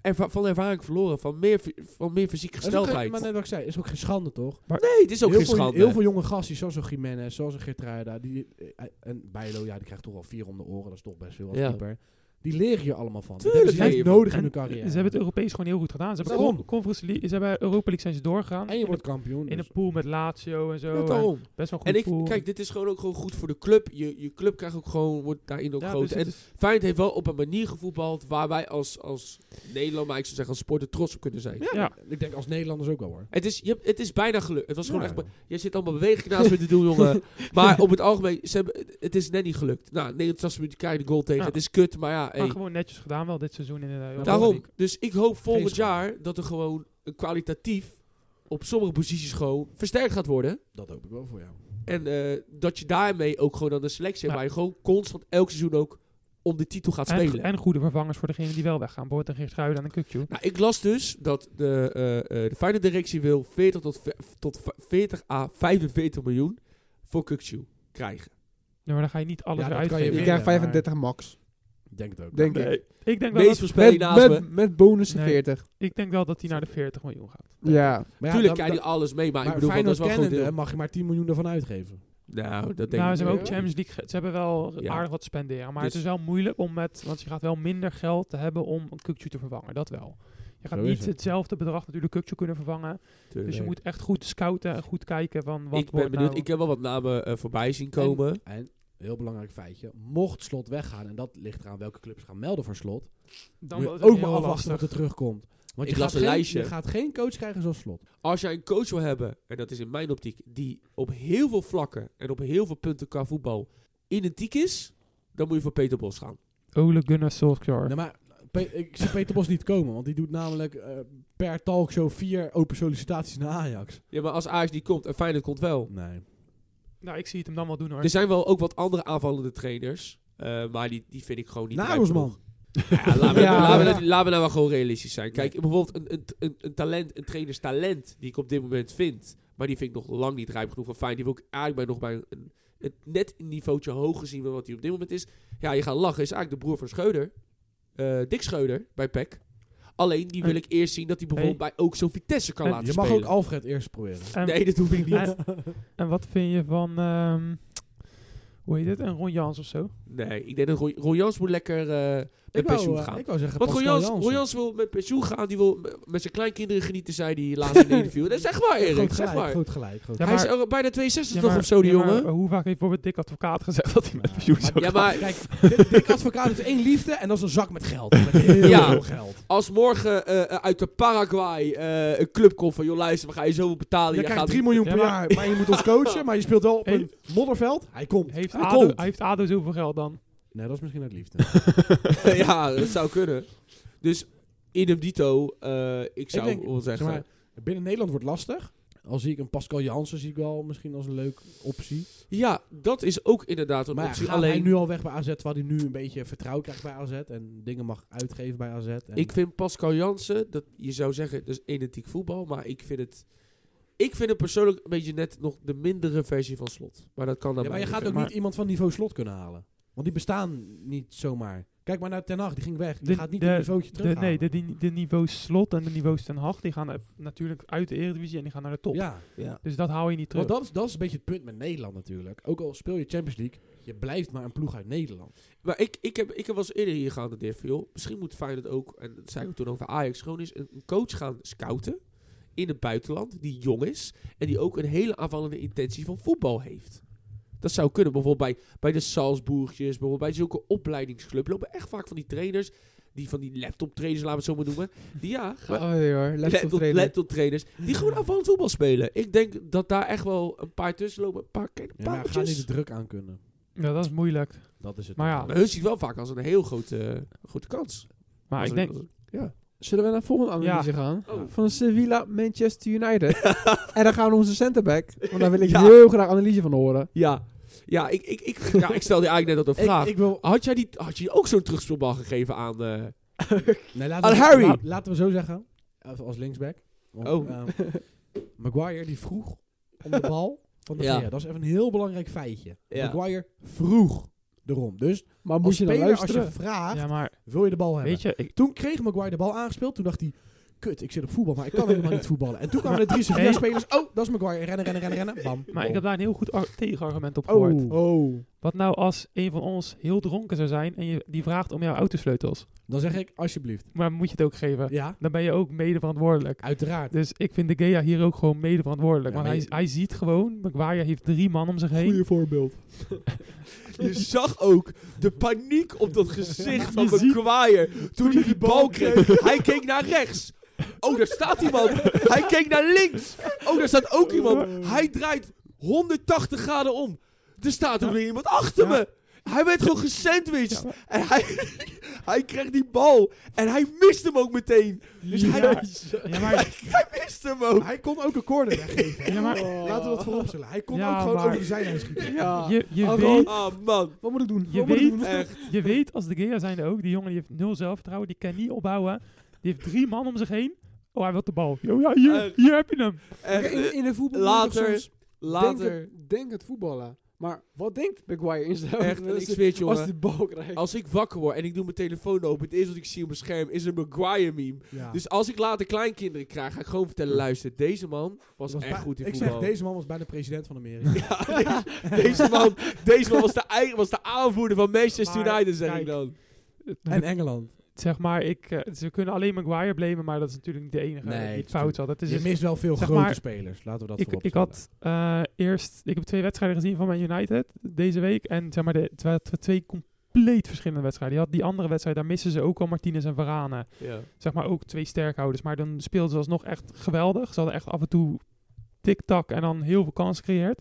[SPEAKER 1] erva- van ervaring verloren, van meer, fy- van meer fysieke
[SPEAKER 3] Maar
[SPEAKER 1] gesteldheid.
[SPEAKER 3] net wat ik zei, is ook geen schande toch?
[SPEAKER 1] nee, het is ook
[SPEAKER 3] heel,
[SPEAKER 1] geen
[SPEAKER 3] veel,
[SPEAKER 1] schande.
[SPEAKER 3] heel veel jonge gasten, zoals een Jiménez, eh, zoals een Geertruida. Die, eh, en Bijlo, ja, die krijgt toch wel vier om de oren. Dat is toch best veel als
[SPEAKER 1] Ja.
[SPEAKER 3] keeper. Die leren je allemaal van.
[SPEAKER 1] Tuurlijk
[SPEAKER 3] dat hebben ze
[SPEAKER 1] leer
[SPEAKER 3] echt
[SPEAKER 1] je
[SPEAKER 3] nodig in
[SPEAKER 4] En
[SPEAKER 3] hun carrière.
[SPEAKER 4] Ze hebben het Europees gewoon heel goed gedaan. Ze hebben,
[SPEAKER 3] Daarom.
[SPEAKER 4] Con- Conference League, ze hebben Europa League zijn ze doorgegaan.
[SPEAKER 3] en je wordt kampioen.
[SPEAKER 4] in
[SPEAKER 3] dus.
[SPEAKER 4] een pool met Lazio en zo.
[SPEAKER 1] Ja,
[SPEAKER 4] en
[SPEAKER 1] daarom.
[SPEAKER 4] best wel een
[SPEAKER 1] En
[SPEAKER 4] goede
[SPEAKER 1] ik,
[SPEAKER 4] pool.
[SPEAKER 1] kijk, dit is gewoon ook gewoon goed voor de club. Je, je club krijgt ook gewoon, wordt daarin ook
[SPEAKER 4] Ja,
[SPEAKER 1] groot.
[SPEAKER 4] dus het
[SPEAKER 1] en
[SPEAKER 4] is-
[SPEAKER 1] Feyenoord heeft wel op een manier gevoetbald waar wij als, als Nederland, maar ik zou zeggen als sporter, trots op kunnen zijn.
[SPEAKER 4] ja.
[SPEAKER 3] Ik denk als Nederlanders ook wel hoor.
[SPEAKER 1] Het is, je, hebt- het is bijna gelukt. Het was gewoon
[SPEAKER 3] Ja,
[SPEAKER 1] echt...
[SPEAKER 3] joh.
[SPEAKER 1] Je zit allemaal beweging naast me te doen, jongen. Maar op het algemeen, ze hebben, het is net niet gelukt. Nou, 89 minuten krijg je de goal tegen.
[SPEAKER 4] Ja.
[SPEAKER 1] Het is kut, maar ja...
[SPEAKER 4] Maar
[SPEAKER 1] hey.
[SPEAKER 4] gewoon netjes gedaan wel dit seizoen in de Europa
[SPEAKER 1] Daarom.
[SPEAKER 4] League.
[SPEAKER 1] Dus ik hoop volgend
[SPEAKER 3] schade.
[SPEAKER 1] jaar dat er gewoon een kwalitatief op sommige posities gewoon versterkt gaat worden.
[SPEAKER 3] Dat hoop ik wel voor jou.
[SPEAKER 1] En eh, dat je daarmee ook gewoon aan de selectie hebt.
[SPEAKER 4] Ja.
[SPEAKER 1] Waar je gewoon constant elk seizoen ook om de titel gaat
[SPEAKER 4] En,
[SPEAKER 1] spelen.
[SPEAKER 4] en goede vervangers voor degenen die wel weggaan. Bijvoorbeeld een Geertruiden en een Kukju.
[SPEAKER 1] Nou, ik las dus dat de, eh eh, de fijne directie wil 40 tot, ve- tot v- 40 à 45 miljoen voor Kukchu krijgen.
[SPEAKER 4] Ja, maar dan ga je niet alles
[SPEAKER 3] Ja,
[SPEAKER 4] weer
[SPEAKER 3] dat kan je
[SPEAKER 4] uitgeven.
[SPEAKER 2] Je
[SPEAKER 3] Ja,
[SPEAKER 2] krijgt
[SPEAKER 3] maar-
[SPEAKER 2] 35 max.
[SPEAKER 3] Ik denk het ook.
[SPEAKER 2] Denk ik.
[SPEAKER 1] Nee.
[SPEAKER 4] Ik denk, wel
[SPEAKER 1] Meest
[SPEAKER 4] dat,
[SPEAKER 1] voorspelling
[SPEAKER 2] Met,
[SPEAKER 1] naast
[SPEAKER 2] met,
[SPEAKER 1] me.
[SPEAKER 2] met bonussen
[SPEAKER 4] Nee.
[SPEAKER 2] 40.
[SPEAKER 4] ik denk wel dat hij naar de 40 miljoen gaat.
[SPEAKER 2] Ja.
[SPEAKER 3] Maar
[SPEAKER 1] Tuurlijk
[SPEAKER 3] dan-
[SPEAKER 1] krijg je alles mee, maar,
[SPEAKER 3] maar
[SPEAKER 1] ik bedoel, van, dat is
[SPEAKER 3] Feyenoord
[SPEAKER 1] wel een goed
[SPEAKER 3] kennende
[SPEAKER 1] deel.
[SPEAKER 3] mag je maar 10 miljoen ervan uitgeven.
[SPEAKER 1] Nou, dat denk ik
[SPEAKER 4] Nou, ze
[SPEAKER 1] niet.
[SPEAKER 4] hebben ook Champions League. ge- Ze hebben wel
[SPEAKER 1] Ja.
[SPEAKER 4] aardig wat te spenderen. Maar het
[SPEAKER 1] Dus-
[SPEAKER 4] is wel moeilijk om met. Want je gaat wel minder geld te hebben om een Kukju te vervangen. Dat wel. Je gaat
[SPEAKER 3] Zo is
[SPEAKER 4] niet
[SPEAKER 3] het.
[SPEAKER 4] hetzelfde bedrag natuurlijk Kukju kunnen vervangen.
[SPEAKER 1] Tuurlijk.
[SPEAKER 4] Dus je moet echt goed scouten en goed kijken van wat
[SPEAKER 1] ik ben
[SPEAKER 4] wordt
[SPEAKER 1] benieuwd.
[SPEAKER 4] nou-
[SPEAKER 1] Ik heb wel wat namen eh, voorbij zien komen.
[SPEAKER 3] En, heel belangrijk feitje, mocht Slot weggaan, en dat ligt eraan welke clubs gaan melden voor Slot,
[SPEAKER 4] dan
[SPEAKER 3] moet
[SPEAKER 4] wordt
[SPEAKER 3] je
[SPEAKER 4] het
[SPEAKER 3] ook maar
[SPEAKER 4] heel
[SPEAKER 3] afwachten wat
[SPEAKER 4] lastig.
[SPEAKER 3] er terugkomt. Want
[SPEAKER 1] Ik
[SPEAKER 3] je
[SPEAKER 1] las
[SPEAKER 3] gaat
[SPEAKER 1] een
[SPEAKER 3] geen,
[SPEAKER 1] lijstje.
[SPEAKER 3] Je gaat geen coach krijgen zoals Slot.
[SPEAKER 1] Als jij een coach wil hebben, en dat is in mijn optiek, die op heel veel vlakken en op heel veel punten qua voetbal identiek is, dan moet je voor Peter Bos gaan.
[SPEAKER 4] Ole Gunnar Solskjaer.
[SPEAKER 3] Nee, maar Pe- ik zie Peter Bos niet komen, want die doet namelijk eh, per talkshow vier open sollicitaties naar Ajax.
[SPEAKER 1] Ja, maar als Ajax niet komt en Feyenoord komt wel.
[SPEAKER 3] Nee.
[SPEAKER 4] Nou, ik zie het hem dan wel doen hoor.
[SPEAKER 1] Er zijn wel ook wat andere aanvallende trainers, eh, maar die, die vind ik gewoon niet rijp
[SPEAKER 3] Nagelsman.
[SPEAKER 1] genoeg. Ja, laten we,
[SPEAKER 2] Ja.
[SPEAKER 1] laten we- laten we nou wel gewoon realistisch zijn. Kijk, bijvoorbeeld een, een, een, een talent, een trainers talent die ik op dit moment vind, maar die vind ik nog lang niet rijp genoeg voor Feyenoord. Die wil ik eigenlijk bij nog bij een, een- een net een niveautje hoger zien dan wat hij op dit moment is. Ja, je gaat lachen, is eigenlijk de broer van Scheuder. eh Dick Scheuder bij PEC. Alleen die wil
[SPEAKER 4] Hey.
[SPEAKER 1] ik eerst zien dat hij bijvoorbeeld bij ook zo'n Vitesse kan
[SPEAKER 4] En
[SPEAKER 1] laten
[SPEAKER 3] Je mag ook
[SPEAKER 1] spelen.
[SPEAKER 3] Alfred eerst proberen.
[SPEAKER 4] En,
[SPEAKER 1] nee, dat hoef ik niet.
[SPEAKER 4] en, en wat vind je van. ehm, hoe heet het? Een Ron Jans of zo?
[SPEAKER 1] Nee, ik denk dat Roy- Roy Jans moet lekker eh, met
[SPEAKER 3] Ik
[SPEAKER 1] pensioen
[SPEAKER 3] wou, eh,
[SPEAKER 1] gaan.
[SPEAKER 3] ik wou zeggen
[SPEAKER 1] Want Roy
[SPEAKER 3] Pascal
[SPEAKER 1] Jans, Roy
[SPEAKER 3] Jansen.
[SPEAKER 1] Jans wil met pensioen gaan. Die wil m- met zijn kleinkinderen genieten, zei die laatst in een interview. Dat is echt waar, Erik.
[SPEAKER 3] Groot
[SPEAKER 1] Zeg
[SPEAKER 3] gelijk,
[SPEAKER 1] maar.
[SPEAKER 3] groot gelijk. groot
[SPEAKER 4] Ja,
[SPEAKER 1] Hij is
[SPEAKER 4] maar-
[SPEAKER 1] er bijna 62
[SPEAKER 4] Ja,
[SPEAKER 1] toch
[SPEAKER 4] maar-
[SPEAKER 1] of zo, die
[SPEAKER 4] ja, maar
[SPEAKER 1] jongen.
[SPEAKER 4] Hoe vaak heeft bijvoorbeeld Dick Advocaat gezegd dat hij met pensioen zou
[SPEAKER 1] Ja,
[SPEAKER 4] gaan?
[SPEAKER 1] maar
[SPEAKER 3] Kijk, Dick- Dick Advocaat heeft één liefde en dat is een zak met geld. Met heel
[SPEAKER 1] Ja.
[SPEAKER 3] veel geld.
[SPEAKER 1] als morgen eh, eh, uit de Paraguay eh, een club komt van... joh, luister, we gaan je zoveel betalen.
[SPEAKER 3] Je
[SPEAKER 1] jij
[SPEAKER 3] krijgt
[SPEAKER 1] gaat
[SPEAKER 3] 3 miljoen
[SPEAKER 4] Ja,
[SPEAKER 3] per
[SPEAKER 4] maar-
[SPEAKER 3] jaar, maar je moet ons coachen, maar je speelt wel op
[SPEAKER 4] Hey.
[SPEAKER 3] een modderveld. Hij komt.
[SPEAKER 4] Heeft
[SPEAKER 3] hij
[SPEAKER 4] ADO,
[SPEAKER 3] komt.
[SPEAKER 4] heeft ADO zoveel geld dan?
[SPEAKER 3] Nee, dat is misschien uit liefde.
[SPEAKER 1] ja, dat zou kunnen. Dus in hem dito, eh, ik zou
[SPEAKER 3] denk,
[SPEAKER 1] wel zeggen...
[SPEAKER 3] Zeg maar, binnen Nederland wordt lastig. Al zie ik een Pascal Jansen zie ik wel misschien als een leuke optie.
[SPEAKER 1] ja, dat is ook inderdaad een
[SPEAKER 3] Maar ja,
[SPEAKER 1] optie.
[SPEAKER 3] gaat hij
[SPEAKER 1] Alleen,
[SPEAKER 3] nu al weg bij AZ, waar hij nu een beetje vertrouwen krijgt bij AZ en dingen mag uitgeven bij AZ. En
[SPEAKER 1] ik vind Pascal Jansen... Dat, je zou zeggen, dat is identiek voetbal. Maar ik vind het... Ik vind het persoonlijk een beetje net nog de mindere versie van Slot. Maar dat kan dan
[SPEAKER 3] ja, maar je gaat ook
[SPEAKER 4] maar-
[SPEAKER 3] niet iemand van niveau slot kunnen halen. Want die bestaan niet zomaar. Kijk maar naar Ten Hag, die ging weg. Die
[SPEAKER 4] De-
[SPEAKER 3] gaat niet
[SPEAKER 4] de-
[SPEAKER 3] een niveautje
[SPEAKER 4] De,
[SPEAKER 3] terughalen.
[SPEAKER 4] nee, de, die- de niveaus Slot en de niveaus Ten Hag, die gaan eh, natuurlijk uit de Eredivisie en die gaan naar de top.
[SPEAKER 3] Ja,
[SPEAKER 1] Ja.
[SPEAKER 4] Dus dat hou je niet terug.
[SPEAKER 3] want dat is, dat is een beetje het punt met Nederland natuurlijk. Ook al speel je Champions League, je blijft maar een ploeg uit Nederland.
[SPEAKER 1] Maar ik, ik, heb, ik heb wel eens eerder hier gehanteerd van, joh, misschien moet Feyenoord ook, en dat zei ik toen over Ajax, gewoon eens een, een coach gaan scouten in het buitenland, die jong is, en die ook een hele aanvallende intentie van voetbal heeft. Dat zou kunnen, bijvoorbeeld bij, bij de Salzburgjes, bijvoorbeeld bij zulke opleidingsclubs, lopen echt vaak van die trainers, die van die laptop trainers, laten we het zo maar noemen, die ja, maar-
[SPEAKER 2] Oh nee hoor, laptop
[SPEAKER 1] laptop,
[SPEAKER 2] trainer.
[SPEAKER 1] laptop trainers, die gewoon aanvallend voetbal spelen. Ik denk dat daar echt wel een paar tussen lopen, een paar kleine
[SPEAKER 3] Ja, maar ga niet de
[SPEAKER 1] pareltjes.
[SPEAKER 3] druk aan kunnen.
[SPEAKER 4] ja, dat is moeilijk.
[SPEAKER 3] Dat is het.
[SPEAKER 4] Maar ja,
[SPEAKER 1] Maar hun ziet wel vaak als een heel grote, grote kans.
[SPEAKER 4] Maar
[SPEAKER 1] Als
[SPEAKER 4] Ah, ik
[SPEAKER 1] een-
[SPEAKER 4] denk,
[SPEAKER 2] Zullen we naar de volgende analyse gaan?
[SPEAKER 1] Oh.
[SPEAKER 2] Van Sevilla, Manchester United. en dan gaan we onze centerback. Want daar wil ik
[SPEAKER 1] Ja.
[SPEAKER 2] heel graag analyse van horen.
[SPEAKER 1] Ja, ja ik, ik, ik, ja, ik stelde eigenlijk net dat een vraag.
[SPEAKER 3] Ik, ik wil
[SPEAKER 1] Had, jij die, had je ook zo'n terugspeelbal gegeven aan... eh,
[SPEAKER 3] Nee, laten
[SPEAKER 1] Aan
[SPEAKER 3] we,
[SPEAKER 1] Oh, Harry!
[SPEAKER 3] la- laten we zo zeggen, even als linksback. Want,
[SPEAKER 1] Oh.
[SPEAKER 3] ehm, Maguire die vroeg om de bal van de
[SPEAKER 1] Ja.
[SPEAKER 3] Gea. Dat is even een heel belangrijk feitje.
[SPEAKER 1] Ja.
[SPEAKER 3] Maguire vroeg erom. Dus
[SPEAKER 2] Maar
[SPEAKER 3] als
[SPEAKER 2] moet je dan
[SPEAKER 3] speler, als
[SPEAKER 2] luisteren?
[SPEAKER 3] je vraagt,
[SPEAKER 4] ja, maar
[SPEAKER 3] wil je de bal hebben?
[SPEAKER 4] weet je, ik,
[SPEAKER 3] Toen kreeg Maguire de bal aangespeeld. Toen dacht hij, kut, ik zit op voetbal, maar ik kan helemaal niet voetballen. En toen kwamen de drie Sevilla-spelers. Oh, dat is Maguire. Rennen, rennen, rennen, rennen. Bam.
[SPEAKER 4] maar ik
[SPEAKER 3] Bom.
[SPEAKER 4] heb daar een heel goed ar- tegenargument op
[SPEAKER 2] Oh.
[SPEAKER 4] gehoord.
[SPEAKER 2] oh.
[SPEAKER 4] Wat nou als een van ons heel dronken zou zijn en je, die vraagt om jouw autosleutels?
[SPEAKER 3] Dan zeg ik, alsjeblieft.
[SPEAKER 4] Maar moet je het ook geven?
[SPEAKER 3] Ja,
[SPEAKER 4] Dan ben je ook mede verantwoordelijk.
[SPEAKER 3] uiteraard.
[SPEAKER 4] Dus ik vind de Gea hier ook gewoon mede verantwoordelijk.
[SPEAKER 3] Ja,
[SPEAKER 4] want
[SPEAKER 3] maar
[SPEAKER 4] hij,
[SPEAKER 3] je-
[SPEAKER 4] hij ziet gewoon, Maguire heeft drie man om zich heen.
[SPEAKER 3] voorbeeld.
[SPEAKER 1] Je zag ook de paniek op dat gezicht van
[SPEAKER 4] Je ziet-
[SPEAKER 1] McGuire toen hij die bal kreeg. Hij keek naar rechts. Oh, daar staat iemand. Hij keek naar links. Oh, daar staat ook iemand. Hij draait 180 graden om. Er staat ook weer iemand achter
[SPEAKER 4] Ja.
[SPEAKER 1] me. Hij werd gewoon gesandwiched. En hij, hij kreeg die bal. En hij mist hem ook meteen. Dus hij,
[SPEAKER 4] Ja, maar,
[SPEAKER 1] hij mist hem ook.
[SPEAKER 3] Hij kon ook een corner weggeven.
[SPEAKER 4] ja, maar
[SPEAKER 3] Laten we dat vooropstellen. Hij kon
[SPEAKER 4] Ja,
[SPEAKER 3] ook gewoon
[SPEAKER 4] maar-
[SPEAKER 3] over de zijlijn schieten.
[SPEAKER 2] Oh. Ja.
[SPEAKER 4] je, je,
[SPEAKER 2] Alcohol.
[SPEAKER 4] weet,
[SPEAKER 1] Ah, man.
[SPEAKER 2] Wat moet ik doen?
[SPEAKER 4] Je
[SPEAKER 2] Wat moet ik
[SPEAKER 4] weet-
[SPEAKER 2] doen?
[SPEAKER 1] Echt.
[SPEAKER 4] je weet als de Gea zijn er ook, die jongen die heeft nul zelfvertrouwen, die kan niet opbouwen. Die heeft drie man om zich heen. Oh, hij wil de bal. Yo, ja, hier,
[SPEAKER 1] Eh.
[SPEAKER 4] hier heb je hem.
[SPEAKER 1] echt.
[SPEAKER 2] In, in de voetbal
[SPEAKER 1] Later,
[SPEAKER 2] moet je soms
[SPEAKER 1] Later.
[SPEAKER 2] Denk, denk het voetballen. Maar wat denkt Maguire in zijn
[SPEAKER 1] Echt, en ik
[SPEAKER 2] als,
[SPEAKER 1] zweer het, jongen. Oh,
[SPEAKER 2] als hij Oh, de bal krijgt?
[SPEAKER 1] Als ik wakker word en ik doe mijn telefoon open, het eerste wat ik zie op mijn scherm is een Maguire meme.
[SPEAKER 3] Ja.
[SPEAKER 1] Dus als ik later kleinkinderen krijg, ga ik gewoon vertellen, luister, deze man was,
[SPEAKER 3] Dat was
[SPEAKER 1] echt
[SPEAKER 3] bij-
[SPEAKER 1] goed in
[SPEAKER 3] ik
[SPEAKER 1] voetbal.
[SPEAKER 3] zeg, deze man was bijna president van Amerika.
[SPEAKER 1] Ja, deze, deze man, deze man was, de, ei- was de aanvoerder van Manchester
[SPEAKER 4] Maar,
[SPEAKER 1] United, zeg ik
[SPEAKER 4] kijk,
[SPEAKER 1] dan.
[SPEAKER 3] en Engeland.
[SPEAKER 4] zeg maar, ik, eh, ze kunnen alleen Maguire blamen, maar dat is natuurlijk niet de enige
[SPEAKER 3] Nee,
[SPEAKER 4] die het
[SPEAKER 3] tuurlijk.
[SPEAKER 4] fout had. Het is
[SPEAKER 3] je
[SPEAKER 4] een-
[SPEAKER 3] mist wel veel
[SPEAKER 4] zeg
[SPEAKER 3] grote
[SPEAKER 4] maar,
[SPEAKER 3] spelers. Laten we dat
[SPEAKER 4] ik, ik
[SPEAKER 3] vooropstellen.
[SPEAKER 4] had eh, eerst, ik heb twee wedstrijden gezien van Man United deze week. En zeg maar, de, het waren twee compleet verschillende wedstrijden. Je had die andere wedstrijd, daar missen ze ook al Martinez en Varane.
[SPEAKER 1] Ja.
[SPEAKER 4] zeg maar ook twee sterkhouders. Maar dan speelden ze alsnog echt geweldig. Ze hadden echt af en toe tik-tak en dan heel veel kansen gecreëerd.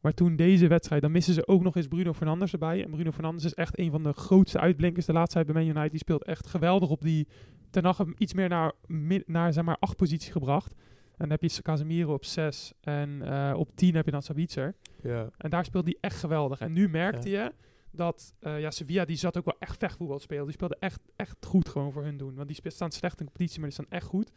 [SPEAKER 4] Maar toen deze wedstrijd, dan missen ze ook nog eens Bruno Fernandes erbij. En Bruno Fernandes is echt een van de grootste uitblinkers de laatste tijd bij Man United. Die speelt echt geweldig op die... Ten Hag hem iets meer naar, mi- naar zeg maar, acht positie gebracht. En dan heb je Casemiro op zes. En eh, op tien heb je dan Sabitzer.
[SPEAKER 1] Ja.
[SPEAKER 4] En daar speelde hij echt geweldig. En nu merkte je dat eh, ja, Sevilla, die zat ook wel echt vechtvoetbal te spelen. Die speelde echt, echt goed gewoon voor hun doen. Want die spe- staan slecht in competitie, maar die staan echt goed.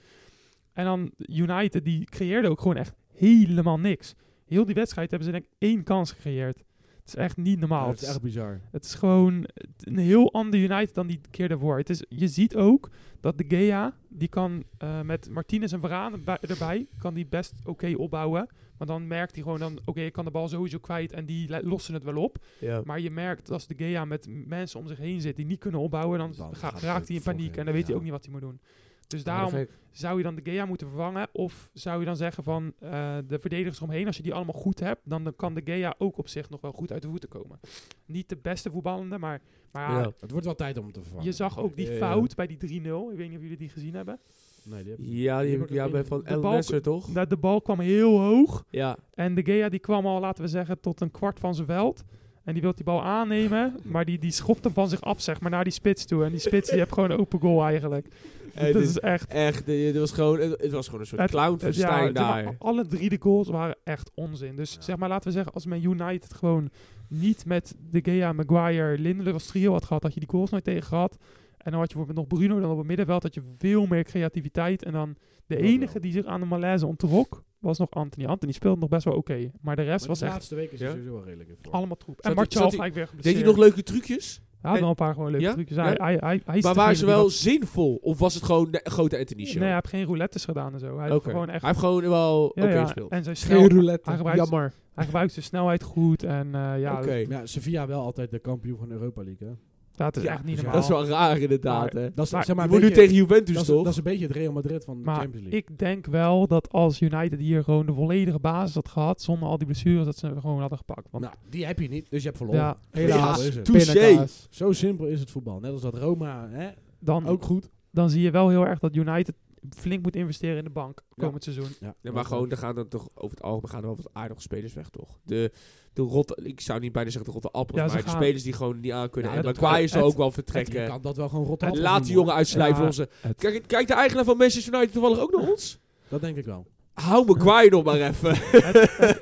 [SPEAKER 4] En dan United, die creëerde ook gewoon echt helemaal niks. Heel die wedstrijd hebben ze denk ik één kans gecreëerd. Het is echt niet normaal.
[SPEAKER 3] Ja,
[SPEAKER 4] het,
[SPEAKER 3] dat is
[SPEAKER 4] is
[SPEAKER 3] echt bizar.
[SPEAKER 4] het is gewoon een heel ander United dan die keer daarvoor. Het is, je ziet ook dat de Gea, die kan eh, met Martinez en Varane bij- erbij, kan die best oké opbouwen. Maar dan merkt hij gewoon dan, oké, ik kan de bal sowieso kwijt en die le- lossen het wel op.
[SPEAKER 1] ja.
[SPEAKER 4] Maar je merkt als de Gea met m- mensen om zich heen zit die niet kunnen opbouwen, dan,
[SPEAKER 3] Dan
[SPEAKER 4] ga-
[SPEAKER 3] gaat
[SPEAKER 4] raakt
[SPEAKER 3] het
[SPEAKER 4] hij in
[SPEAKER 3] voor
[SPEAKER 4] paniek
[SPEAKER 3] hem,
[SPEAKER 4] en dan weet
[SPEAKER 3] ja.
[SPEAKER 4] hij ook niet wat hij moet doen. Dus daarom zou je dan de Gea moeten vervangen? Of zou je dan zeggen van eh, de verdedigers omheen, als je die allemaal goed hebt, dan, dan kan de Gea ook op zich nog wel goed uit de voeten komen. Niet de beste voetballende, maar, maar ja,
[SPEAKER 1] Ja.
[SPEAKER 3] Het wordt wel tijd om hem te vervangen.
[SPEAKER 4] je zag ook die
[SPEAKER 1] Ja, ja.
[SPEAKER 4] fout bij die 3-0. Ik weet niet of jullie die gezien hebben.
[SPEAKER 3] Nee, die heb
[SPEAKER 1] Ja, die heb ik ja, bij van
[SPEAKER 4] De
[SPEAKER 1] El
[SPEAKER 4] bal-
[SPEAKER 1] Nasser, toch?
[SPEAKER 4] De, de bal kwam heel hoog
[SPEAKER 1] Ja.
[SPEAKER 4] en de Gea die kwam al, laten we zeggen, tot een kwart van zijn veld. En die wil die bal aannemen, maar die, die schopt hem van zich af, zeg maar, naar die spits toe. En die spits die heeft gewoon een open goal eigenlijk.
[SPEAKER 1] Eh,
[SPEAKER 4] dat
[SPEAKER 1] dit-
[SPEAKER 4] is echt...
[SPEAKER 1] Echt, eh, het was gewoon, het het was gewoon een soort
[SPEAKER 4] Het-
[SPEAKER 1] clown van
[SPEAKER 4] Het- ja,
[SPEAKER 1] Stijn
[SPEAKER 4] zeg maar,
[SPEAKER 1] daar.
[SPEAKER 4] alle drie de goals waren echt onzin. Dus
[SPEAKER 3] Ja.
[SPEAKER 4] zeg maar, laten we zeggen, als Man United gewoon niet met De Gea, Maguire, Lindelof als trio had gehad, had je die goals nooit tegen gehad. En dan had je bijvoorbeeld nog Bruno dan op het middenveld, had je veel meer creativiteit. En dan de
[SPEAKER 3] Dat
[SPEAKER 4] enige
[SPEAKER 3] wel.
[SPEAKER 4] die zich aan de malaise ontrok, was nog Anthony. Anthony speelde nog best wel oké, maar de rest
[SPEAKER 3] Maar
[SPEAKER 4] was
[SPEAKER 3] de
[SPEAKER 4] echt
[SPEAKER 3] laatste week is
[SPEAKER 1] Ja?
[SPEAKER 3] hij sowieso wel redelijk in vorm.
[SPEAKER 4] allemaal troep. En
[SPEAKER 1] hij-
[SPEAKER 4] Martial
[SPEAKER 1] zat hij-
[SPEAKER 4] gelijk weer
[SPEAKER 1] Deed
[SPEAKER 4] geblesseerd.
[SPEAKER 1] hij nog leuke trucjes?
[SPEAKER 4] Hij had
[SPEAKER 1] en-
[SPEAKER 4] wel een paar gewoon leuke
[SPEAKER 1] Ja?
[SPEAKER 4] trucjes. Hij,
[SPEAKER 1] Ja?
[SPEAKER 4] hij, hij, hij is
[SPEAKER 1] Maar
[SPEAKER 4] degene
[SPEAKER 1] waren
[SPEAKER 4] die
[SPEAKER 1] ze wel
[SPEAKER 4] wat-
[SPEAKER 1] zinvol? Of was het gewoon de grote Anthony-show?
[SPEAKER 4] Nee, hij heeft geen roulettes gedaan en zo. Hij heeft
[SPEAKER 1] Oké.
[SPEAKER 4] gewoon echt...
[SPEAKER 1] Hij heeft gewoon wel oké
[SPEAKER 4] Ja, ja,
[SPEAKER 1] gespeeld.
[SPEAKER 4] en zijn snel,
[SPEAKER 2] Geen roulette.
[SPEAKER 4] hij gebruikt-
[SPEAKER 2] Jammer.
[SPEAKER 4] Hij gebruikt zijn snelheid goed en eh, ja,
[SPEAKER 1] Oké.
[SPEAKER 3] Maar Ja, Sevilla wel altijd de kampioen van Europa League, hè?
[SPEAKER 4] dat is
[SPEAKER 1] Ja,
[SPEAKER 4] echt niet
[SPEAKER 3] dus ja.
[SPEAKER 4] normaal.
[SPEAKER 1] Dat is wel raar inderdaad, hè.
[SPEAKER 3] Dat is,
[SPEAKER 4] Maar
[SPEAKER 3] zeg maar,
[SPEAKER 1] je
[SPEAKER 3] een
[SPEAKER 1] moet nu
[SPEAKER 3] beetje-
[SPEAKER 1] tegen Juventus,
[SPEAKER 3] dat is,
[SPEAKER 1] toch?
[SPEAKER 3] dat is een beetje het Real Madrid van de
[SPEAKER 4] Maar
[SPEAKER 3] Champions League.
[SPEAKER 4] Ik denk wel dat als United hier gewoon de volledige basis had gehad, zonder al die blessures, dat ze hem gewoon hadden gepakt. Want,
[SPEAKER 3] nou, die heb je niet, dus je hebt verloren.
[SPEAKER 4] ja,
[SPEAKER 2] Helaas.
[SPEAKER 3] Zo is het.
[SPEAKER 1] touché.
[SPEAKER 2] Pindakaas.
[SPEAKER 3] Zo simpel is het voetbal. Net als dat Roma, hè?
[SPEAKER 4] dan,
[SPEAKER 3] Ook goed.
[SPEAKER 4] dan zie je wel heel erg dat United flink moet investeren in de bank komend seizoen.
[SPEAKER 3] Ja,
[SPEAKER 1] Ja, maar gewoon, er gaan dan toch over het algemeen gaan er wel wat aardige spelers weg, toch? De, de rotte, ik zou niet bijna zeggen de rotte appels,
[SPEAKER 4] Ja, ze
[SPEAKER 1] maar de
[SPEAKER 4] gaan-
[SPEAKER 1] spelers die gewoon niet aan kunnen.
[SPEAKER 4] Ja,
[SPEAKER 1] en
[SPEAKER 4] het-
[SPEAKER 1] Maguire zal
[SPEAKER 4] het-
[SPEAKER 1] ook wel
[SPEAKER 3] trekken.
[SPEAKER 1] vertrekken.
[SPEAKER 3] kan dat wel gewoon rot
[SPEAKER 1] En
[SPEAKER 3] af
[SPEAKER 1] laat die
[SPEAKER 3] doen,
[SPEAKER 1] jongen
[SPEAKER 3] hoor.
[SPEAKER 1] uitslijven
[SPEAKER 4] Ja,
[SPEAKER 1] onze...
[SPEAKER 4] het-
[SPEAKER 1] Kijk, kijkt de eigenaar van Manchester United toevallig ook naar ons?
[SPEAKER 3] Dat denk ik wel.
[SPEAKER 1] Hou Maguire nog maar even.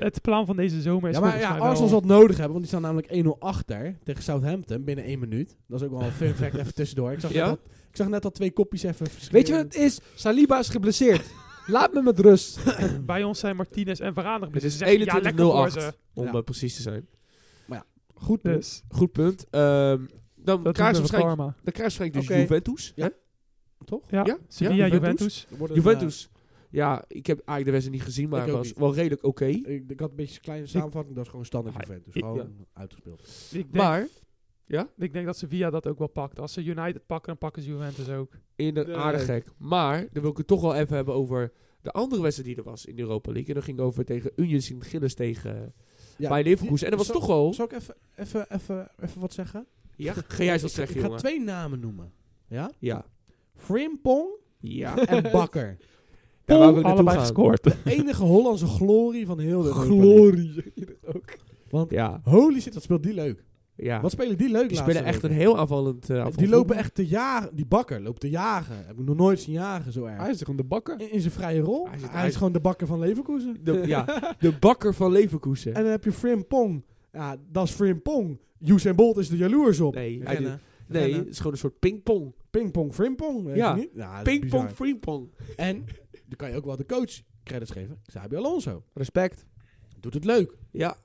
[SPEAKER 4] Het plan van deze zomer is
[SPEAKER 3] Ja, maar
[SPEAKER 4] volgens
[SPEAKER 3] ja,
[SPEAKER 4] mij wel-
[SPEAKER 3] Arsenal zal het nodig hebben, want die staan namelijk 1-0 achter tegen Southampton binnen één minuet. Dat is ook wel een fun fact even tussendoor. Ik zag,
[SPEAKER 1] Ja?
[SPEAKER 3] net, dat, ik zag net dat twee kopjes even verschillen.
[SPEAKER 2] Weet je wat het is? Saliba is geblesseerd. Laat me met rust.
[SPEAKER 4] Bij ons zijn Martinez en Varane
[SPEAKER 1] Het
[SPEAKER 4] nog
[SPEAKER 1] is
[SPEAKER 4] blessures. Ze zeggen, ja, lekker voor ze.
[SPEAKER 1] 21-08, om
[SPEAKER 3] Ja.
[SPEAKER 1] eh, precies te zijn.
[SPEAKER 3] Goed punt.
[SPEAKER 4] Dus
[SPEAKER 1] Goed punt. Ehm, dan
[SPEAKER 4] dat is
[SPEAKER 1] krijgt ze
[SPEAKER 4] een
[SPEAKER 1] waarschijnlijk,
[SPEAKER 4] karma.
[SPEAKER 1] dan krijgt ze waarschijnlijk dus
[SPEAKER 2] Oké.
[SPEAKER 1] Juventus.
[SPEAKER 3] Ja.
[SPEAKER 1] hè?
[SPEAKER 3] Toch?
[SPEAKER 4] Ja,
[SPEAKER 1] Ja?
[SPEAKER 4] Sevilla,
[SPEAKER 1] Ja, Juventus?
[SPEAKER 4] Juventus.
[SPEAKER 3] Er wordt een,
[SPEAKER 1] Juventus. Ja, ik heb eigenlijk de wedstrijd niet gezien, maar
[SPEAKER 3] Ik
[SPEAKER 1] het
[SPEAKER 3] ook
[SPEAKER 1] was
[SPEAKER 3] niet.
[SPEAKER 1] wel redelijk oké.
[SPEAKER 3] eh, Ik, ik had een beetje een kleine samenvatting, dat is gewoon standaard
[SPEAKER 4] Ah,
[SPEAKER 3] Juventus.
[SPEAKER 4] ik-
[SPEAKER 3] Gewoon
[SPEAKER 1] ja.
[SPEAKER 3] uitgespeeld.
[SPEAKER 4] Ik denk,
[SPEAKER 1] Maar
[SPEAKER 4] ik denk dat Sevilla dat ook wel pakt. Als ze United pakken, dan pakken ze Juventus ook.
[SPEAKER 1] in een
[SPEAKER 2] Nee.
[SPEAKER 1] aardig gek. Maar dan wil ik het toch wel even hebben over de andere wedstrijd die er was in de Europa League. En dat ging over tegen Union Sint-Gilles tegen
[SPEAKER 3] Ja,
[SPEAKER 1] Bayer Leverkusen. En dat was
[SPEAKER 3] zal-
[SPEAKER 1] toch wel...
[SPEAKER 3] Zal ik even, even, even, even wat zeggen?
[SPEAKER 1] Ja, ga jij eens wat
[SPEAKER 3] Ik-
[SPEAKER 1] zeggen,
[SPEAKER 3] Ik ga
[SPEAKER 1] jongen.
[SPEAKER 3] twee namen noemen. Ja?
[SPEAKER 1] Ja.
[SPEAKER 3] Frimpong
[SPEAKER 1] Ja.
[SPEAKER 3] en Bakker.
[SPEAKER 1] Daar wou ik ook naartoe
[SPEAKER 4] allebei
[SPEAKER 1] gaan.
[SPEAKER 4] gescoord.
[SPEAKER 3] De enige Hollandse glorie van heel de Europa League.
[SPEAKER 2] zegt hij dat ook.
[SPEAKER 3] Want
[SPEAKER 1] Ja.
[SPEAKER 3] holy shit, dat speelt die leuk.
[SPEAKER 1] ja.
[SPEAKER 3] Wat spelen die leuk
[SPEAKER 1] Die
[SPEAKER 3] laatste
[SPEAKER 1] spelen echt een
[SPEAKER 3] weken?
[SPEAKER 1] heel aanvallend... eh, aanvallend
[SPEAKER 3] Die lopen
[SPEAKER 1] voetbal.
[SPEAKER 3] echt te jagen. Die Bakker loopt te jagen. Heb ik nog nooit zien jagen zo erg.
[SPEAKER 2] Hij is gewoon de bakker.
[SPEAKER 3] In, in zijn vrije rol.
[SPEAKER 1] Hij
[SPEAKER 3] Hij,
[SPEAKER 1] zit-
[SPEAKER 3] is
[SPEAKER 1] hij-
[SPEAKER 3] gewoon de Bakker van Leverkusen.
[SPEAKER 1] De, ja, de bakker van Leverkusen.
[SPEAKER 3] En dan heb je Frimpong. Ja, dat is Frimpong. Usain Bolt is er jaloers op.
[SPEAKER 1] Nee, hij
[SPEAKER 3] Rennen,
[SPEAKER 1] nee,
[SPEAKER 3] rennen.
[SPEAKER 1] het is gewoon een soort pingpong.
[SPEAKER 3] Pingpong, frimpong. weet
[SPEAKER 1] Ja.
[SPEAKER 3] je niet? Ja, dat is
[SPEAKER 1] Pingpong,
[SPEAKER 3] bizar.
[SPEAKER 1] frimpong.
[SPEAKER 3] En dan kan je ook wel de coach credits geven. Xabi Alonso.
[SPEAKER 2] Respect.
[SPEAKER 3] Doet het leuk.
[SPEAKER 1] Ja,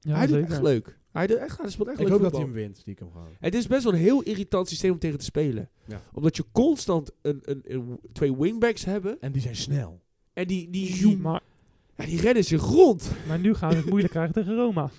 [SPEAKER 4] Ja,
[SPEAKER 1] hij doet
[SPEAKER 4] zeker.
[SPEAKER 1] echt leuk. Hij, doet echt, hij speelt echt
[SPEAKER 3] ik
[SPEAKER 1] leuk
[SPEAKER 3] hoop dat
[SPEAKER 1] voetbal.
[SPEAKER 3] hij hem wint, stiekem gewoon.
[SPEAKER 1] Het is best wel een heel irritant systeem om tegen te spelen.
[SPEAKER 3] Ja.
[SPEAKER 1] Omdat je constant een, een, een- twee wingbacks hebben.
[SPEAKER 3] En die zijn snel.
[SPEAKER 1] En die, die,
[SPEAKER 4] Maar,
[SPEAKER 1] ja, die rennen zich rond.
[SPEAKER 4] maar nu gaan we het moeilijk krijgen tegen Roma.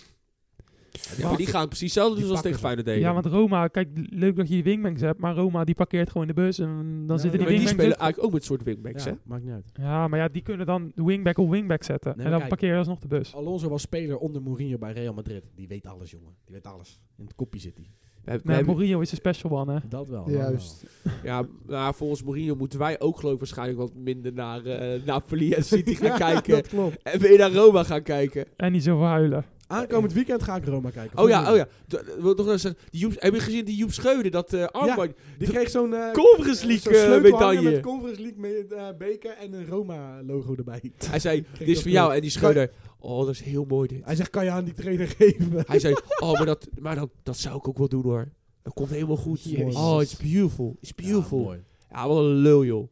[SPEAKER 1] Ja, maar die gaan precies hetzelfde
[SPEAKER 3] Die
[SPEAKER 1] doen als tegen
[SPEAKER 3] pakken
[SPEAKER 1] Feyenoord deden.
[SPEAKER 4] Ja, want Roma, kijk, leuk dat je die wingbanks hebt, maar Roma die parkeert gewoon in de bus en dan
[SPEAKER 3] Ja,
[SPEAKER 4] zitten
[SPEAKER 1] Ja,
[SPEAKER 4] die
[SPEAKER 1] maar die
[SPEAKER 4] wingbanks...
[SPEAKER 1] spelen eigenlijk ook met soort wingbacks, hè?
[SPEAKER 3] Ja, maakt niet uit.
[SPEAKER 4] ook- Ja, maar ja, die kunnen dan de wingback op wingback zetten
[SPEAKER 3] Nee,
[SPEAKER 4] en
[SPEAKER 3] maar
[SPEAKER 4] dan
[SPEAKER 3] kijk.
[SPEAKER 4] parkeer je alsnog de bus.
[SPEAKER 3] Alonso was speler onder Mourinho bij Real Madrid. Die weet alles, jongen. Die weet alles. In het kopje zit hij.
[SPEAKER 1] We hebben- we
[SPEAKER 4] Nee,
[SPEAKER 1] hebben-
[SPEAKER 4] Mourinho is een special one, hè.
[SPEAKER 3] Dat wel. dat
[SPEAKER 2] Juist.
[SPEAKER 1] ja, nou, volgens Mourinho moeten wij ook geloof ik waarschijnlijk wat minder naar eh Napoli en City gaan kijken.
[SPEAKER 3] Dat klopt.
[SPEAKER 1] En weer naar Roma gaan kijken.
[SPEAKER 4] En niet zoveel huilen.
[SPEAKER 3] Aankomend weekend ga ik Roma kijken.
[SPEAKER 1] Oh ja, oh ja. D- Wil ik nog even zeggen. Die Joep, heb je gezien die Joep Scheuden? Dat eh armband.
[SPEAKER 3] Die kreeg zo'n... eh,
[SPEAKER 1] Conference
[SPEAKER 3] zo'n
[SPEAKER 1] League eh,
[SPEAKER 3] sleutelhanger
[SPEAKER 1] medaille.
[SPEAKER 3] met Conference League met, eh, beker en een Roma-logo erbij.
[SPEAKER 1] Hij zei, dit
[SPEAKER 3] dat
[SPEAKER 1] is voor jou. En die Scheuder, oh, dat is heel mooi dit.
[SPEAKER 3] Hij zegt, kan je aan die trainer geven?
[SPEAKER 1] Hij zei, oh, maar, dat, maar dat, dat zou ik ook wel doen hoor. Dat komt helemaal goed.
[SPEAKER 3] Jezus.
[SPEAKER 1] Oh, it's beautiful. It's
[SPEAKER 3] Ja,
[SPEAKER 1] beautiful. Ja,
[SPEAKER 3] mooi.
[SPEAKER 1] wat een lul joh.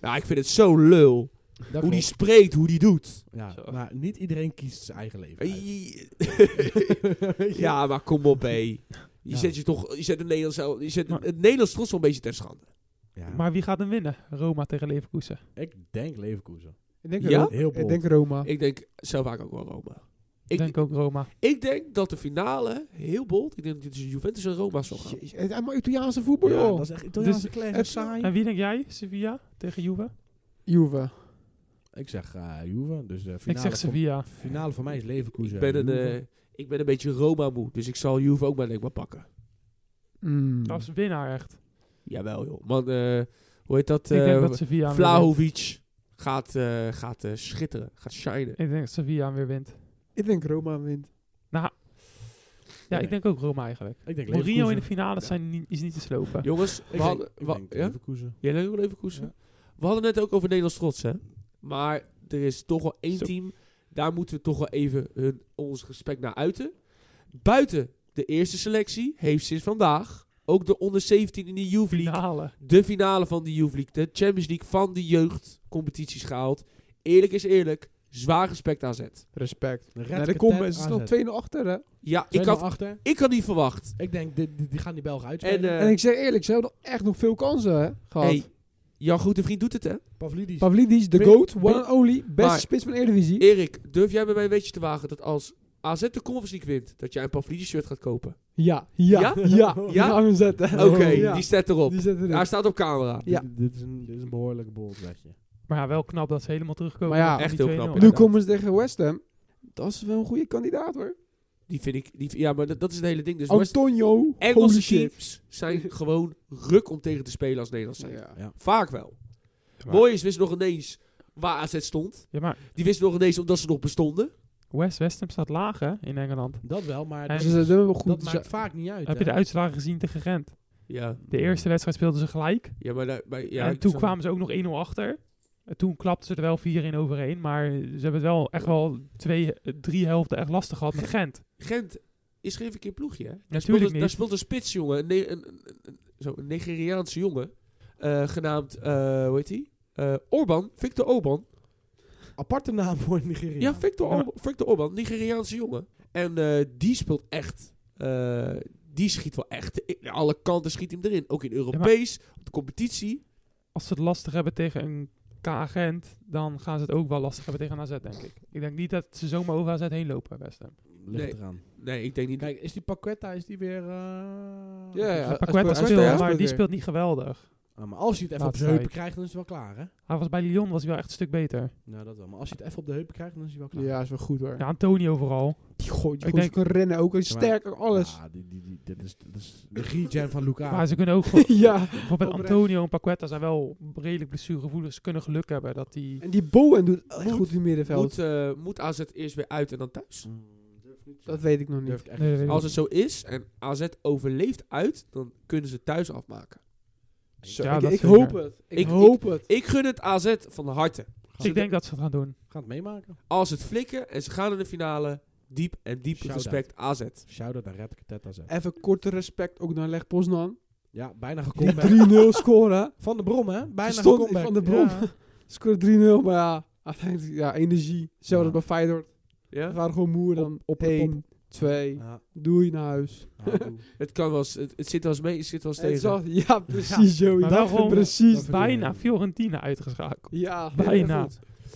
[SPEAKER 1] Ja, ik vind het zo lul.
[SPEAKER 3] Dat
[SPEAKER 1] Hoe die
[SPEAKER 3] klopt.
[SPEAKER 1] spreekt, hoe die doet.
[SPEAKER 3] Ja,
[SPEAKER 4] Zo.
[SPEAKER 3] maar niet iedereen kiest zijn eigen leven. uit.
[SPEAKER 1] ja, maar kom op hé. Je
[SPEAKER 3] Ja.
[SPEAKER 1] zet je toch, je zet het Nederlands, wel- je zet
[SPEAKER 4] Maar-
[SPEAKER 1] het Nederlands trots wel een beetje ten schande.
[SPEAKER 3] Ja,
[SPEAKER 4] Maar wie gaat hem winnen? Roma tegen Leverkusen.
[SPEAKER 3] ik denk Leverkusen.
[SPEAKER 2] Ik denk,
[SPEAKER 1] Ja?
[SPEAKER 2] Ro-
[SPEAKER 3] Heel
[SPEAKER 2] ik
[SPEAKER 3] bold.
[SPEAKER 2] denk Roma.
[SPEAKER 1] Ik denk zelf vaak ook wel Roma.
[SPEAKER 4] Ik
[SPEAKER 1] Ik,
[SPEAKER 4] denk ook Roma.
[SPEAKER 1] ik denk dat de finale, heel bold, ik denk dat het tussen Juventus en Roma zal gaan.
[SPEAKER 2] Jezus, het is allemaal Italiaanse voetbal,
[SPEAKER 3] Ja,
[SPEAKER 2] joh.
[SPEAKER 3] dat is echt Italiaanse
[SPEAKER 4] Dus-
[SPEAKER 3] clash.
[SPEAKER 2] het-
[SPEAKER 3] saai.
[SPEAKER 4] En wie denk jij? Sevilla tegen Juve?
[SPEAKER 2] Juve.
[SPEAKER 3] Ik zeg eh Juve, dus eh finale,
[SPEAKER 4] Ik zeg Sevilla.
[SPEAKER 3] Voor, finale voor mij is Leverkusen.
[SPEAKER 1] Ik ben, een,
[SPEAKER 3] Juve.
[SPEAKER 1] eh, ik ben een beetje Roma moe, dus ik zal Juve ook maar denk ik maar pakken.
[SPEAKER 2] Mm.
[SPEAKER 4] Als winnaar echt.
[SPEAKER 1] Jawel joh. Man, eh, hoe heet dat?
[SPEAKER 4] ik
[SPEAKER 1] eh,
[SPEAKER 4] denk dat Sevilla hem weer wint.
[SPEAKER 1] Vlahovic gaat, eh, gaat eh, schitteren, gaat shinen.
[SPEAKER 4] Ik denk dat Sevilla hem weer wint.
[SPEAKER 2] Ik denk Roma wint.
[SPEAKER 4] Ja,
[SPEAKER 3] Nee.
[SPEAKER 4] ik denk ook Roma eigenlijk.
[SPEAKER 3] ik denk
[SPEAKER 4] Mourinho in de
[SPEAKER 3] Leverkusen.
[SPEAKER 4] finale zijn niet, is niet te slopen.
[SPEAKER 1] Jongens, we
[SPEAKER 3] Ik
[SPEAKER 1] hadden...
[SPEAKER 3] denk- ik
[SPEAKER 1] wa-
[SPEAKER 3] denk
[SPEAKER 1] ja?
[SPEAKER 3] Leverkusen.
[SPEAKER 1] Jij leuk even koersen? We hadden het net ook over Nederlands trots, hè? Maar er is toch wel één
[SPEAKER 4] Zo.
[SPEAKER 1] team, daar moeten we toch wel even hun, ons respect naar uiten. Buiten de eerste selectie heeft sinds vandaag ook de onder 17 in de Youth League
[SPEAKER 4] Finale.
[SPEAKER 1] de finale van de Youth League, de Champions League van de jeugdcompetities gehaald. Eerlijk is eerlijk, zwaar respect aan zet.
[SPEAKER 2] Respect.
[SPEAKER 3] Red
[SPEAKER 2] Ja, de
[SPEAKER 3] Ketet
[SPEAKER 2] kom is
[SPEAKER 3] AZ.
[SPEAKER 2] nog 2-0 achter, hè?
[SPEAKER 1] Ja, ik
[SPEAKER 3] Tweemaal
[SPEAKER 1] had,
[SPEAKER 3] achter.
[SPEAKER 1] ik had niet verwacht.
[SPEAKER 3] Ik denk, die, die, die gaan die Belgen
[SPEAKER 1] En,
[SPEAKER 3] uitspelen.
[SPEAKER 1] eh
[SPEAKER 2] en ik zeg eerlijk, ze hebben nog echt nog veel kansen hè, gehad.
[SPEAKER 1] hey, jouw goede vriend doet het, hè?
[SPEAKER 3] Pavlidis.
[SPEAKER 2] Pavlidis, de
[SPEAKER 3] Ben-
[SPEAKER 2] GOAT,
[SPEAKER 3] ben-
[SPEAKER 2] one and only, beste
[SPEAKER 1] Maar-
[SPEAKER 2] spits van de Eredivisie.
[SPEAKER 1] Erik, durf jij bij mij een weetje te wagen dat als AZ de Conference League wint, dat jij een Pavlidis shirt gaat kopen?
[SPEAKER 2] Ja, ja,
[SPEAKER 1] Ja?
[SPEAKER 2] ja, ja.
[SPEAKER 1] Ja?
[SPEAKER 2] Die gaan we zetten.
[SPEAKER 1] Oké,
[SPEAKER 2] Oh, Ja.
[SPEAKER 1] die staat erop.
[SPEAKER 2] Die zetten
[SPEAKER 1] Hij
[SPEAKER 2] erin.
[SPEAKER 1] staat op camera.
[SPEAKER 2] Ja.
[SPEAKER 3] Dit, dit is een, dit is een behoorlijke bol, zeg je.
[SPEAKER 4] Maar ja, wel knap dat ze helemaal terugkomen.
[SPEAKER 2] Maar ja,
[SPEAKER 4] van die
[SPEAKER 1] echt heel knap,
[SPEAKER 4] 2-0.
[SPEAKER 2] Nu
[SPEAKER 1] inderdaad.
[SPEAKER 2] komen ze tegen West Ham. Dat is wel een goede kandidaat, hoor.
[SPEAKER 1] Die vind ik. Die, ja, maar dat, dat is het hele ding. Dus West-
[SPEAKER 2] Antonio, Oh, holy
[SPEAKER 1] Engelse
[SPEAKER 2] shit.
[SPEAKER 1] teams zijn gewoon ruk om tegen te spelen als Nederlands zijn.
[SPEAKER 2] Ja.
[SPEAKER 1] Vaak wel.
[SPEAKER 4] Maar-
[SPEAKER 1] Mooi is, wist nog ineens waar AZ stond.
[SPEAKER 4] Ja, maar
[SPEAKER 1] Die wist nog ineens omdat ze nog bestonden.
[SPEAKER 4] West, West Ham staat laag hè, in Engeland.
[SPEAKER 3] Dat wel, maar
[SPEAKER 4] En-
[SPEAKER 2] Dus
[SPEAKER 3] dat,
[SPEAKER 2] ze zijn wel
[SPEAKER 3] dat
[SPEAKER 2] goed.
[SPEAKER 3] maakt vaak niet uit.
[SPEAKER 4] Heb je
[SPEAKER 3] hè?
[SPEAKER 4] de uitslagen gezien tegen Gent?
[SPEAKER 1] Ja,
[SPEAKER 4] De eerste wedstrijd speelden ze gelijk.
[SPEAKER 1] ja maar, daar- maar ja,
[SPEAKER 4] en
[SPEAKER 1] ik
[SPEAKER 4] toen
[SPEAKER 1] zou-
[SPEAKER 4] kwamen ze ook nog 1-0 achter. En toen klapten ze er wel 4-1 overheen. Maar ze hebben het wel echt wel twee, eh, drie helften echt lastig gehad met Gent.
[SPEAKER 1] Gent is geen verkeerd ploegje, hè? Daar
[SPEAKER 4] Natuurlijk
[SPEAKER 1] speelt, een-
[SPEAKER 4] niet.
[SPEAKER 1] daar speelt een spits, jongen. Een, ne- een, een- een- zo, een Nigeriaanse jongen. eh, genaamd, eh, hoe heet hij? Orban, Victor Orban.
[SPEAKER 3] Aparte naam voor Nigeria.
[SPEAKER 1] Ja, Victor,
[SPEAKER 4] Ja, maar-
[SPEAKER 1] Orban, Victor Orban, Nigeriaanse jongen. En eh, die speelt echt. eh, die schiet wel echt. I- Alle kanten schiet hem erin. Ook in Europees, op de competitie.
[SPEAKER 4] Als ze het lastig hebben tegen een K-agent, dan gaan ze het ook wel lastig hebben tegen AZ, denk ik. Ik denk niet dat ze zomaar over AZ heen lopen, West Ham.
[SPEAKER 3] Ligt
[SPEAKER 1] Nee.
[SPEAKER 3] eraan.
[SPEAKER 1] Nee, ik denk niet.
[SPEAKER 3] Kijk, is die Paquetta, is die weer... eh,
[SPEAKER 2] Ja, ja.
[SPEAKER 4] Ja,
[SPEAKER 2] hij
[SPEAKER 4] Paqueta
[SPEAKER 2] speelt-
[SPEAKER 4] speelt,
[SPEAKER 2] hij
[SPEAKER 4] maar
[SPEAKER 2] speelt
[SPEAKER 4] die
[SPEAKER 2] weer.
[SPEAKER 4] speelt niet geweldig.
[SPEAKER 3] Ah, maar als je het even op
[SPEAKER 4] Laatste
[SPEAKER 3] de heupen
[SPEAKER 4] tijd.
[SPEAKER 3] krijgt, dan is het wel klaar, hè?
[SPEAKER 4] Hij was bij Lyon was hij wel echt een stuk beter.
[SPEAKER 3] Nou, dat wel. Maar als je het even op de heupen krijgt, dan is hij wel klaar.
[SPEAKER 2] Ja, is wel goed hoor.
[SPEAKER 4] Ja, Antonio vooral.
[SPEAKER 2] Die gooit, die
[SPEAKER 4] Ik
[SPEAKER 2] gozer kan rennen ook. Hij is
[SPEAKER 3] Ja, maar-
[SPEAKER 2] sterker, alles.
[SPEAKER 3] Ja, Ah, die, die, die, dit is, dit is de regen van Luca.
[SPEAKER 4] Maar ze kunnen ook
[SPEAKER 2] Ja.
[SPEAKER 4] gewoon- bijvoorbeeld
[SPEAKER 2] Oprecht.
[SPEAKER 4] Antonio en Paqueta zijn wel redelijk blessuregevoelig. Ze kunnen geluk hebben dat die
[SPEAKER 2] En die Bowen doet echt
[SPEAKER 1] Moet-
[SPEAKER 2] goed in het middenveld.
[SPEAKER 1] Moet, eh, moet AZ eerst weer uit en dan thuis?
[SPEAKER 3] Mm, durf niet te
[SPEAKER 2] Dat
[SPEAKER 3] zeggen.
[SPEAKER 2] weet ik nog niet.
[SPEAKER 3] durf ik echt
[SPEAKER 4] Nee,
[SPEAKER 3] niet te
[SPEAKER 4] weet
[SPEAKER 1] Als het zo is en AZ overleeft uit, dan kunnen ze thuis afmaken.
[SPEAKER 2] Zo,
[SPEAKER 4] Ja,
[SPEAKER 2] ik
[SPEAKER 4] dat
[SPEAKER 2] ik
[SPEAKER 4] zeker.
[SPEAKER 2] hoop het. Ik,
[SPEAKER 1] Ik-
[SPEAKER 2] hoop het.
[SPEAKER 1] Ik gun het AZ van harte.
[SPEAKER 3] Gaan
[SPEAKER 4] Dus ik denk dat ze het gaan doen.
[SPEAKER 3] zeggen. Gaan het meemaken.
[SPEAKER 1] Als het flikken en ze gaan in de finale, diep en diep
[SPEAKER 3] Shout-out.
[SPEAKER 1] respect AZ.
[SPEAKER 3] Shout-out naar Red Ketetta zijn.
[SPEAKER 2] Even korte respect ook naar Leg Poznan.
[SPEAKER 3] Ja, bijna
[SPEAKER 2] Die 3-0
[SPEAKER 3] gekomen.
[SPEAKER 2] scoren. hè.
[SPEAKER 3] Van de Brom, hè? Bijna
[SPEAKER 2] Stond
[SPEAKER 3] gekomen.
[SPEAKER 2] van de Brom.
[SPEAKER 4] Ja.
[SPEAKER 2] Scoren 3-0, maar ja. Uiteindelijk, ja, energie. Zelfs
[SPEAKER 3] Ja.
[SPEAKER 2] bij Feyenoord. We
[SPEAKER 1] Ja?
[SPEAKER 2] waren gewoon moe dan.
[SPEAKER 3] op de
[SPEAKER 2] 1, 2,
[SPEAKER 3] Ja,
[SPEAKER 2] doei naar huis.
[SPEAKER 3] ja, doe.
[SPEAKER 1] Het, kan wel, eens- het, het zit wel eens mee, het zit wel eens
[SPEAKER 2] Het
[SPEAKER 1] tegen.
[SPEAKER 2] zag- ja, precies, Joey.
[SPEAKER 4] maar
[SPEAKER 2] Dat
[SPEAKER 4] wel gewoon-
[SPEAKER 2] precies.
[SPEAKER 3] dat-
[SPEAKER 4] Bijna Fiorentina uitgeschakeld.
[SPEAKER 2] Ja,
[SPEAKER 4] Bijna.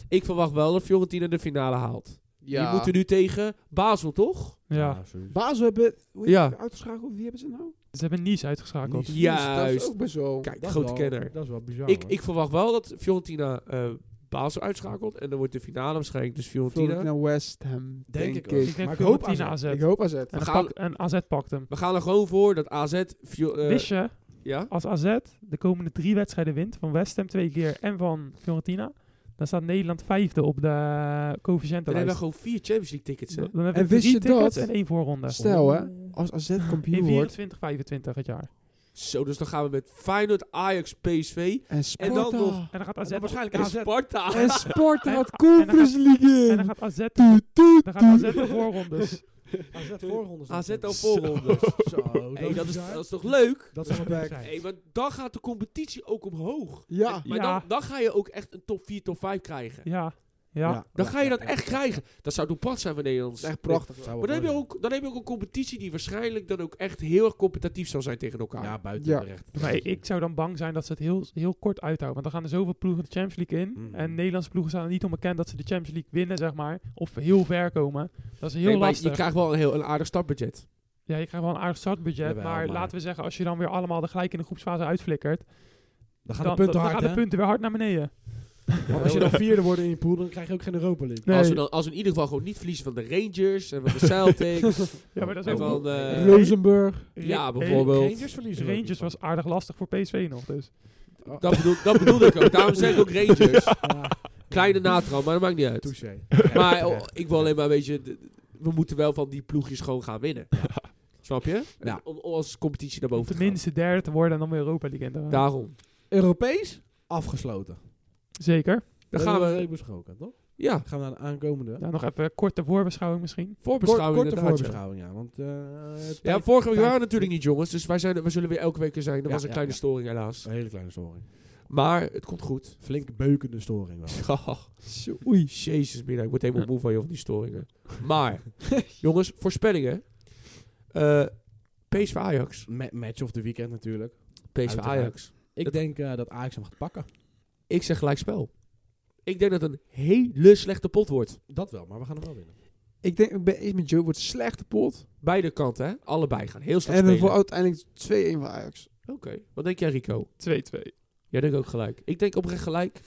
[SPEAKER 1] Ik verwacht wel dat Fiorentina de finale haalt.
[SPEAKER 2] Ja.
[SPEAKER 1] Die moeten nu tegen Basel, toch?
[SPEAKER 4] Ja.
[SPEAKER 3] sowieso.
[SPEAKER 2] Basel hebben... Hoe
[SPEAKER 1] Ja.
[SPEAKER 2] ja. uitgeschakeld? Wie hebben ze nou?
[SPEAKER 4] Ze hebben Nice uitgeschakeld.
[SPEAKER 3] Nice.
[SPEAKER 2] Dat
[SPEAKER 1] Juist.
[SPEAKER 2] is ook best wel...
[SPEAKER 1] Kijk,
[SPEAKER 3] Dat is
[SPEAKER 1] grote
[SPEAKER 3] wel-
[SPEAKER 1] kenner.
[SPEAKER 3] Dat is wel bizar.
[SPEAKER 1] Ik,
[SPEAKER 3] hoor.
[SPEAKER 1] ik verwacht wel dat Fiorentina eh, Basel uitschakelt. En dan wordt de finale waarschijnlijk dus Fiorentina.
[SPEAKER 2] Fiorentina naar West Ham,
[SPEAKER 3] Denk
[SPEAKER 2] denk,
[SPEAKER 3] ik
[SPEAKER 2] ik.
[SPEAKER 3] ook.
[SPEAKER 4] Ik denk
[SPEAKER 3] Maar ik hoop
[SPEAKER 4] Fiorentina AZ.
[SPEAKER 2] Ik hoop AZ.
[SPEAKER 4] En,
[SPEAKER 1] We
[SPEAKER 4] dan
[SPEAKER 1] gaan-
[SPEAKER 4] pak- en AZ pakt hem.
[SPEAKER 1] We gaan er gewoon voor dat AZ... Fio- eh,
[SPEAKER 4] Wist je,
[SPEAKER 1] ja?
[SPEAKER 4] als AZ de komende drie wedstrijden wint, van West Ham twee keer en van Fiorentina, dan staat Nederland vijfde op de
[SPEAKER 1] Dan hebben we
[SPEAKER 4] coëfficiëntenlijst.
[SPEAKER 1] gewoon vier Champions League tickets. Hè?
[SPEAKER 4] Dan dan
[SPEAKER 2] En
[SPEAKER 4] hebben we
[SPEAKER 2] wist
[SPEAKER 4] drie
[SPEAKER 2] je dat?
[SPEAKER 4] tickets en één voorronde.
[SPEAKER 2] Stel hè, als AZ
[SPEAKER 4] In
[SPEAKER 2] kampioen wordt
[SPEAKER 4] 24, 25 het jaar.
[SPEAKER 1] Zo, dus dan gaan we met Feyenoord, Ajax, PSV
[SPEAKER 2] en
[SPEAKER 1] En
[SPEAKER 2] Sparta...
[SPEAKER 1] dan nog-
[SPEAKER 4] En dan gaat
[SPEAKER 3] En
[SPEAKER 4] AZ...
[SPEAKER 3] dan waarschijnlijk
[SPEAKER 1] en
[SPEAKER 3] AZ.
[SPEAKER 1] Sparta.
[SPEAKER 2] En Sparta
[SPEAKER 4] En-
[SPEAKER 2] had
[SPEAKER 4] en dan
[SPEAKER 2] Conference League
[SPEAKER 4] En
[SPEAKER 2] in.
[SPEAKER 4] dan gaat AZ...
[SPEAKER 2] Toet, toet,
[SPEAKER 4] Dan gaat AZ
[SPEAKER 2] toet.
[SPEAKER 4] de voorrondes.
[SPEAKER 3] AZ voorrondes.
[SPEAKER 1] AZ al voorrondes.
[SPEAKER 3] Zo, dat,
[SPEAKER 1] Hey, dat, is,
[SPEAKER 3] bizar.
[SPEAKER 1] dat is toch leuk?
[SPEAKER 3] Dat zou wel
[SPEAKER 2] Respect.
[SPEAKER 3] zijn.
[SPEAKER 1] Hey, maar dan gaat de competitie ook omhoog.
[SPEAKER 2] Ja,
[SPEAKER 1] Maar
[SPEAKER 4] Ja.
[SPEAKER 1] dan, dan ga je ook echt een top 4, top 5 krijgen.
[SPEAKER 4] Ja. Ja.
[SPEAKER 1] Dan ga je dat echt krijgen. Dat zou toch pas zijn voor Nederland.
[SPEAKER 2] dat is echt prachtig.
[SPEAKER 3] Zou wel
[SPEAKER 1] Maar dan heb, je
[SPEAKER 3] mooi
[SPEAKER 1] ook, dan heb je ook een competitie die waarschijnlijk dan ook echt heel erg competitief zal zijn tegen
[SPEAKER 3] zijn.
[SPEAKER 1] elkaar.
[SPEAKER 3] Ja, buiten
[SPEAKER 2] Ja.
[SPEAKER 3] terecht.
[SPEAKER 4] Maar ik, ik zou dan bang zijn dat ze het heel, heel kort uithouden. Want dan gaan er zoveel ploegen de Champions League in.
[SPEAKER 3] Mhm.
[SPEAKER 4] En Nederlandse ploegen staan er niet onbekend dat ze de Champions League winnen, zeg maar. Of heel ver komen. Dat is heel
[SPEAKER 1] Nee, maar
[SPEAKER 4] lastig.
[SPEAKER 1] Je krijgt wel een heel een aardig startbudget.
[SPEAKER 4] Ja, je krijgt wel een aardig startbudget.
[SPEAKER 3] Jawel,
[SPEAKER 4] maar,
[SPEAKER 3] maar-
[SPEAKER 4] laten we zeggen, als je dan weer allemaal de gelijk in de groepsfase uitflikkert.
[SPEAKER 3] Dan
[SPEAKER 4] Dan,
[SPEAKER 3] gaan de
[SPEAKER 4] dan-
[SPEAKER 3] punten
[SPEAKER 4] dan
[SPEAKER 3] hard,
[SPEAKER 4] gaan de
[SPEAKER 3] hè?
[SPEAKER 4] punten weer hard naar beneden.
[SPEAKER 3] Want als je dan vierde wordt in je pool, dan krijg je ook geen Europa League.
[SPEAKER 4] Nee.
[SPEAKER 1] Als, we dan, als we in ieder geval gewoon niet verliezen van de Rangers en van de Celtics.
[SPEAKER 4] Ja, maar dat is
[SPEAKER 1] en
[SPEAKER 4] ook...
[SPEAKER 1] van, eh,
[SPEAKER 4] Ro-
[SPEAKER 2] Rosenburg.
[SPEAKER 1] ja,
[SPEAKER 4] Ra-
[SPEAKER 1] bijvoorbeeld.
[SPEAKER 3] Rangers verliezen. we ook
[SPEAKER 4] Rangers
[SPEAKER 3] niet
[SPEAKER 4] was aardig lastig voor PSV nog, dus.
[SPEAKER 3] van. Oh,
[SPEAKER 1] dat, bedoel, dat bedoel ik ook. Daarom zeg ik ook Rangers.
[SPEAKER 3] ja,
[SPEAKER 1] Kleine natrouw, maar dat maakt niet uit.
[SPEAKER 3] touché.
[SPEAKER 1] Maar
[SPEAKER 3] Ja,
[SPEAKER 1] oh, ik wil alleen maar, weet je, d- we moeten wel van die ploegjes gewoon gaan winnen. Snap je?
[SPEAKER 3] Ja.
[SPEAKER 1] Om om als competitie naar
[SPEAKER 4] Om
[SPEAKER 1] boven te gaan.
[SPEAKER 4] tenminste derde te worden en dan weer Europa League in te gaan.
[SPEAKER 1] Daarom.
[SPEAKER 3] Europees afgesloten.
[SPEAKER 4] Zeker.
[SPEAKER 1] Dan gaan we,
[SPEAKER 3] Leuk besproken, toch?
[SPEAKER 1] Eh, ja,
[SPEAKER 3] Dan gaan we naar de aankomende.
[SPEAKER 4] Ja, nog even korte voorbeschouwing misschien.
[SPEAKER 3] Kort,
[SPEAKER 1] voorbeschouwing
[SPEAKER 3] korte
[SPEAKER 1] inderdaad. ja.
[SPEAKER 3] voorbeschouwing, ja. Want, eh, het-
[SPEAKER 1] Ja, vorige week
[SPEAKER 3] Tijd-
[SPEAKER 1] waren we natuurlijk niet jongens, dus wij, zijn, we zullen weer elke week er zijn. Dat
[SPEAKER 3] Ja,
[SPEAKER 1] was een
[SPEAKER 3] ja,
[SPEAKER 1] kleine
[SPEAKER 3] ja.
[SPEAKER 1] storing helaas.
[SPEAKER 3] Een hele kleine storing.
[SPEAKER 1] Maar het komt goed.
[SPEAKER 3] Flink beukende storing wel.
[SPEAKER 1] Zo, Oei, jezus mina, ik word helemaal moe van je van die storingen. Maar, jongens, voorspellingen. Eh PSV Ajax.
[SPEAKER 3] Ma- match of the weekend natuurlijk.
[SPEAKER 1] PSV Ajax.
[SPEAKER 3] Ik
[SPEAKER 1] Dat-
[SPEAKER 3] denk eh, dat Ajax hem gaat pakken.
[SPEAKER 1] Ik zeg gelijk spel. Ik denk dat het een hele slechte pot wordt.
[SPEAKER 3] Dat wel, maar we gaan hem wel winnen.
[SPEAKER 2] Ik denk, ik ben eens met Joe, wordt een slechte pot.
[SPEAKER 1] Beide kanten, hè? Allebei gaan heel slecht
[SPEAKER 2] En dan
[SPEAKER 1] spelen.
[SPEAKER 2] voor
[SPEAKER 1] Oké,
[SPEAKER 2] uiteindelijk 2-1 voor Ajax.
[SPEAKER 1] wat denk jij Rico?
[SPEAKER 4] 2-2.
[SPEAKER 1] Jij denkt ook gelijk. Ik denk oprecht gelijk.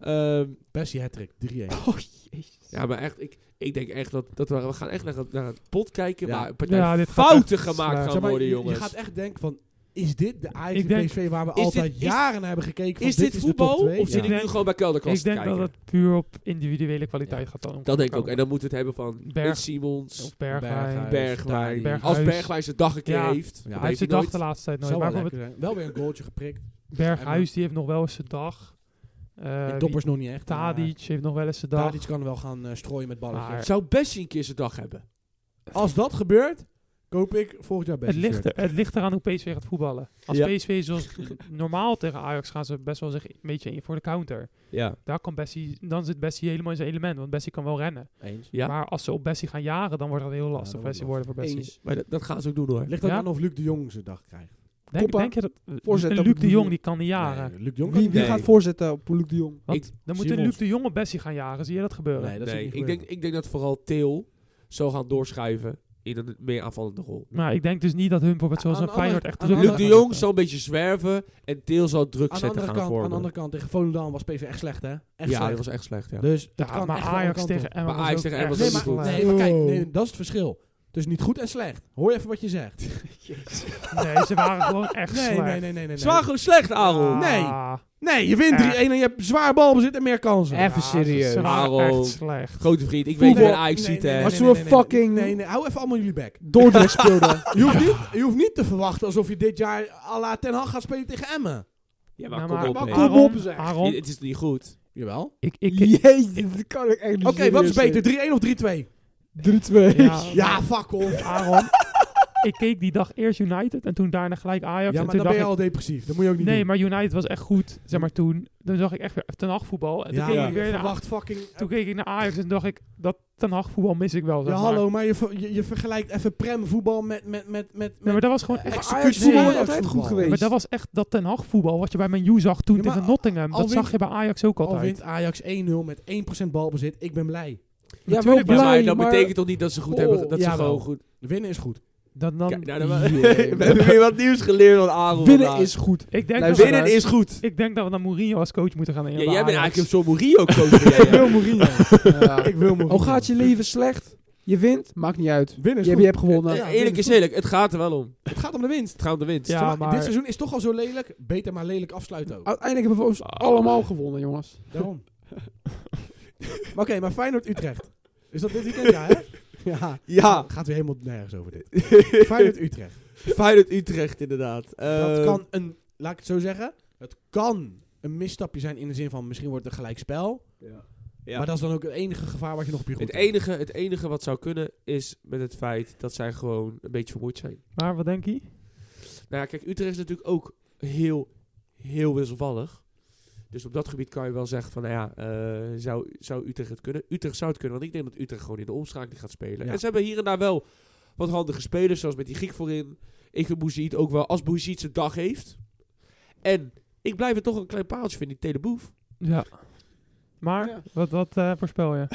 [SPEAKER 1] Ehm,
[SPEAKER 3] Bessie Hattrick, 3-1.
[SPEAKER 2] Oh jezus.
[SPEAKER 1] ja, maar echt, ik, ik denk echt dat, dat we, we gaan echt naar, een- naar een pot kijken
[SPEAKER 3] Ja.
[SPEAKER 1] waar een partij
[SPEAKER 4] Ja, dit gaat
[SPEAKER 1] fouten
[SPEAKER 4] echt
[SPEAKER 1] gemaakt
[SPEAKER 4] slecht.
[SPEAKER 1] gaan
[SPEAKER 3] Zeg maar,
[SPEAKER 1] worden,
[SPEAKER 3] je-
[SPEAKER 1] jongens.
[SPEAKER 3] Je gaat echt denken van, is dit de Ajax
[SPEAKER 4] Ik
[SPEAKER 3] en
[SPEAKER 4] denk-
[SPEAKER 3] PSV waar we
[SPEAKER 1] is
[SPEAKER 3] altijd
[SPEAKER 1] dit- is-
[SPEAKER 3] jaren naar hebben gekeken? Van,
[SPEAKER 1] is dit,
[SPEAKER 3] de top
[SPEAKER 1] voetbal
[SPEAKER 3] twee?
[SPEAKER 1] of zit
[SPEAKER 3] Ja.
[SPEAKER 1] ik nu gewoon bij Kelderkast
[SPEAKER 4] Ik denk
[SPEAKER 1] te
[SPEAKER 4] dat
[SPEAKER 1] kijken?
[SPEAKER 4] het puur op individuele kwaliteit
[SPEAKER 3] Ja.
[SPEAKER 4] gaat dan.
[SPEAKER 1] dat denk ik ook. En dan moet het hebben van
[SPEAKER 4] Berg-
[SPEAKER 1] Berg, Simons,
[SPEAKER 4] Of Bergwijn.
[SPEAKER 3] Berghuis.
[SPEAKER 1] Bergwijn.
[SPEAKER 3] Berghuis.
[SPEAKER 1] Als Bergwijn zijn dag een keer
[SPEAKER 4] Ja.
[SPEAKER 1] heeft.
[SPEAKER 3] Ja,
[SPEAKER 1] dat
[SPEAKER 4] Hij heeft
[SPEAKER 1] heeft
[SPEAKER 4] zijn
[SPEAKER 1] hij
[SPEAKER 4] dag de
[SPEAKER 1] nooit.
[SPEAKER 4] laatste tijd nooit.
[SPEAKER 3] Zou
[SPEAKER 4] Maar
[SPEAKER 3] wel,
[SPEAKER 4] bijvoorbeeld
[SPEAKER 3] lekker zijn. wel weer een goaltje geprikt.
[SPEAKER 4] Berghuis die heeft nog wel eens zijn dag. Eh,
[SPEAKER 3] Die
[SPEAKER 4] wie-
[SPEAKER 3] doppers nog niet echt. maar eh,
[SPEAKER 4] Tadic heeft nog wel eens zijn dag.
[SPEAKER 3] Tadic kan wel gaan eh, strooien met balletjes.
[SPEAKER 4] Maar-
[SPEAKER 1] Zou Bessie een keer zijn dag hebben?
[SPEAKER 3] Als dat gebeurt, koop ik volgend jaar best
[SPEAKER 4] Het ligt, er, het ligt eraan hoe PSV gaat voetballen. Als
[SPEAKER 1] Ja.
[SPEAKER 4] PSV zoals normaal tegen Ajax gaan ze best wel zich een beetje in voor de counter.
[SPEAKER 1] Ja.
[SPEAKER 4] Daar kan Bessie, dan zit Bessie helemaal in zijn element, want Bessie kan wel rennen.
[SPEAKER 3] Eens.
[SPEAKER 1] Ja.
[SPEAKER 4] Maar als ze op Bessie gaan jagen, dan wordt dat heel lastig
[SPEAKER 3] dat
[SPEAKER 4] Bessie
[SPEAKER 3] wordt
[SPEAKER 4] worden voor Bessie.
[SPEAKER 2] Eens.
[SPEAKER 1] Maar dat, dat gaan ze ook doen hoor.
[SPEAKER 3] Het ligt ook
[SPEAKER 4] Ja?
[SPEAKER 3] aan of Luc de Jong zijn dag krijgt.
[SPEAKER 4] Denk,
[SPEAKER 2] Koppa,
[SPEAKER 4] denk je dat
[SPEAKER 2] voorzet op
[SPEAKER 4] Luc
[SPEAKER 2] de
[SPEAKER 4] de Jong
[SPEAKER 2] doel.
[SPEAKER 4] die kan die jaren?
[SPEAKER 3] Nee, Luc de Jong
[SPEAKER 2] Wie, wie
[SPEAKER 1] Nee.
[SPEAKER 2] gaat voorzetten op Luc de Jong?
[SPEAKER 4] Want
[SPEAKER 1] Ik-
[SPEAKER 4] dan moeten Luc
[SPEAKER 3] Simons.
[SPEAKER 4] de Jong op Bessie gaan jagen. Zie je dat gebeuren?
[SPEAKER 3] Nee, dat zie
[SPEAKER 1] nee,
[SPEAKER 3] ik
[SPEAKER 1] ik, denk, ik denk dat vooral Til zou gaan doorschuiven in een meer aanvallende rol.
[SPEAKER 4] Maar ik denk dus niet dat hun bijvoorbeeld zoals
[SPEAKER 3] Aan
[SPEAKER 4] een
[SPEAKER 3] de andere-
[SPEAKER 4] Feyenoord echt
[SPEAKER 3] aan
[SPEAKER 4] druk
[SPEAKER 3] de
[SPEAKER 1] Luc de
[SPEAKER 3] andere-
[SPEAKER 4] gaat-
[SPEAKER 1] Jong zal een beetje zwerven en Til zal druk
[SPEAKER 3] aan de,
[SPEAKER 1] zetten
[SPEAKER 3] andere
[SPEAKER 1] gaan
[SPEAKER 3] kant, aan
[SPEAKER 1] vormen.
[SPEAKER 3] de andere kant, tegen Volendam was PSV echt slecht, hè? Echt
[SPEAKER 1] ja,
[SPEAKER 3] slecht.
[SPEAKER 1] dat was echt slecht. Ja.
[SPEAKER 3] Dus het
[SPEAKER 4] Ja,
[SPEAKER 3] kan
[SPEAKER 4] maar
[SPEAKER 3] echt wel
[SPEAKER 4] Ajax
[SPEAKER 3] alle kanten
[SPEAKER 4] tegen
[SPEAKER 3] op.
[SPEAKER 4] Emma
[SPEAKER 1] Maar Ajax
[SPEAKER 4] was ook
[SPEAKER 1] tegen Emmen
[SPEAKER 4] echt-
[SPEAKER 1] was
[SPEAKER 3] Nee,
[SPEAKER 1] niet
[SPEAKER 3] maar,
[SPEAKER 1] goed.
[SPEAKER 3] nee, maar
[SPEAKER 2] Oh.
[SPEAKER 3] kijk, nee, dat is het verschil. Dus niet goed en slecht. Hoor even wat je zegt.
[SPEAKER 4] Nee, ze waren gewoon echt
[SPEAKER 3] Nee, nee,
[SPEAKER 4] slecht.
[SPEAKER 3] nee, nee, nee. nee.
[SPEAKER 1] Ze waren gewoon slecht, Aaron.
[SPEAKER 3] Nee.
[SPEAKER 4] Ah,
[SPEAKER 3] Nee, je wint 3-1 en je hebt zwaar balbezit en meer kansen.
[SPEAKER 2] Even
[SPEAKER 4] ja, ze-
[SPEAKER 2] serieus.
[SPEAKER 4] Ze waren
[SPEAKER 1] Waarom?
[SPEAKER 4] echt slecht.
[SPEAKER 1] Grote vriend, ik
[SPEAKER 2] Voetbal-
[SPEAKER 1] weet dat Ajax ziet, hè.
[SPEAKER 2] nee, Als we een fucking-
[SPEAKER 3] Nee, nee, hou even allemaal jullie bek.
[SPEAKER 2] Dordrecht speelde.
[SPEAKER 3] Je hoeft, niet, je hoeft niet te verwachten alsof je dit jaar à la Ten Hag gaat spelen tegen Emmen.
[SPEAKER 1] Ja,
[SPEAKER 4] Nou,
[SPEAKER 1] maar kom op,
[SPEAKER 2] maar
[SPEAKER 1] nee.
[SPEAKER 2] kom op,
[SPEAKER 4] Aaron,
[SPEAKER 2] zeg.
[SPEAKER 4] Aaron,
[SPEAKER 1] Het is niet goed.
[SPEAKER 3] Jawel.
[SPEAKER 4] ik, ik, ik-
[SPEAKER 2] Jeetje, dat kan ik echt niet
[SPEAKER 3] Oké, wat is
[SPEAKER 2] serieus
[SPEAKER 3] beter, 3-1 of 3-2?
[SPEAKER 2] zeggen. 3-2.
[SPEAKER 4] ja,
[SPEAKER 3] Ja, fuck off.
[SPEAKER 4] Aaron, ik keek die dag eerst United en toen daarna gelijk Ajax.
[SPEAKER 3] Ja,
[SPEAKER 4] en
[SPEAKER 3] maar
[SPEAKER 4] toen
[SPEAKER 3] dan ben je
[SPEAKER 4] dacht
[SPEAKER 3] al depressief. Dat moet je ook
[SPEAKER 4] ik,
[SPEAKER 3] niet
[SPEAKER 4] nee,
[SPEAKER 3] doen.
[SPEAKER 4] maar United was echt goed, zeg maar toen. Toen zag ik echt weer Ten Hag voetbal. En toen,
[SPEAKER 3] ja,
[SPEAKER 4] keek
[SPEAKER 3] maar
[SPEAKER 4] ik
[SPEAKER 3] je
[SPEAKER 4] weer naar,
[SPEAKER 3] verwacht fucking...
[SPEAKER 4] toen keek ik naar Ajax en dacht ik, dat Ten Hag voetbal mis ik wel,
[SPEAKER 3] Ja,
[SPEAKER 4] zeg maar.
[SPEAKER 3] hallo, maar je, ver- je, je vergelijkt even premvoetbal met... met, met, met,
[SPEAKER 4] Nee,
[SPEAKER 3] met
[SPEAKER 4] maar dat was gewoon echt...
[SPEAKER 3] Ajax
[SPEAKER 2] Ajax
[SPEAKER 3] voetbal
[SPEAKER 2] voetbal
[SPEAKER 3] is
[SPEAKER 2] is altijd
[SPEAKER 3] voetbal.
[SPEAKER 2] goed
[SPEAKER 3] Maar
[SPEAKER 2] geweest.
[SPEAKER 4] Maar dat was echt dat Ten Hag voetbal, wat je bij Man U zag toen
[SPEAKER 3] Ja, maar
[SPEAKER 4] tegen Nottingham.
[SPEAKER 3] al
[SPEAKER 4] Dat
[SPEAKER 3] wint-
[SPEAKER 4] zag je bij Ajax ook
[SPEAKER 3] al
[SPEAKER 4] altijd.
[SPEAKER 3] wint Ajax 1-0 met 1% balbezit. Ik ben blij.
[SPEAKER 2] Ja, wel
[SPEAKER 4] Natuurlijk,
[SPEAKER 1] Ja, maar
[SPEAKER 2] blij,
[SPEAKER 1] dat
[SPEAKER 2] maar...
[SPEAKER 1] betekent toch niet dat ze goed
[SPEAKER 2] Oh,
[SPEAKER 1] hebben, dat ze
[SPEAKER 3] jawel.
[SPEAKER 1] gewoon goed...
[SPEAKER 3] Winnen is goed.
[SPEAKER 4] Dan, dan,
[SPEAKER 1] Kijk, nou, dan-
[SPEAKER 2] Jee.
[SPEAKER 1] we hebben weer wat nieuws geleerd van Aaron.
[SPEAKER 2] Winnen
[SPEAKER 1] vandaag.
[SPEAKER 2] is goed.
[SPEAKER 4] ik,
[SPEAKER 3] Nou,
[SPEAKER 4] denk dat
[SPEAKER 2] Luister,
[SPEAKER 4] we,
[SPEAKER 1] Winnen is goed.
[SPEAKER 4] ik denk dat we naar Mourinho als coach moeten gaan.
[SPEAKER 1] Ja,
[SPEAKER 4] bij
[SPEAKER 1] jij
[SPEAKER 4] Ajax.
[SPEAKER 1] bent eigenlijk een soort Mourinho coach. ben jij, hè?
[SPEAKER 3] Mourinho.
[SPEAKER 2] Ja.
[SPEAKER 3] Ik wil Mourinho.
[SPEAKER 2] Al Oh, gaat je leven slecht, je wint, maakt niet uit.
[SPEAKER 3] Winnen is
[SPEAKER 2] Je, hebt-
[SPEAKER 3] goed.
[SPEAKER 2] je hebt gewonnen.
[SPEAKER 1] Ja,
[SPEAKER 3] Ja,
[SPEAKER 1] eerlijk is eerlijk, het gaat er wel om.
[SPEAKER 3] Het gaat om de winst.
[SPEAKER 1] Het gaat om de winst.
[SPEAKER 4] Ja,
[SPEAKER 3] Zeg maar,
[SPEAKER 4] maar-
[SPEAKER 3] Dit seizoen is toch al zo lelijk. Beter maar lelijk afsluiten ook.
[SPEAKER 2] Uiteindelijk hebben we
[SPEAKER 3] Oh.
[SPEAKER 2] ons allemaal gewonnen, jongens.
[SPEAKER 3] Daarom. maar oké, maar Feyenoord-Utrecht. Is dat dit weekend? Ja, hè? Ja.
[SPEAKER 1] Ja,
[SPEAKER 3] Gaat weer helemaal nergens over dit. Feyenoord-Utrecht.
[SPEAKER 1] Feyenoord-Utrecht inderdaad.
[SPEAKER 3] Dat
[SPEAKER 1] Eh,
[SPEAKER 3] kan een... Laat ik het zo zeggen. Het kan een misstapje zijn in de zin van misschien wordt het een gelijkspel.
[SPEAKER 1] Ja.
[SPEAKER 3] Maar dat is dan ook het enige gevaar wat je nog op je goed
[SPEAKER 1] Het enige, het enige wat zou kunnen is met het feit dat zij gewoon een beetje vermoeid zijn.
[SPEAKER 4] Maar wat denk je?
[SPEAKER 1] Nou ja, kijk, Utrecht is natuurlijk ook heel, heel wisselvallig. Dus op dat gebied kan je wel zeggen van, nou ja, eh, zou, zou Utrecht het kunnen? Utrecht zou het kunnen, want ik denk dat Utrecht gewoon in de omschakeling gaat spelen.
[SPEAKER 3] Ja.
[SPEAKER 1] En ze hebben hier en daar wel wat handige spelers, zoals met die Griek voorin. Ik vind Bouzid ook wel, als Bouzid zijn dag heeft. En ik blijf het toch een klein paaltje vinden, die Teleboef.
[SPEAKER 4] Ja. Maar
[SPEAKER 2] Ja.
[SPEAKER 4] wat, wat eh, voorspel je?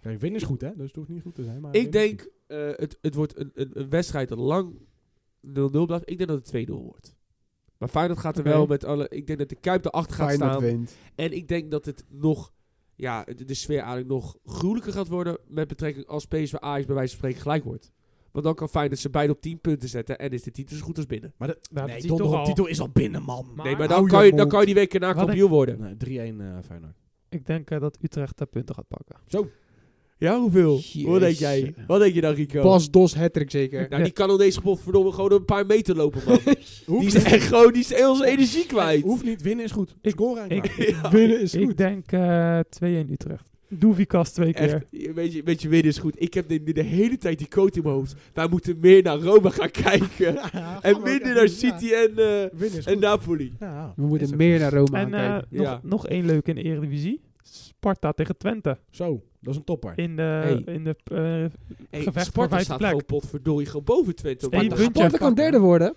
[SPEAKER 3] Kijk, winnen is goed, hè? Dus het hoeft niet goed te zijn. Maar
[SPEAKER 1] Ik
[SPEAKER 3] winnen is
[SPEAKER 1] denk, eh, het, het wordt een, een, een wedstrijd dat lang 0-0 blijft. Ik denk dat het 2-0 wordt. Maar Feyenoord gaat er
[SPEAKER 4] Oké.
[SPEAKER 1] wel met alle... Ik denk dat de Kuip erachter gaat
[SPEAKER 2] Feyenoord
[SPEAKER 1] staan.
[SPEAKER 2] wint.
[SPEAKER 1] En ik denk dat het nog... Ja, de, de sfeer eigenlijk nog gruwelijker gaat worden... met betrekking als PSV Ajax bij wijze van spreken gelijk wordt. Want dan kan Feyenoord ze beide op 10 punten zetten... en is de titel zo goed als binnen.
[SPEAKER 3] Maar de,
[SPEAKER 4] Nou,
[SPEAKER 3] nee,
[SPEAKER 4] dat zie je toch
[SPEAKER 3] donderdag
[SPEAKER 4] al.
[SPEAKER 3] titel is al binnen, man.
[SPEAKER 4] Maar-
[SPEAKER 1] nee, maar
[SPEAKER 3] hou
[SPEAKER 1] dan
[SPEAKER 3] je
[SPEAKER 1] kan, je, dan
[SPEAKER 3] mond.
[SPEAKER 1] kan je die week erna
[SPEAKER 4] Wat
[SPEAKER 1] kampioen worden.
[SPEAKER 3] Nee, 3-1 eh Feyenoord.
[SPEAKER 4] Ik denk eh, dat Utrecht de punten gaat pakken.
[SPEAKER 1] Ja, hoeveel?
[SPEAKER 2] Jezus.
[SPEAKER 1] Wat denk jij? Wat denk je dan, Rico?
[SPEAKER 2] Bas Dos hattrick zeker.
[SPEAKER 1] Nou, die kan op deze gebod verdomme gewoon een paar meter lopen, man. die is echt gewoon... Die is heel zijn energie kwijt.
[SPEAKER 3] Hoeft niet, winnen is goed.
[SPEAKER 4] Ik-
[SPEAKER 3] Scoren en
[SPEAKER 4] ik-
[SPEAKER 3] klaar.
[SPEAKER 2] Winnen is
[SPEAKER 4] Ik denk eh 2-1 Utrecht. Doevikas twee keer.
[SPEAKER 1] Echt, weet je, weet je, winnen is goed. Ik heb de, de hele tijd die quote in mijn hoofd. Wij moeten meer naar Roma gaan kijken. en minder naar City en, eh,
[SPEAKER 3] Winnen is
[SPEAKER 1] en
[SPEAKER 3] goed.
[SPEAKER 1] Napoli.
[SPEAKER 3] Ja,
[SPEAKER 2] We moeten
[SPEAKER 3] is ook
[SPEAKER 2] meer naar Roma
[SPEAKER 4] En eh,
[SPEAKER 2] kijken.
[SPEAKER 4] nog,
[SPEAKER 1] Ja.
[SPEAKER 4] nog één leuke in de Eredivisie. Sparta tegen Twente.
[SPEAKER 3] Zo, dat is een topper.
[SPEAKER 4] In de,
[SPEAKER 1] Hey.
[SPEAKER 4] in de eh,
[SPEAKER 1] Hey,
[SPEAKER 4] Gevecht voor
[SPEAKER 1] Sparta
[SPEAKER 4] vijfde
[SPEAKER 1] staat
[SPEAKER 4] plek.
[SPEAKER 1] gewoon potverdorie gewoon boven Twente. op
[SPEAKER 4] Eén
[SPEAKER 1] maandag.
[SPEAKER 4] puntje.
[SPEAKER 2] Sparta kan derde worden.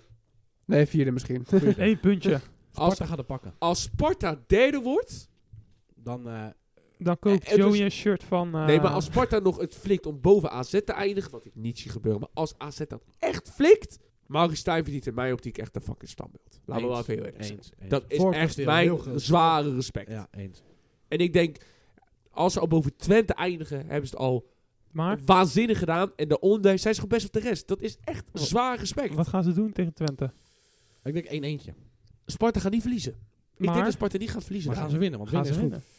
[SPEAKER 2] Nee, vierde misschien.
[SPEAKER 4] één puntje.
[SPEAKER 1] Als,
[SPEAKER 3] Sparta gaat het pakken.
[SPEAKER 1] als Sparta derde wordt...
[SPEAKER 3] Dan, eh,
[SPEAKER 4] Dan koopt
[SPEAKER 1] Eh, het
[SPEAKER 4] Joey
[SPEAKER 1] is-
[SPEAKER 4] een shirt van... eh,
[SPEAKER 3] Ah.
[SPEAKER 1] nee, maar als Sparta nog het flikt om boven AZ te eindigen... Wat ik niet zie gebeuren. Maar als AZ dat echt flikt... Maurice Stijn verdient in mijn optiek echt een fucking standbeeld. Laten we wel
[SPEAKER 3] Eens.
[SPEAKER 1] even heel eerlijk zijn.
[SPEAKER 3] eens, eens.
[SPEAKER 1] Dat is
[SPEAKER 3] Voor
[SPEAKER 1] echt
[SPEAKER 3] presteren, heel
[SPEAKER 1] mijn
[SPEAKER 3] groot.
[SPEAKER 1] zware respect.
[SPEAKER 3] Ja, eens.
[SPEAKER 1] En ik denk... Als ze al boven Twente eindigen, hebben ze het al
[SPEAKER 4] maar
[SPEAKER 1] waanzinnig gedaan. En daaronder zijn ze gewoon best op de rest. Dat is echt
[SPEAKER 4] Wat-
[SPEAKER 1] zwaar respect.
[SPEAKER 4] wat gaan ze doen tegen Twente?
[SPEAKER 3] Ik denk één eentje.
[SPEAKER 1] Sparta gaat niet verliezen. Ik
[SPEAKER 4] Maar-
[SPEAKER 1] denk dat Sparta niet gaat verliezen.
[SPEAKER 3] Maar gaan ze winnen, want
[SPEAKER 4] Gaan
[SPEAKER 3] winnen
[SPEAKER 4] ze
[SPEAKER 3] is goed.
[SPEAKER 4] winnen?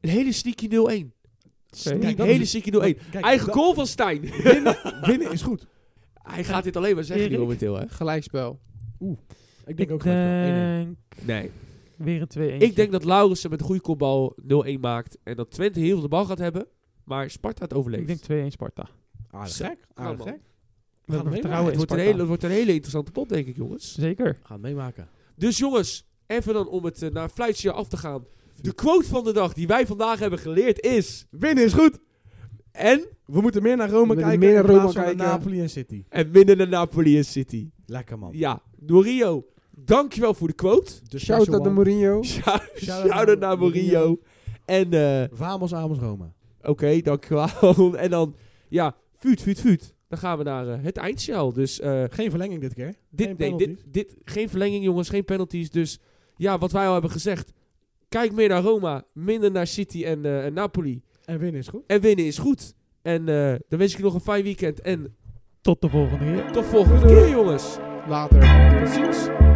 [SPEAKER 1] Een hele sneaky 0-1.
[SPEAKER 4] Kijk,
[SPEAKER 1] Een
[SPEAKER 3] dat
[SPEAKER 1] hele
[SPEAKER 3] is-
[SPEAKER 1] sneaky 0-1.
[SPEAKER 3] Kijk,
[SPEAKER 1] Eigen
[SPEAKER 3] dat-
[SPEAKER 1] goal van Stijn.
[SPEAKER 3] Winnen, winnen is goed.
[SPEAKER 1] Hij gaat dit alleen maar zeggen nu
[SPEAKER 4] Erik?
[SPEAKER 1] momenteel, hè?
[SPEAKER 2] Gelijkspel.
[SPEAKER 3] Ik denk
[SPEAKER 4] Ik
[SPEAKER 3] ook gelijk.
[SPEAKER 4] denk
[SPEAKER 1] Nee.
[SPEAKER 4] weer een 2-1.
[SPEAKER 1] Ik denk dat Laurensen met een goede kopbal 0-1 maakt. En dat Twente heel veel de bal gaat hebben. Maar Sparta het
[SPEAKER 4] Ik
[SPEAKER 1] overleeft.
[SPEAKER 4] denk 2-1 Sparta.
[SPEAKER 3] wel. Aardig
[SPEAKER 1] Zo.
[SPEAKER 3] gek.
[SPEAKER 1] Gaan
[SPEAKER 3] Aardig
[SPEAKER 1] we
[SPEAKER 4] We
[SPEAKER 3] gek. Gaan we
[SPEAKER 4] hebben
[SPEAKER 3] winnen?
[SPEAKER 4] vertrouwen
[SPEAKER 1] het,
[SPEAKER 4] in
[SPEAKER 1] wordt een
[SPEAKER 4] Sparta.
[SPEAKER 1] hele, het wordt een hele interessante pot, denk ik, jongens.
[SPEAKER 4] Zeker.
[SPEAKER 3] Gaan het meemaken.
[SPEAKER 1] Dus jongens, even dan om het eh, naar fluitje af te gaan. De quote van de dag die wij vandaag hebben geleerd is...
[SPEAKER 3] Winnen is goed.
[SPEAKER 1] En
[SPEAKER 3] We moeten meer naar Rome
[SPEAKER 2] We moeten
[SPEAKER 3] kijken
[SPEAKER 2] meer
[SPEAKER 3] in
[SPEAKER 2] naar
[SPEAKER 3] plaats
[SPEAKER 2] Rome
[SPEAKER 3] van naar
[SPEAKER 2] kijken.
[SPEAKER 3] Napoli en City.
[SPEAKER 1] En minder naar Napoli en City.
[SPEAKER 3] Lekker man.
[SPEAKER 1] Ja, Mourinho, dankjewel voor de quote.
[SPEAKER 3] De
[SPEAKER 2] Shout
[SPEAKER 3] special
[SPEAKER 2] out naar
[SPEAKER 3] one.
[SPEAKER 2] Mourinho.
[SPEAKER 1] Shout-
[SPEAKER 3] Shout-out
[SPEAKER 1] Shout-out naar
[SPEAKER 3] naar
[SPEAKER 1] Mourinho.
[SPEAKER 3] Mourinho.
[SPEAKER 1] En eh,
[SPEAKER 3] Vamos, Amos, Roma.
[SPEAKER 1] oké, dankjewel. en dan, ja, vuut, vuut, vuut. Dan gaan we naar eh, het eindsignaal. Dus eh,
[SPEAKER 3] Geen verlenging dit keer.
[SPEAKER 1] dit,
[SPEAKER 3] Geen
[SPEAKER 1] nee, dit,
[SPEAKER 3] penalties.
[SPEAKER 1] dit, geen verlenging jongens, geen penalties. Dus ja, wat wij al hebben gezegd. Kijk meer naar Roma, minder naar City en, eh, en Napoli.
[SPEAKER 3] En winnen is goed.
[SPEAKER 1] En winnen is goed. En eh, dan wens ik je nog een fijn weekend. En
[SPEAKER 4] Tot de volgende keer.
[SPEAKER 1] tot volgende keer jongens.
[SPEAKER 2] Later.
[SPEAKER 1] Tot ziens.